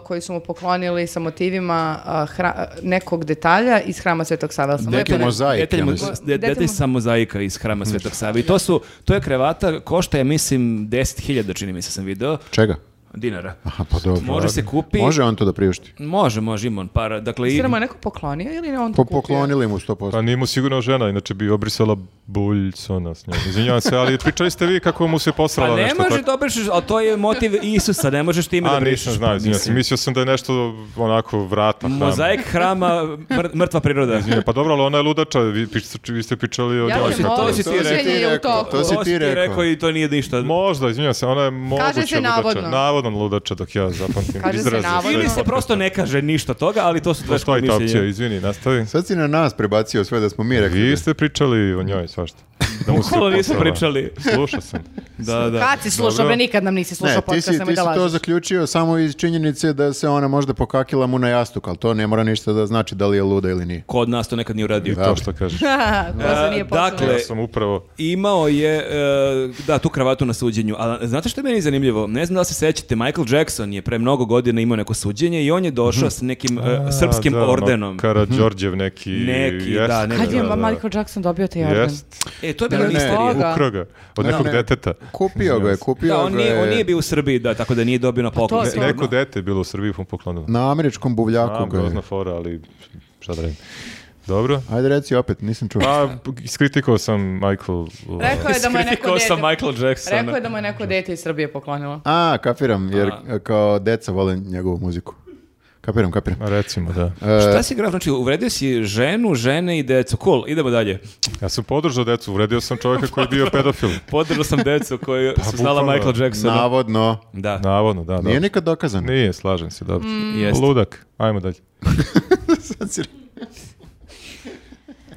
S4: uh, koju su mu poklonili sa motivima uh, hra- nekog detalja iz hrama Svetog Save. Sam
S1: Neki
S4: lepo-
S1: mozaik, ja
S3: Detalj, mo-
S1: mislim.
S3: de-
S4: Detalj
S3: detalj
S4: mo-
S3: sa mozaika iz hrama Svetog Save. I to su, to je krevata, košta je, mislim, 10.000, čini mi se sam video,
S1: Čega?
S3: dinara.
S1: Aha, pa dobro.
S3: Može se kupi.
S1: Može on to da priušti.
S3: Može, može, ima on para. Dakle, i,
S4: Jel mu je neko poklonio ili ne on to
S1: Po,
S4: kupio?
S1: poklonili mu 100%.
S2: Pa nije mu sigurno žena, inače bi obrisala buljcona s njom. Izvinjavam se, ali pričali ste vi kako mu se posrala
S3: pa ne
S2: nešto.
S3: može da obrišeš, ali to je motiv Isusa, ne možeš time da
S2: A,
S3: brišeš.
S2: nisam znao,
S3: pa
S2: izvinjavam se.
S3: mislim.
S2: Mislio sam da je nešto onako vratno.
S3: Mozaik hrama, mr- mrtva priroda.
S2: Pa dobro, ali ona je ludača, vi, pič- vi ste pričali o
S4: Ja
S2: njoj.
S4: sam
S2: kako-
S4: ovo
S3: to si ti
S4: suđenje
S1: rekao.
S4: je u toku.
S1: To si ti rekao.
S3: i to nije ništa.
S2: Možda, izvinjavam se, ona je moguća
S4: se navodno.
S2: ludača. Navodno ludača dok ja zapamtim.
S4: Kaže se
S2: izraze sa
S4: navodno.
S3: Ili se
S2: podcasta.
S3: prosto ne kaže ništa od toga, ali to su tvoje
S2: Postoji ta opcija,
S3: mišljenja.
S2: izvini, nastavi.
S1: Sad si na nas prebacio sve da smo mi rekli.
S2: Vi ste pričali o njoj svašta. Da mu se
S3: Bukvalno nismo
S2: posrala.
S3: pričali.
S2: Slušao sam.
S3: Da, da.
S4: Kad si slušao,
S2: Dobro.
S4: bre, nikad nam nisi slušao
S1: Ne, ti
S4: podcast,
S1: si,
S4: nemoj
S1: ti
S4: da
S1: si to
S4: lažeš.
S1: zaključio samo iz činjenice da se ona možda pokakila mu na jastuk, ali to ne mora ništa da znači da li je luda ili nije.
S3: Ko od nas to nekad nije uradio.
S2: To što kažeš.
S4: Ko se nije
S3: E,
S4: poklonio?
S3: dakle,
S2: Ja sam upravo...
S3: Imao je, e, da, tu kravatu na suđenju, ali znate što je meni zanimljivo? Ne znam da li se sećate, Michael Jackson je pre mnogo godina imao neko suđenje i on je došao s nekim e,
S2: A,
S3: srpskim
S2: da, ono,
S3: ordenom.
S2: Karađorđev neki.
S3: Neki,
S2: jest,
S3: da, neki.
S4: Kad je
S3: Da, da.
S4: Michael Jackson dobio taj orden?
S2: Jest.
S3: E, to je
S1: Ne,
S3: bila
S1: ne,
S3: misterija.
S4: Koga?
S2: Ukrao ga. Od
S1: Ne,
S2: nekog
S1: ne.
S2: deteta.
S1: Kupio ga je, kupio
S3: Da, on
S1: ga je
S3: nije, on nije bio u Srbiji, da, tako da nije dobio
S4: Pa
S3: na poklon.
S4: si-
S2: Neko dete je bilo u Srbiji mu poklonilo.
S1: na američkom buvljaku.
S2: Znam,
S1: ga je.
S2: grozna fora, ali šta da radim. Dobro.
S1: Ajde reci opet, nisam čuo.
S2: Pa, iskritikovao sam Michael.
S4: Rekao je da mu je neko
S3: Kritikao sam
S4: dete...
S3: Michael Jacksona.
S4: Rekao je da mu je neko dete iz Srbije poklonilo.
S1: A, kapiram, jer kao deca vole njegovu muziku. Kapiram, kapiram.
S2: Ma, Recimo, da.
S3: Šta si graf? Znači, uvredio si ženu, žene i decu. Cool, idemo dalje.
S2: Ja sam podržao decu, uvredio sam čovjeka koji je bio pedofil.
S3: Podržao sam decu koju su znala
S2: bukvalno.
S3: Michael Jacksona.
S1: Navodno.
S3: Da.
S2: Navodno, da, da.
S1: Nije nikad dokazano.
S2: Nije, slažem se, dobro.
S3: Jeste.
S2: Ludak, ajmo dalje.
S1: Sad si-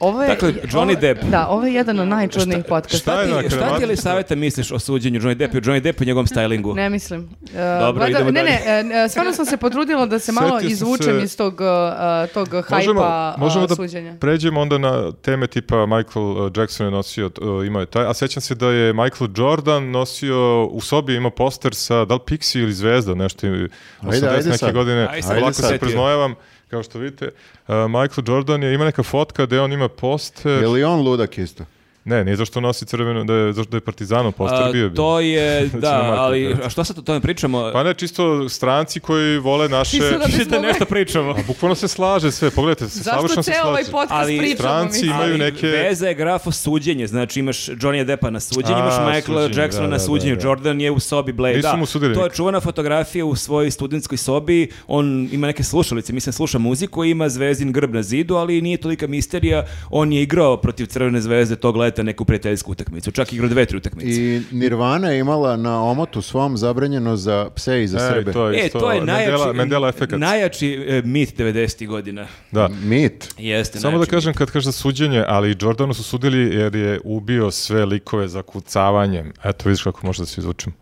S4: Ovo je,
S3: Dakle, Johnny
S4: ovo-
S3: Depp.
S4: Da, ovo je jedan od najčudnijih podcasta.
S2: šta je
S3: Šta
S2: na
S3: ti, šta
S2: kravati?
S3: ti Elisaveta misliš o suđenju Johnny Deppu i Johnny Deppu i njegovom stylingu?
S4: Ne mislim. E,
S3: Dobro,
S4: mada-
S3: idemo
S4: ne,
S3: dalje.
S4: ne, e, ne, stvarno sam se potrudila da se malo
S2: Setio sam
S4: izvučem
S2: se-
S4: iz tog, e, tog hajpa
S2: možemo
S4: e,
S2: da
S4: suđenja.
S2: pređemo onda na teme tipa Michael uh, Jackson je nosio, uh, imao je taj, a sećam se da je Michael Jordan nosio, u sobi ima poster sa, da li Pixi ili Zvezda, nešto ajde,
S1: Ajde, ajde
S2: 80 neke
S1: sad.
S2: godine,
S3: Ajde sad,
S2: ovako
S3: ajde
S2: se
S3: sad.
S2: preznojavam, kao što vidite, uh, Michael Jordan je, ima neka fotka gde on ima poster,
S1: Je li on ludak isto?
S2: ne, nije zašto nosi crveno, da je, zašto da je partizanov poster
S3: A,
S2: bio. bi.
S3: to je, da,
S2: Marko
S3: ali
S2: Perez.
S3: a što sad o tome pričamo?
S2: Pa ne, čisto stranci koji vole naše...
S4: Ti su da
S3: Mislim da
S4: bismo
S3: nešto pričamo.
S2: Bukvalno se slaže sve, pogledajte, se
S4: Zašto
S2: savršeno se
S4: ceo ovaj
S2: slaže.
S4: podcast
S3: Ali
S4: pričamo?
S2: stranci
S4: mislim?
S2: imaju
S3: Ali
S2: neke-
S3: Veza je grafo suđenje, znači imaš Johnny Deppa na suđenju,
S2: A,
S3: imaš Michaela
S2: suđenje,
S3: Jacksona
S2: da,
S3: na
S2: da,
S3: suđenju,
S2: da, da.
S3: Jordan je u sobi Blade.
S2: Nisu
S3: da.
S2: mu sudili
S3: to je
S2: nikad.
S3: čuvena fotografija u svojoj studentskoj sobi, on ima neke slušalice, mislim sluša muziku, ima zvezin grb na zidu, ali nije tolika misterija, on je igrao protiv Crvene zvezde tog leta neku prijateljsku utakmicu, čak igrao dve, tri utakmice.
S1: I Nirvana je imala na omotu svom zabranjeno za pse i za
S2: E,
S1: Srbe.
S2: to je,
S3: E,
S2: isto
S3: to je
S2: Mandela-
S3: najjači,
S2: Mandela efekat.
S3: najjači e, mit 90. godina.
S2: Da.
S1: Mit.
S3: Jeste,
S2: Samo da
S3: najjači
S2: kažem kad kažeš suđenje, ali Jordanu su sudili jer je ubio sve likove za kucavanjem. Eto vidiš kako može da se izvučem.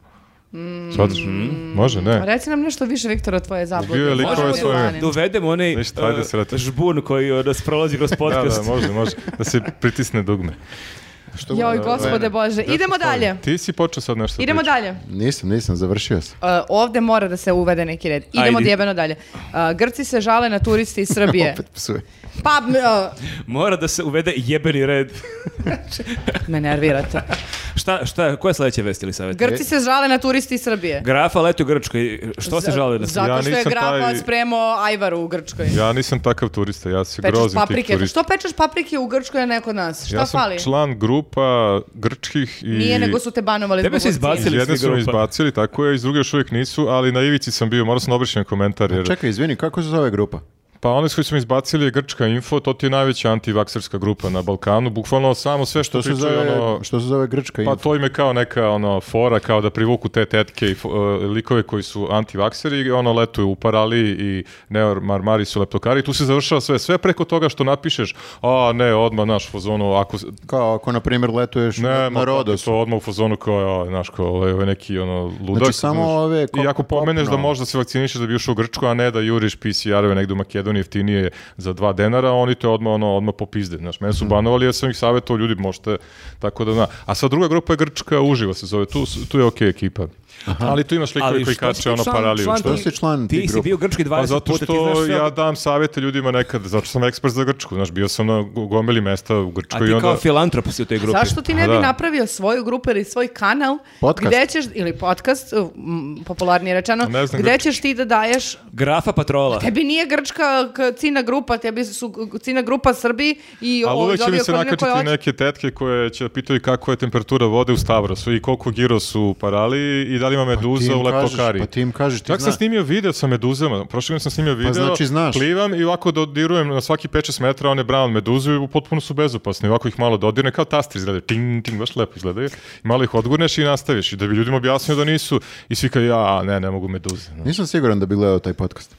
S4: Mm.
S2: Shvataš?
S3: Mhm.
S2: Može, ne?
S4: Reci nam nešto više, Viktor, o tvoje zablude.
S2: Bio je lik
S4: Možemo
S2: koji
S4: li
S2: svoje-
S4: u Lani?
S3: Dovedemo onaj
S2: Ništa, ajde
S3: uh,
S2: se vrati.
S4: Pa
S3: žbun koji uh, nas prolazi kroz
S2: Da,
S3: podcast.
S2: da, može, može. Da se pritisne dugme.
S1: Što
S4: Joj,
S1: mu-
S4: gospode
S1: Mene.
S4: bože. Idemo dalje.
S2: Ti si počeo sad nešto da
S4: Idemo
S2: pričaš.
S4: dalje.
S1: Nisam, nisam, završio sam.
S4: Uh, ovde mora da se uvede neki red. Idemo
S3: Ajde.
S4: djebeno dalje. Uh, Grci se žale na turiste iz Srbije.
S1: Opet psuje.
S4: pa, m, uh,
S3: Mora da se uvede jebeni red.
S4: me nervirate.
S3: šta, šta, koja je sledeća vest ili savjet?
S4: Grci se žale na turiste iz Srbije.
S3: Grafa leti u Grčkoj. Što se
S4: Za-
S3: žale na
S2: Ja
S4: Zato što je
S2: nisam
S4: grafa
S2: taj-
S4: spremo ajvaru u Grčkoj.
S2: Ja nisam takav turista, ja se
S4: Pečeš
S2: grozim tih
S4: paprike. pa
S2: turista.
S4: Što pečeš paprike u Grčkoj, a ne kod nas? Šta
S2: ja sam
S4: fali?
S2: član grupa grčkih i...
S4: Nije, nego su te banovali
S3: Tebe
S4: zbog
S3: su
S4: vakcine.
S3: izbacili.
S2: Iz jedne
S3: Svi
S2: su me
S3: grupa.
S2: izbacili, tako je, iz druge još uvijek nisu, ali na ivici sam bio, morao sam da obrišem komentar. Jer,
S1: Čekaj, izvini, kako se zove grupa?
S2: pa oni s koji su me izbacili je Grčka Info, to ti je najveća antivakserska grupa na Balkanu, bukvalno samo sve što,
S1: Što se
S2: pričaju,
S1: zove,
S2: ono,
S1: što se zove Grčka
S2: Pa
S1: info?
S2: to im je kao neka ono fora kao da privuku te tetke i fo- e, likove koji su antivakseri i ono letuju u parali i neomarmari su leptokari. Tu se završava sve, sve preko toga što napišeš, a ne, odmah naš fazonu, ako s-
S1: Kao ako, na primjer, letuješ
S2: ne,
S1: na
S2: ma, pa-
S1: Rodos.
S2: to odmah u fazonu kao, a, znaš, kao ovo je neki ono ludak.
S1: Znači, samo
S2: znaš.
S1: ove
S2: I
S1: ko-
S2: ako pomeneš da
S1: kopno.
S2: možda se vakcinišeš da bi ušao u Grčku, a ne da juriš PCR-ove negde u Makedoniji jeftinije za dva denara, oni te odmah, ono, odmah popizde. Znaš, mene
S3: Mhm.
S2: su banovali, ja sam ih savjetovao, ljudi, možete tako da zna. A sad druga grupa je Grčka, uživo se zove, tu, su- tu je okej ekipa. Ali tu imaš likove
S3: Ali
S2: koji
S3: što si ti
S2: kače ono
S3: član-
S2: paraliju.
S3: član
S2: Što-
S1: Što si član
S3: Ti
S1: tih
S3: si
S1: grupa?
S3: bio u Grčkoj 20
S2: pa zato
S3: puta, ti znaš
S2: što
S3: sve ono.
S2: ja
S3: od-
S2: dam savete ljudima nekad, zato što sam ekspert za Grčku, znaš, bio sam na gomeli mesta u
S3: A
S2: Grčkoj
S3: ti
S2: i onda...
S3: kao filantrop si u toj grupi.
S4: Zašto ti ne bi
S2: A, Pa da.
S4: napravio svoju grupu ili svoj kanal
S1: Podcast.
S4: gde ćeš, ili podcast, m, popularnije rečeno,
S2: Pa Ne znam
S4: gde
S2: grčki.
S4: ćeš ti da daješ,
S3: Grafa patrola.
S4: tebi nije grčka k- cina grupa, tebi su g- cina grupa Srbi i
S2: Ali
S4: ovi
S2: uvek će mi
S4: dobio
S2: se
S4: okoline
S2: nakačiti
S4: koje hoće.
S2: neke tetke koje će pitaju kako je temperatura vode u Stavrosu i koliko giros u Paraliji i da li ima meduza
S1: Pa im
S2: u Leptokari.
S1: kažeš, pa ti im kažeš, ti
S2: Čak sam
S1: znaš.
S2: snimio video sa meduzama. Prošle godine sam snimio video.
S1: znači znaš.
S2: Plivam i ovako dodirujem na svaki 5-6 metara one brown meduze i potpuno su bezopasne. Ovako ih malo dodirne, kao tastri izgledaju. Ting, ting, baš lepo izgledaju. I malo ih odgurneš i nastaviš. I da bi ljudima objasnio da nisu. I svi kao ja, ne, ne mogu meduze.
S1: Nisam siguran da bi gledao taj podcast.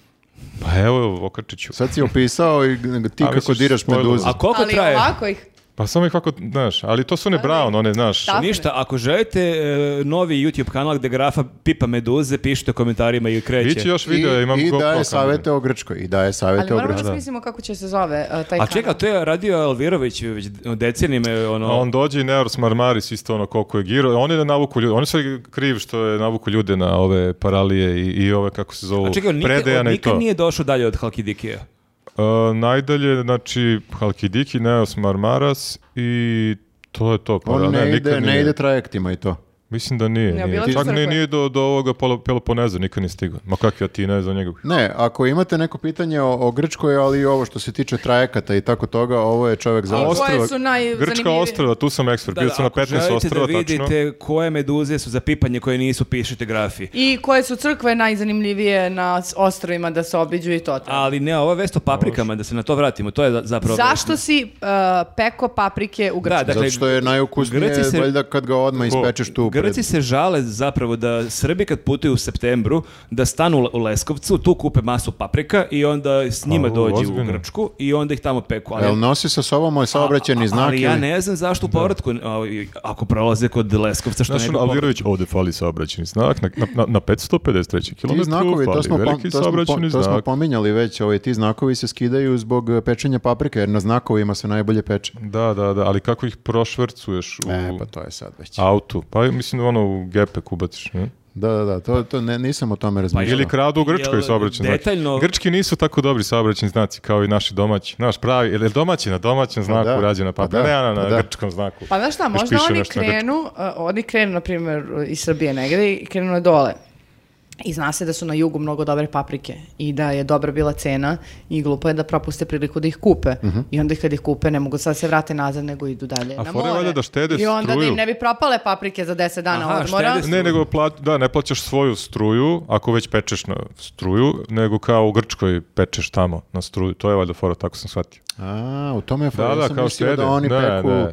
S2: Pa evo, okačiću.
S1: Sad si opisao i ti
S2: A,
S1: kako
S2: misliš,
S1: diraš
S2: spoiler.
S1: meduze.
S3: A koliko
S4: Ali
S3: traje?
S4: ovako ih,
S2: Pa samo ih ovako, znaš, ali to su one brown, one, znaš.
S4: Tako.
S3: Ništa, ako želite e, novi YouTube kanal gde grafa pipa meduze, pišite u komentarima i
S2: Biće
S3: kreće.
S2: još video, imam
S1: I, i
S2: GoPro
S1: daje
S2: kameru.
S1: savete o Grčkoj. I daje
S4: ali
S1: savete o
S4: moramo
S1: Grčkoj.
S4: da smislimo kako će se zove uh, taj
S3: A
S4: kanal.
S3: čeka, to je radio Alvirović već decenijima. je Ono,
S2: A on dođe i Neors Marmaris isto ono koliko je giro. On je da navuku ljude. On je sve kriv što je navuku ljude na ove paralije i, i ove kako se zovu
S3: A čekaj, on nikad, on
S2: predejane i
S3: nikad
S2: to.
S3: nije došao dalje od Halkidikija.
S2: E, najdalje, znači, Halkidiki, Neors Marmaras i to je to.
S1: On
S2: Paralije.
S1: ne ide,
S2: nikad
S1: ne
S2: nije.
S1: ide trajektima i to.
S2: Mislim da nije.
S4: Ne
S2: nije.
S4: obilazi
S2: Čak
S4: crkve.
S2: nije, nije do, do ovoga Polo- Peloponeza, nikad nije stigao. Ma kakvi Atina je za njega.
S1: Ne, ako imate neko pitanje o, o Grčkoj, ali i ovo što se tiče trajekata i tako toga, ovo je čovjek za
S4: A
S1: vas.
S4: koje su najzanimljivije?
S2: Grčka ostrava, tu sam ekspert. Bio sam na
S3: ako
S2: 15
S3: želite
S2: ostrava,
S3: da vidite
S2: tačno.
S3: koje meduze su za pipanje koje nisu, pišite grafi.
S4: I koje su crkve najzanimljivije na s- ostrovima da se obiđu i to. to.
S3: Ali ne, ova vest o paprikama, da se na to vratimo, to je za- zapravo...
S4: Zašto si uh, peko paprike u Grčkoj?
S3: Da, dakle,
S1: Zato što je najukusnije,
S3: Grci se-
S1: valjda kad ga odmah
S2: Ko?
S1: ispečeš tu. pred-
S3: Grci se žale zapravo da Srbi kad putuju u septembru, da stanu u Leskovcu, tu kupe masu paprika i onda s njima
S2: A, u,
S3: dođu u
S2: ozbiljno?
S3: Grčku i onda ih tamo peku. Ali,
S1: Jel nosi sa sobom moj saobraćeni znak?
S3: ali ja
S1: ili-
S3: ne znam zašto u povratku, a, i- ako prolaze kod Leskovca, što
S2: Znaš,
S3: ne bi
S2: ono,
S3: povratku.
S2: Alvirović, ovde fali saobraćeni znak na, na, na- na 553 km.
S1: Ti znakovi, to smo, pom-
S2: veliki
S1: to, smo,
S2: saobraćeni
S1: po- to smo
S2: znak.
S1: pominjali već, ovaj, ti znakovi se skidaju zbog eh, pečenja paprike, jer na znakovima se najbolje peče.
S2: Da, da, da, ali kako ih prošvercuješ u
S1: E, pa to je sad već.
S2: autu? Pa mislim da ono u gepek ubaciš. Ne?
S1: Da, da, da, to, to ne, nisam o
S2: Pa
S1: tome razmišljao.
S2: Ili kradu u
S3: Pa Jel,
S2: Grčkoj saobraćeni
S3: detaljno-
S2: znak. Grčki nisu tako dobri saobraćeni znaci kao i naši domaći. Naš pravi, ili domaći na domaćem znaku
S1: da,
S2: urađena
S1: pa
S2: papira,
S1: da,
S2: ne na, na
S1: pa da.
S2: grčkom znaku.
S4: Pa znaš šta,
S2: Još
S4: možda
S2: piše
S4: oni
S2: nešto na grčkom.
S4: krenu, uh, oni krenu, na primjer, iz Srbije negde i krenu na dole. I zna se da su na jugu mnogo dobre paprike i da je dobra bila cena i glupo je da propuste priliku da ih kupe. I onda kad ih kupe ne mogu sad se vrate nazad nego idu dalje
S2: Mhm. A
S4: na
S2: fora je
S4: more.
S2: valjda da štede
S4: I onda da im
S2: struju.
S4: ne bi propale paprike za 10 dana
S3: Aha,
S4: odmora.
S3: štede-
S2: Ne, nego plat, da, ne plaćaš svoju struju, ako već pečeš na struju, nego kao u Grčkoj pečeš tamo na struju. To je valjda fora, tako sam shvatio.
S1: A, u tome je fora.
S2: Da,
S1: Ja
S2: da,
S1: sam
S2: kao
S1: mislio da
S2: štede.
S1: oni
S2: Da,
S1: peku,
S2: da.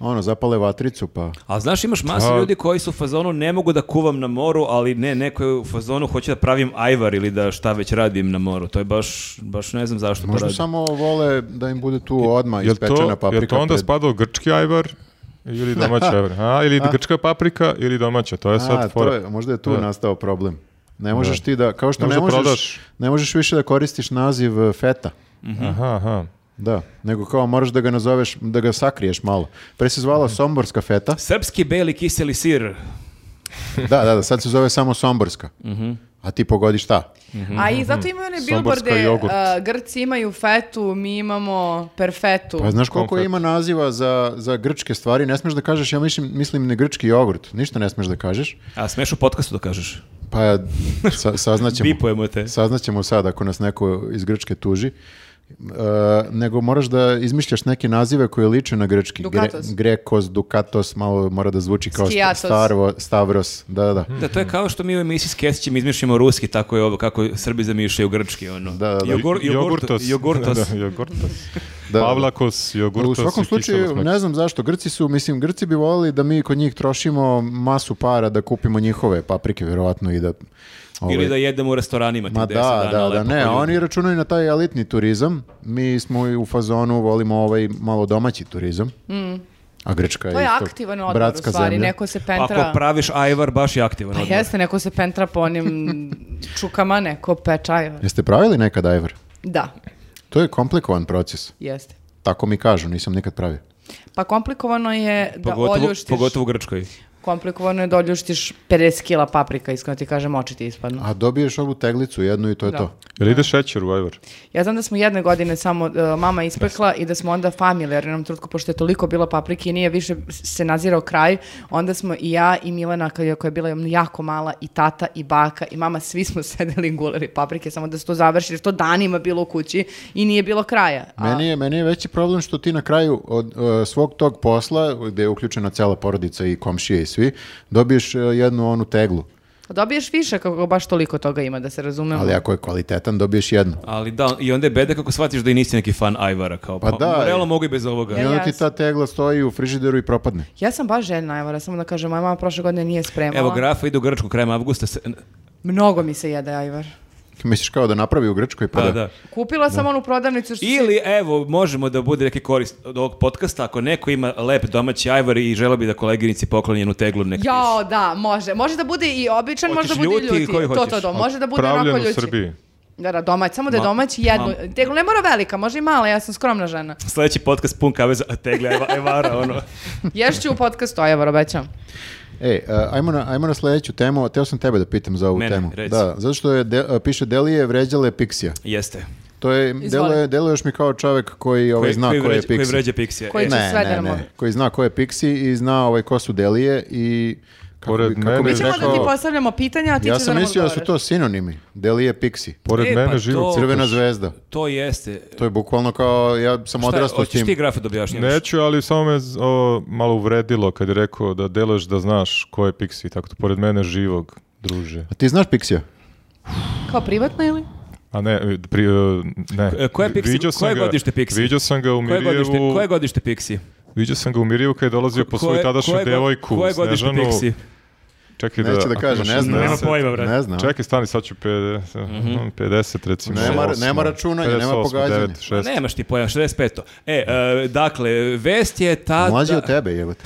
S1: ono, zapale vatricu, pa...
S3: A znaš, imaš masu
S2: A-
S3: ljudi koji su u fazonu ne mogu da kuvam na moru, ali ne, neko je u fazonu hoće da pravim ajvar ili da šta već radim na moru. To je baš, baš ne znam zašto to
S1: Možda
S3: radi.
S1: samo vole da im bude tu odmah
S2: Jel to,
S1: ispečena paprika.
S2: jel to onda
S1: pred-
S2: spada u grčki ajvar ili domaći ajvar? A, ili grčka paprika ili domaća, to je sad
S1: A, to
S2: fora.
S1: je, možda je tu
S2: Da.
S1: nastao problem. Ne možeš ti da, kao što
S2: Ne
S1: ne
S2: možeš da
S1: možeš,
S2: prodaš.
S3: Mhm.
S1: ne možeš više da koristiš naziv eh, e, feta.
S2: Aha, aha.
S1: Da, nego kao moraš da ga nazoveš, da ga sakriješ malo. Pre se
S2: Mhm.
S1: zvala Somborska feta.
S3: Srpski beli kiseli sir.
S1: Da, da, da, sad se zove samo Somborska.
S2: Mhm.
S1: A ti pogodi šta?
S4: A i zato imaju one
S2: Somborska
S4: bilborde,
S2: jogurt.
S4: uh, Grci imaju fetu, mi imamo perfetu.
S1: Pa znaš koliko
S2: Konfet.
S1: ima naziva za, za grčke stvari, ne smeš da kažeš, ja mislim, mislim ne grčki jogurt, ništa ne smeš da kažeš,
S3: A smeš u podcastu da kažeš.
S1: pa sa, saznaćemo.
S3: Bipujemo te.
S1: Saznaćemo sad ako nas neko iz Grčke tuži. E, nego moraš da izmišljaš neke nazive koje liče na grčki.
S4: Dukatos.
S1: Grekos, Dukatos, malo mora da zvuči kao
S4: Skiatos.
S1: Starvo, Stavros. Da, da, da.
S2: Mhm.
S3: Da, to je kao što mi u emisiji s Kesićem izmišljamo ruski, tako je ovo, kako Srbi zamišljaju grčki, ono.
S1: Da, da, da.
S3: Jogor- jogurtos. jogurtos.
S2: Da, da, jogurtos.
S1: Da, da.
S2: Pavlakos,
S1: U
S2: jogurtos.
S1: svakom
S2: i kiselo
S1: slučaju,
S2: smeće.
S1: ne znam zašto, Grci su, mislim, Grci bi volili da mi kod njih trošimo masu para da kupimo njihove paprike, vjerovatno, i da... ovaj,
S3: Ili da jedemo u restoranima.
S1: Ma da, da, da, ne, oni računaju na taj elitni turizam, mi smo i u fazonu, volimo ovaj malo domaći turizam, a Grčka je
S4: Mm. To je
S1: isto
S4: aktivan odmor u
S1: bratska
S4: stvari,
S1: zemlja.
S4: neko se pentra...
S3: Pa Ako praviš ajvar, baš je aktivan.
S4: Pa
S3: odmah.
S4: jeste, neko se pentra po onim čukama, neko pečajeva.
S1: Jeste pravili nekad ajvar?
S4: Da,
S1: To je komplikovan proces,
S4: jeste.
S1: tako mi kažu, nisam nikad pravio.
S4: Pa komplikovano je da
S3: Pogotovo,
S4: oljuštiš.
S3: pogotovo u Grčkoj.
S4: Komplikovano je da oljuštiš 50 kila paprika, iskreno ti kažem, oči ti ispadnu.
S1: A dobiješ ovu teglicu jednu i to je
S4: Da.
S1: to.
S2: Jel ide šećer u ajvar?
S4: Ja znam da smo jedne godine samo e, mama ispekla i da smo onda familijarni u jednom trutku, pošto je toliko bilo paprike i nije više se nazirao kraj, onda smo i ja i Milena, koja je- koja je bila jako mala, i tata i baka i mama, svi smo sedeli i gulali paprike, samo da se to završi, jer to danima bilo u kući i nije bilo kraja. A-
S1: Meni je, meni je veći problem što ti na kraju od e, svog tog posla, gdje je uključena cijela porodica i komšije i svi, dobiješ e, jednu onu teglu.
S4: Pa Dobiješ više kako baš toliko toga ima, da se razumemo.
S1: Ali ako je kvalitetan, dobiješ jednu.
S3: Ali da, i onda je beda kako shvatiš da i nisi neki fan ajvara. Kao,
S1: Pa
S3: pa,
S1: da,
S3: Realno
S1: i-
S3: mogu i bez ovoga.
S1: I
S4: Ja-
S1: onda ti ta tegla stoji u frižideru i propadne.
S4: Ja sam baš željna, evo, da samo da kažem, moja mama prošle godine nije spremala.
S3: Evo, grafa ide u Grčku krajem avgusta. se-
S4: Mnogo mi se jede, Ajvar.
S1: Misliš kao da napravi u Grčkoj? Pa
S3: Da,
S1: da.
S3: da.
S4: Kupila sam onu prodavnicu što si-
S3: Ili, evo, možemo da bude neki korist od ovog podcasta, ako neko ima lep domaći ajvar i žele bi da koleginici pokloni jednu teglu nek
S4: Jao, da, može. Može da bude i običan, može da
S3: Hoćeš
S4: bude i
S3: ljuti ili
S4: ljuti.
S3: koji
S4: To,
S3: hoćeš?
S4: to, to. Može da bude
S2: Pravljen
S4: onako
S2: u
S4: ljuti. E,
S2: Srbiji.
S4: Da, da, domać. Samo da je
S3: Ma-
S4: domać jednu. Teglu ne mora velika, može i mala, ja sam skromna žena.
S3: Sljedeći podcast pun kave za tegle ajva- ajvara, ono.
S4: Ješću u podcastu, Ajvar, obećam.
S1: Ej, e, ajmo na, ajmo na sledeću temu. Teo sam tebe da pitam za ovu
S3: Mene,
S1: temu.
S3: reci.
S1: Da, zato što je, de- e, piše Delije vređale Pixija.
S3: Jeste.
S1: To je, deluje, deluje još mi kao čovek koji ovaj, zna ko je
S3: vređa- Koji
S1: Pixi.
S3: vređa Pixija.
S4: Koji-
S3: E,
S4: će
S1: ne,
S4: sve da
S1: ne,
S4: nam
S1: ne.
S4: ode.
S1: Koji zna ko je Pixi i zna ovaj ko su Delije i... Kako,
S2: Pored
S1: bi, kako
S2: mene-
S1: bih
S4: Mi ćemo da
S1: rekao-
S4: ti postavljamo pitanja, a ti
S1: Ja
S4: ćeš da
S1: sam
S4: nam
S1: mislio da su
S4: odgovaraš.
S1: to sinonimi. Delije Pixi.
S2: Pored
S3: E, pa
S2: mene živi
S3: to-
S2: u
S1: Crvena zvezda.
S3: To jeste.
S1: To je bukvalno kao, ja sam
S3: Šta,
S1: odrastao s
S3: hoćeš ti
S1: tim.
S3: grafu da objašnjaš?
S2: Neću, ali samo me z- o, malo uvredilo kad je rekao da deluješ da znaš ko je Pixi, tako da pored mene živog, druže.
S1: A ti znaš Pixija?
S4: Kao privatno ili?
S2: A ne, pri, e,
S3: E,
S2: ne.
S3: ko je Pixi?
S2: Viđao sam
S3: Koje
S2: ga-
S3: godište Pixi?
S2: Viđao sam ga u
S3: Koje godište,
S2: Mirjevu,
S3: koje godište Pixi?
S2: viđao sam ga u Mirjevu kad je dolazio po svoju
S3: Koje-
S2: tadašnju
S3: koje go-
S2: devojku,
S3: Koje godište
S2: Snežanu.
S3: Pixi?
S2: Čekaj da...
S1: Neće da kaže, ne znam.
S3: Nema
S2: 60.
S3: pojma, Mhm. brate.
S1: Ne znam.
S2: Čekaj, stani, sad ću 50, mm 50 recimo.
S1: Nema-
S2: osam,
S1: nema računanja, nema
S2: 58,
S1: pogađanja.
S2: 9, 6.
S3: Nemaš ti pojma, 65. E, e, dakle, vest je ta...
S1: Mlađi
S3: da-
S1: od tebe, jebote.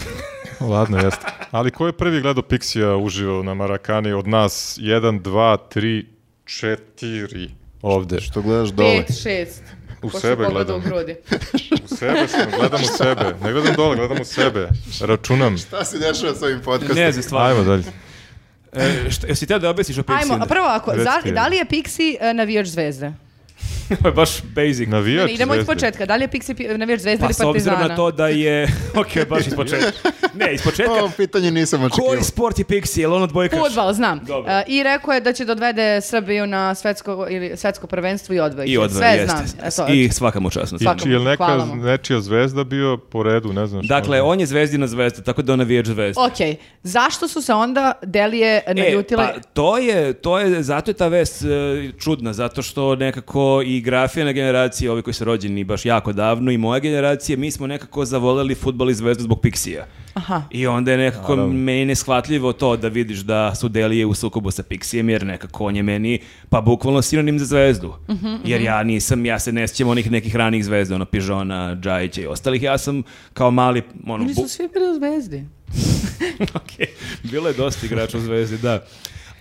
S2: Ladno, jeste. Ali ko je prvi gledao Pixija uživo na Marakani od nas? 1, 2, 3, 4 ovde.
S1: Što gledaš dole.
S4: Pet, šest.
S2: U
S4: Pošto
S2: sebe
S4: pogleda
S2: gledam.
S4: u grudi.
S2: U sebe sam, gledam u sebe. Ne gledam dole, gledam u sebe. Računam.
S1: Šta se dešava s ovim podcastom?
S3: Ne znam, stvarno.
S2: Ajmo dalje.
S3: E, šta- jesi teo da objasniš o Pixi?
S4: Ajmo, a prvo ako,
S2: Reci
S4: za-
S2: ti.
S4: da li je Pixi e, navijač zvezde?
S3: Ovo je baš basic.
S2: Navijač
S4: Ne, idemo iz
S2: Zvezde.
S4: početka. Da li je Pixi pi- navijač zvezde
S3: Pa
S4: ili
S3: s
S4: partizana?
S3: obzirom na to da je... Ok, baš iz početka. Ne, iz početka.
S1: Ovo pitanje nisam očekivao.
S3: Koji sport je Pixi? Jel on odbojkaš?
S4: Fudbal, znam.
S3: Dobro.
S4: E, I rekao je da će da odvede Srbiju na svetsko, ili, svetsko prvenstvo i odvoji.
S3: I odvoj,
S4: Sve
S3: jeste.
S4: znam. E, to,
S3: I svaka mu čast. na
S2: I
S3: tome.
S4: Svaka-
S2: či- jel neka
S4: Hvala vam.
S2: nečija zvezda bio po redu, ne znam što.
S3: Dakle, on je zvezdina zvezda, tako da on navijač zvezda.
S4: Ok, zašto su se onda Delije naljutile?
S3: E, pa to je, to je, zato je ta vest e, čudna, zato što nekako i grafijana generacija, ovi koji su rođeni baš jako davno i moja generacija, mi smo nekako zavoleli futbol i zvezdu zbog Pixija.
S4: Aha.
S3: I onda je nekako
S2: Naravno.
S3: meni neshvatljivo to da vidiš da su Delije u sukobu sa Pixijem, jer nekako on je meni, pa bukvalno sinonim za zvezdu.
S4: Mhm,
S3: Jer ja nisam, ja se ne sjećam onih nekih ranih zvezda, ono Pižona, Džajića i ostalih, ja sam kao mali, ono,
S4: Oni
S3: bu-
S4: su svi bili u zvezdi.
S3: Ok, bilo je dosta igrača u Zvezdi, da.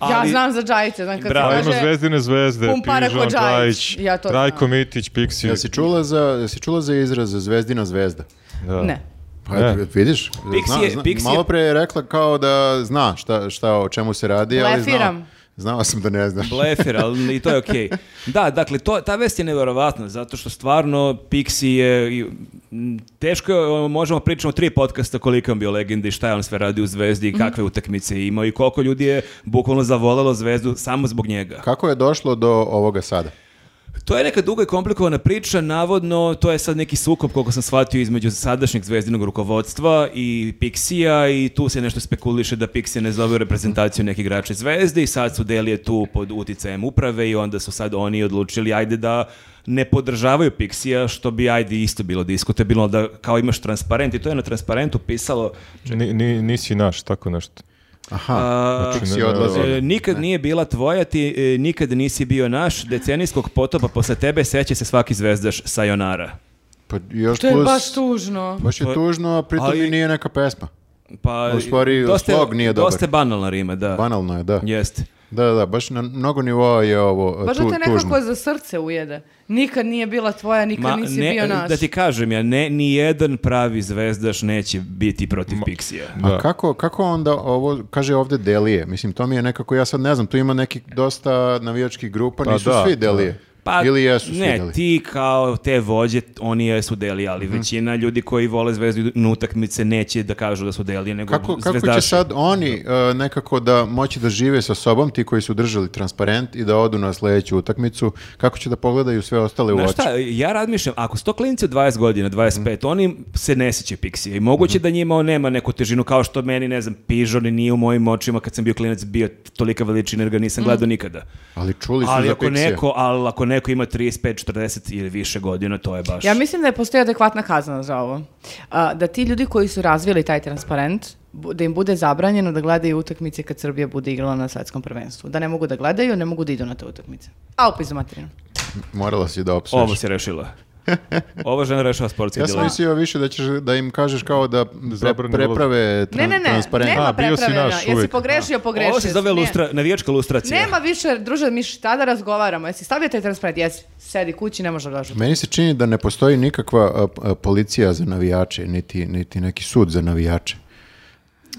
S4: Ja
S3: ali-
S4: znam za Džajića, znam kad
S3: Bravo.
S2: Pa
S4: se
S2: ima
S4: kaže...
S2: zvezdine zvezde,
S4: Pumpara
S2: Pižon,
S4: Kodžajić,
S2: Džajić,
S4: ja to znam.
S2: Rajko Mitić, Piksi.
S1: Jel si čula za, jel si čula za izraz zvezdina zvezda?
S2: Da.
S4: Ne.
S1: Pa
S2: Ne.
S1: eto, vidiš,
S3: Pixi je- Pixi je-
S1: malo pre je rekla kao da zna šta, šta o čemu se radi, ali znao,
S4: Blefiram.
S1: znao sam da ne znaš.
S3: Blefir, ali i to je okej. Da, dakle, to, ta vest je nevjerovatna, zato što stvarno Pixi je... i, m, Teško je, možemo pričati o tri podcasta koliko je on bio legenda i šta je on sve radio u Zvezdi i kakve utakmice je imao i koliko ljudi je bukvalno zavolalo Zvezdu samo zbog njega.
S1: Kako je došlo do ovoga sada?
S3: To je neka duga i komplikovana priča, navodno to je sad neki sukob koliko sam shvatio između sadašnjeg zvezdinog rukovodstva i Pixija i tu se nešto spekuliše da Pixija ne zove u reprezentaciju neki igrače zvezde i sad su Delije tu pod uticajem uprave i onda su sad oni odlučili ajde da ne podržavaju Pixija što bi ajde isto bilo diskutabilno da kao imaš transparent i to je na transparentu pisalo
S2: Ni, ni, nisi naš, tako nešto.
S1: Aha, znači,
S3: A,
S1: Pixi
S2: ne,
S1: odlazi.
S2: ne,
S3: E, nikad nije bila tvoja, ti e, nikad nisi bio naš, decenijskog potopa posle tebe seće se svaki zvezdaš Sayonara.
S1: Pa još
S4: To je
S1: plus,
S4: baš tužno.
S1: baš je tužno, a pritom
S3: Pa- Ali-
S1: i nije neka pesma.
S3: Pa,
S1: U stvari,
S3: dosta,
S1: slog nije dobar.
S3: Dosta je banalna rima, da.
S1: Banalno je, da.
S3: Jeste.
S1: Da, da, da, baš na mnogo nivoa je ovo
S4: Baš
S1: Pa tu,
S4: da te nekako
S1: tužno.
S4: za srce ujede. Nikad nije bila tvoja, nikad
S3: Ma,
S4: nisi
S3: ne,
S4: bio naš.
S3: Da ti kažem ja, ne, ni jedan pravi zvezdaš neće biti protiv Pixija.
S1: A
S2: Da.
S1: kako, kako onda ovo, kaže ovde delije, mislim to mi je nekako, ja sad ne znam, tu ima neki dosta navijačkih grupa,
S2: Pa
S1: nisu
S2: da,
S1: svi
S2: da.
S1: delije. Ili jesu svi
S3: Pa, ne,
S1: delije.
S3: ti kao te vođe, oni jesu deli, ali
S1: Mhm.
S3: većina ljudi koji vole zvezdu na utakmice neće da kažu da su deli, nego
S1: Kako, kako će
S3: zvezdaši.
S1: sad oni e, nekako da moći da žive sa sobom, ti koji su držali transparent i da odu na sledeću utakmicu, kako će da pogledaju sve ostale u
S3: Znaš
S1: oči?
S3: šta, ja razmišljam, ako su to klinci od 20 godina, 25,
S1: Mhm.
S3: oni se ne sjećaju Pixija i moguće da njima on nema neku težinu kao što meni, ne znam, Pižon nije u mojim očima kad sam bio klinac bio tolika veličina jer ga nisam gledao nikada.
S1: Ali Mhm. čuli su
S3: Ali
S1: za
S3: ako,
S1: Pixija.
S3: neko, ali ako neko ima 35, 40 ili više godina, to je baš...
S4: Ja mislim da je postoji adekvatna kazna za ovo. A, da ti ljudi koji su razvili taj transparent, bu- da im bude zabranjeno da gledaju utakmice kad Srbija bude igrala na svetskom prvenstvu. Da ne mogu da gledaju, ne mogu da idu na te utakmice. A opis za materinu.
S1: Morala si da opsuješ.
S3: Ovo si rešila. Ovo žena rešava sportske
S1: Ja sam
S3: dileme.
S1: mislio više da ćeš da im kažeš kao da pre,
S2: Zabrani
S1: preprave tra-
S4: Ne, ne, ne,
S1: transparent.
S4: nema
S2: A, bio si
S4: prepravljanja.
S2: naš
S4: Jesi
S2: uvijek.
S4: pogrešio, pogrešio.
S3: Ovo se
S4: si.
S3: zove
S4: Ne.
S3: lustra, navijačka lustracija.
S4: Nema više, druže, mi šta da razgovaramo. Jesi stavio taj transparent? Jesi, sedi kući, ne može da gledaš.
S1: Meni se čini da ne postoji nikakva a, a, policija za navijače, niti, niti neki sud za navijače.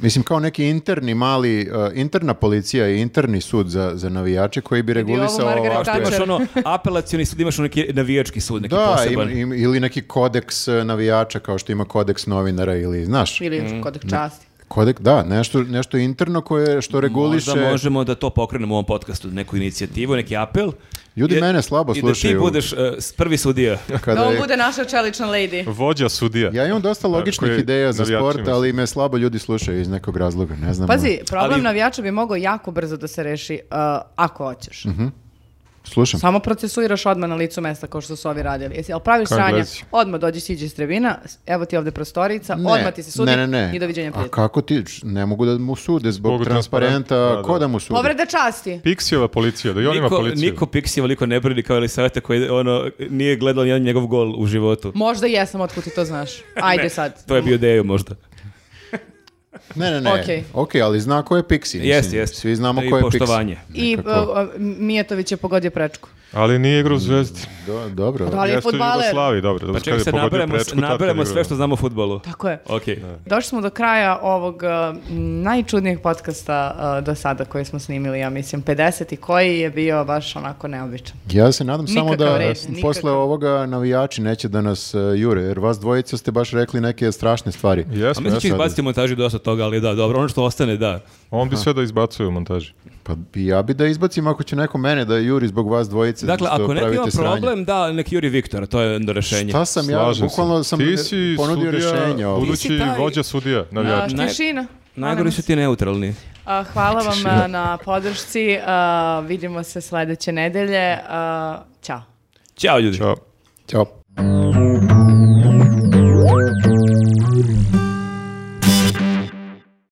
S1: Mislim, kao neki interni mali, a, interna policija i interni sud za, za navijače koji bi regulisao
S4: Margaret
S1: ovakve...
S4: Thatcher.
S3: Imaš ono apelacioni sud, imaš ono neki navijački sud, neki
S1: Da,
S3: poseban.
S1: im- im- ili neki kodeks e, navijača kao što ima kodeks novinara ili, znaš,
S4: Ili kodek časti.
S1: kodek, da, nešto, nešto interno koje što reguliše.
S3: Možda možemo da to pokrenemo u ovom podcastu, neku inicijativu, neki apel.
S1: Ljudi
S3: I-
S1: mene slabo
S3: I da
S1: slušaju.
S3: ti budeš e, s- prvi sudija.
S1: Kada
S4: Da on
S1: je-
S4: bude naša čelična lady.
S2: Vođa sudija.
S1: Ja imam dosta logičnih
S2: Koji
S1: ideja za
S2: navijačima
S1: sport,
S2: se-
S1: ali me slabo ljudi slušaju iz nekog razloga, ne znam.
S4: Pazi, problem
S3: Ali-
S4: navijača bi mogao jako brzo da se reši uh, ako hoćeš.
S1: ono, Slušam.
S4: Samo procesuiraš odmah na licu mesta kao što su ovi radili. Jesi, ali praviš
S2: Kao
S4: sranja,
S2: Englezi.
S4: odmah dođeš, siđeš s tribina, s- evo ti ovdje prostorica,
S1: Ne,
S4: Pa odmah ti se sudi
S1: ne, ne, ne.
S4: i doviđenja
S1: A
S4: prijatelja.
S1: kako ti, ne mogu da mu sude zbog
S2: Zbog transparenta,
S1: transparenta,
S2: da, da.
S1: ko da mu sude?
S4: Povreda časti.
S2: Piksijeva policija, da i on ima
S3: Niko,
S2: policiju.
S3: niko Pixijeva, niko ne brini kao Elisaveta koji ono, nije gledao nijedan njegov gol u životu.
S4: Možda jesam, otkud ti to znaš. Ajde sad.
S3: To je bio Dejo možda.
S2: Pa
S1: Ne, ne, ne.
S4: Okej.
S1: Ok, ali zna ko je Pixi. mislim,
S3: Jeste, jeste.
S1: Svi znamo
S3: I
S1: ko je Pixi.
S3: poštovanje.
S4: I
S1: Nekako.
S4: uh, uh, Mijatović je pogodio prečku.
S2: Ali nije igra u zvezdi.
S1: Do- dobro.
S4: Da, e, ali je
S2: Jeste u
S4: fudbaler.
S2: Jugoslaviji, dobro.
S3: Pa
S2: dobro,
S3: čekaj
S2: kad je
S3: se,
S2: pogodio
S3: naberemo,
S2: prečku, tad je
S3: naberemo
S2: igrao.
S3: sve što znamo o futbolu.
S4: Tako je.
S3: Ok.
S4: Došli smo do kraja ovog uh, m, najčudnijeg podcasta uh, do sada koji smo snimili, ja mislim, 50 i koji je bio baš onako neobičan.
S1: Ja se nadam samo
S4: Nikakav
S1: da
S4: red,
S1: s-
S4: nikakav.
S1: posle ovoga navijači neće da nas e, jure, jer vas dvojica ste baš rekli neke strašne stvari.
S3: A
S2: Jesmo,
S3: mislim ću
S2: jesmo.
S3: izbaciti u montaži dosta toga, ali da, dobro, ono što ostane, da.
S2: On bi sve da izbacuje u montaži.
S1: Pa bi- ja bi da izbacim ako će neko mene da juri zbog vas dvojice.
S3: Dakle,
S1: što
S3: ako neko
S1: pravite
S3: ima
S1: sranje.
S3: problem, da, nek Juri Viktora, to je onda rešenje.
S1: Šta sam
S2: Slažem
S1: ja, bukvalno
S2: se.
S1: sam
S2: Ti
S1: e,
S2: si
S1: ponudio
S2: sudija,
S1: rješenje ovdje.
S2: Budući
S4: Ti si taj-
S2: vođa sudija, navijač.
S4: Uh,
S3: Naj-
S4: tišina.
S3: Najgori su ti neutralni.
S4: A, hvala vam a, na podršci. a, vidimo se sledeće nedelje. a, Ćao.
S3: Ćao ljudi.
S2: Ćao.
S1: Ćao.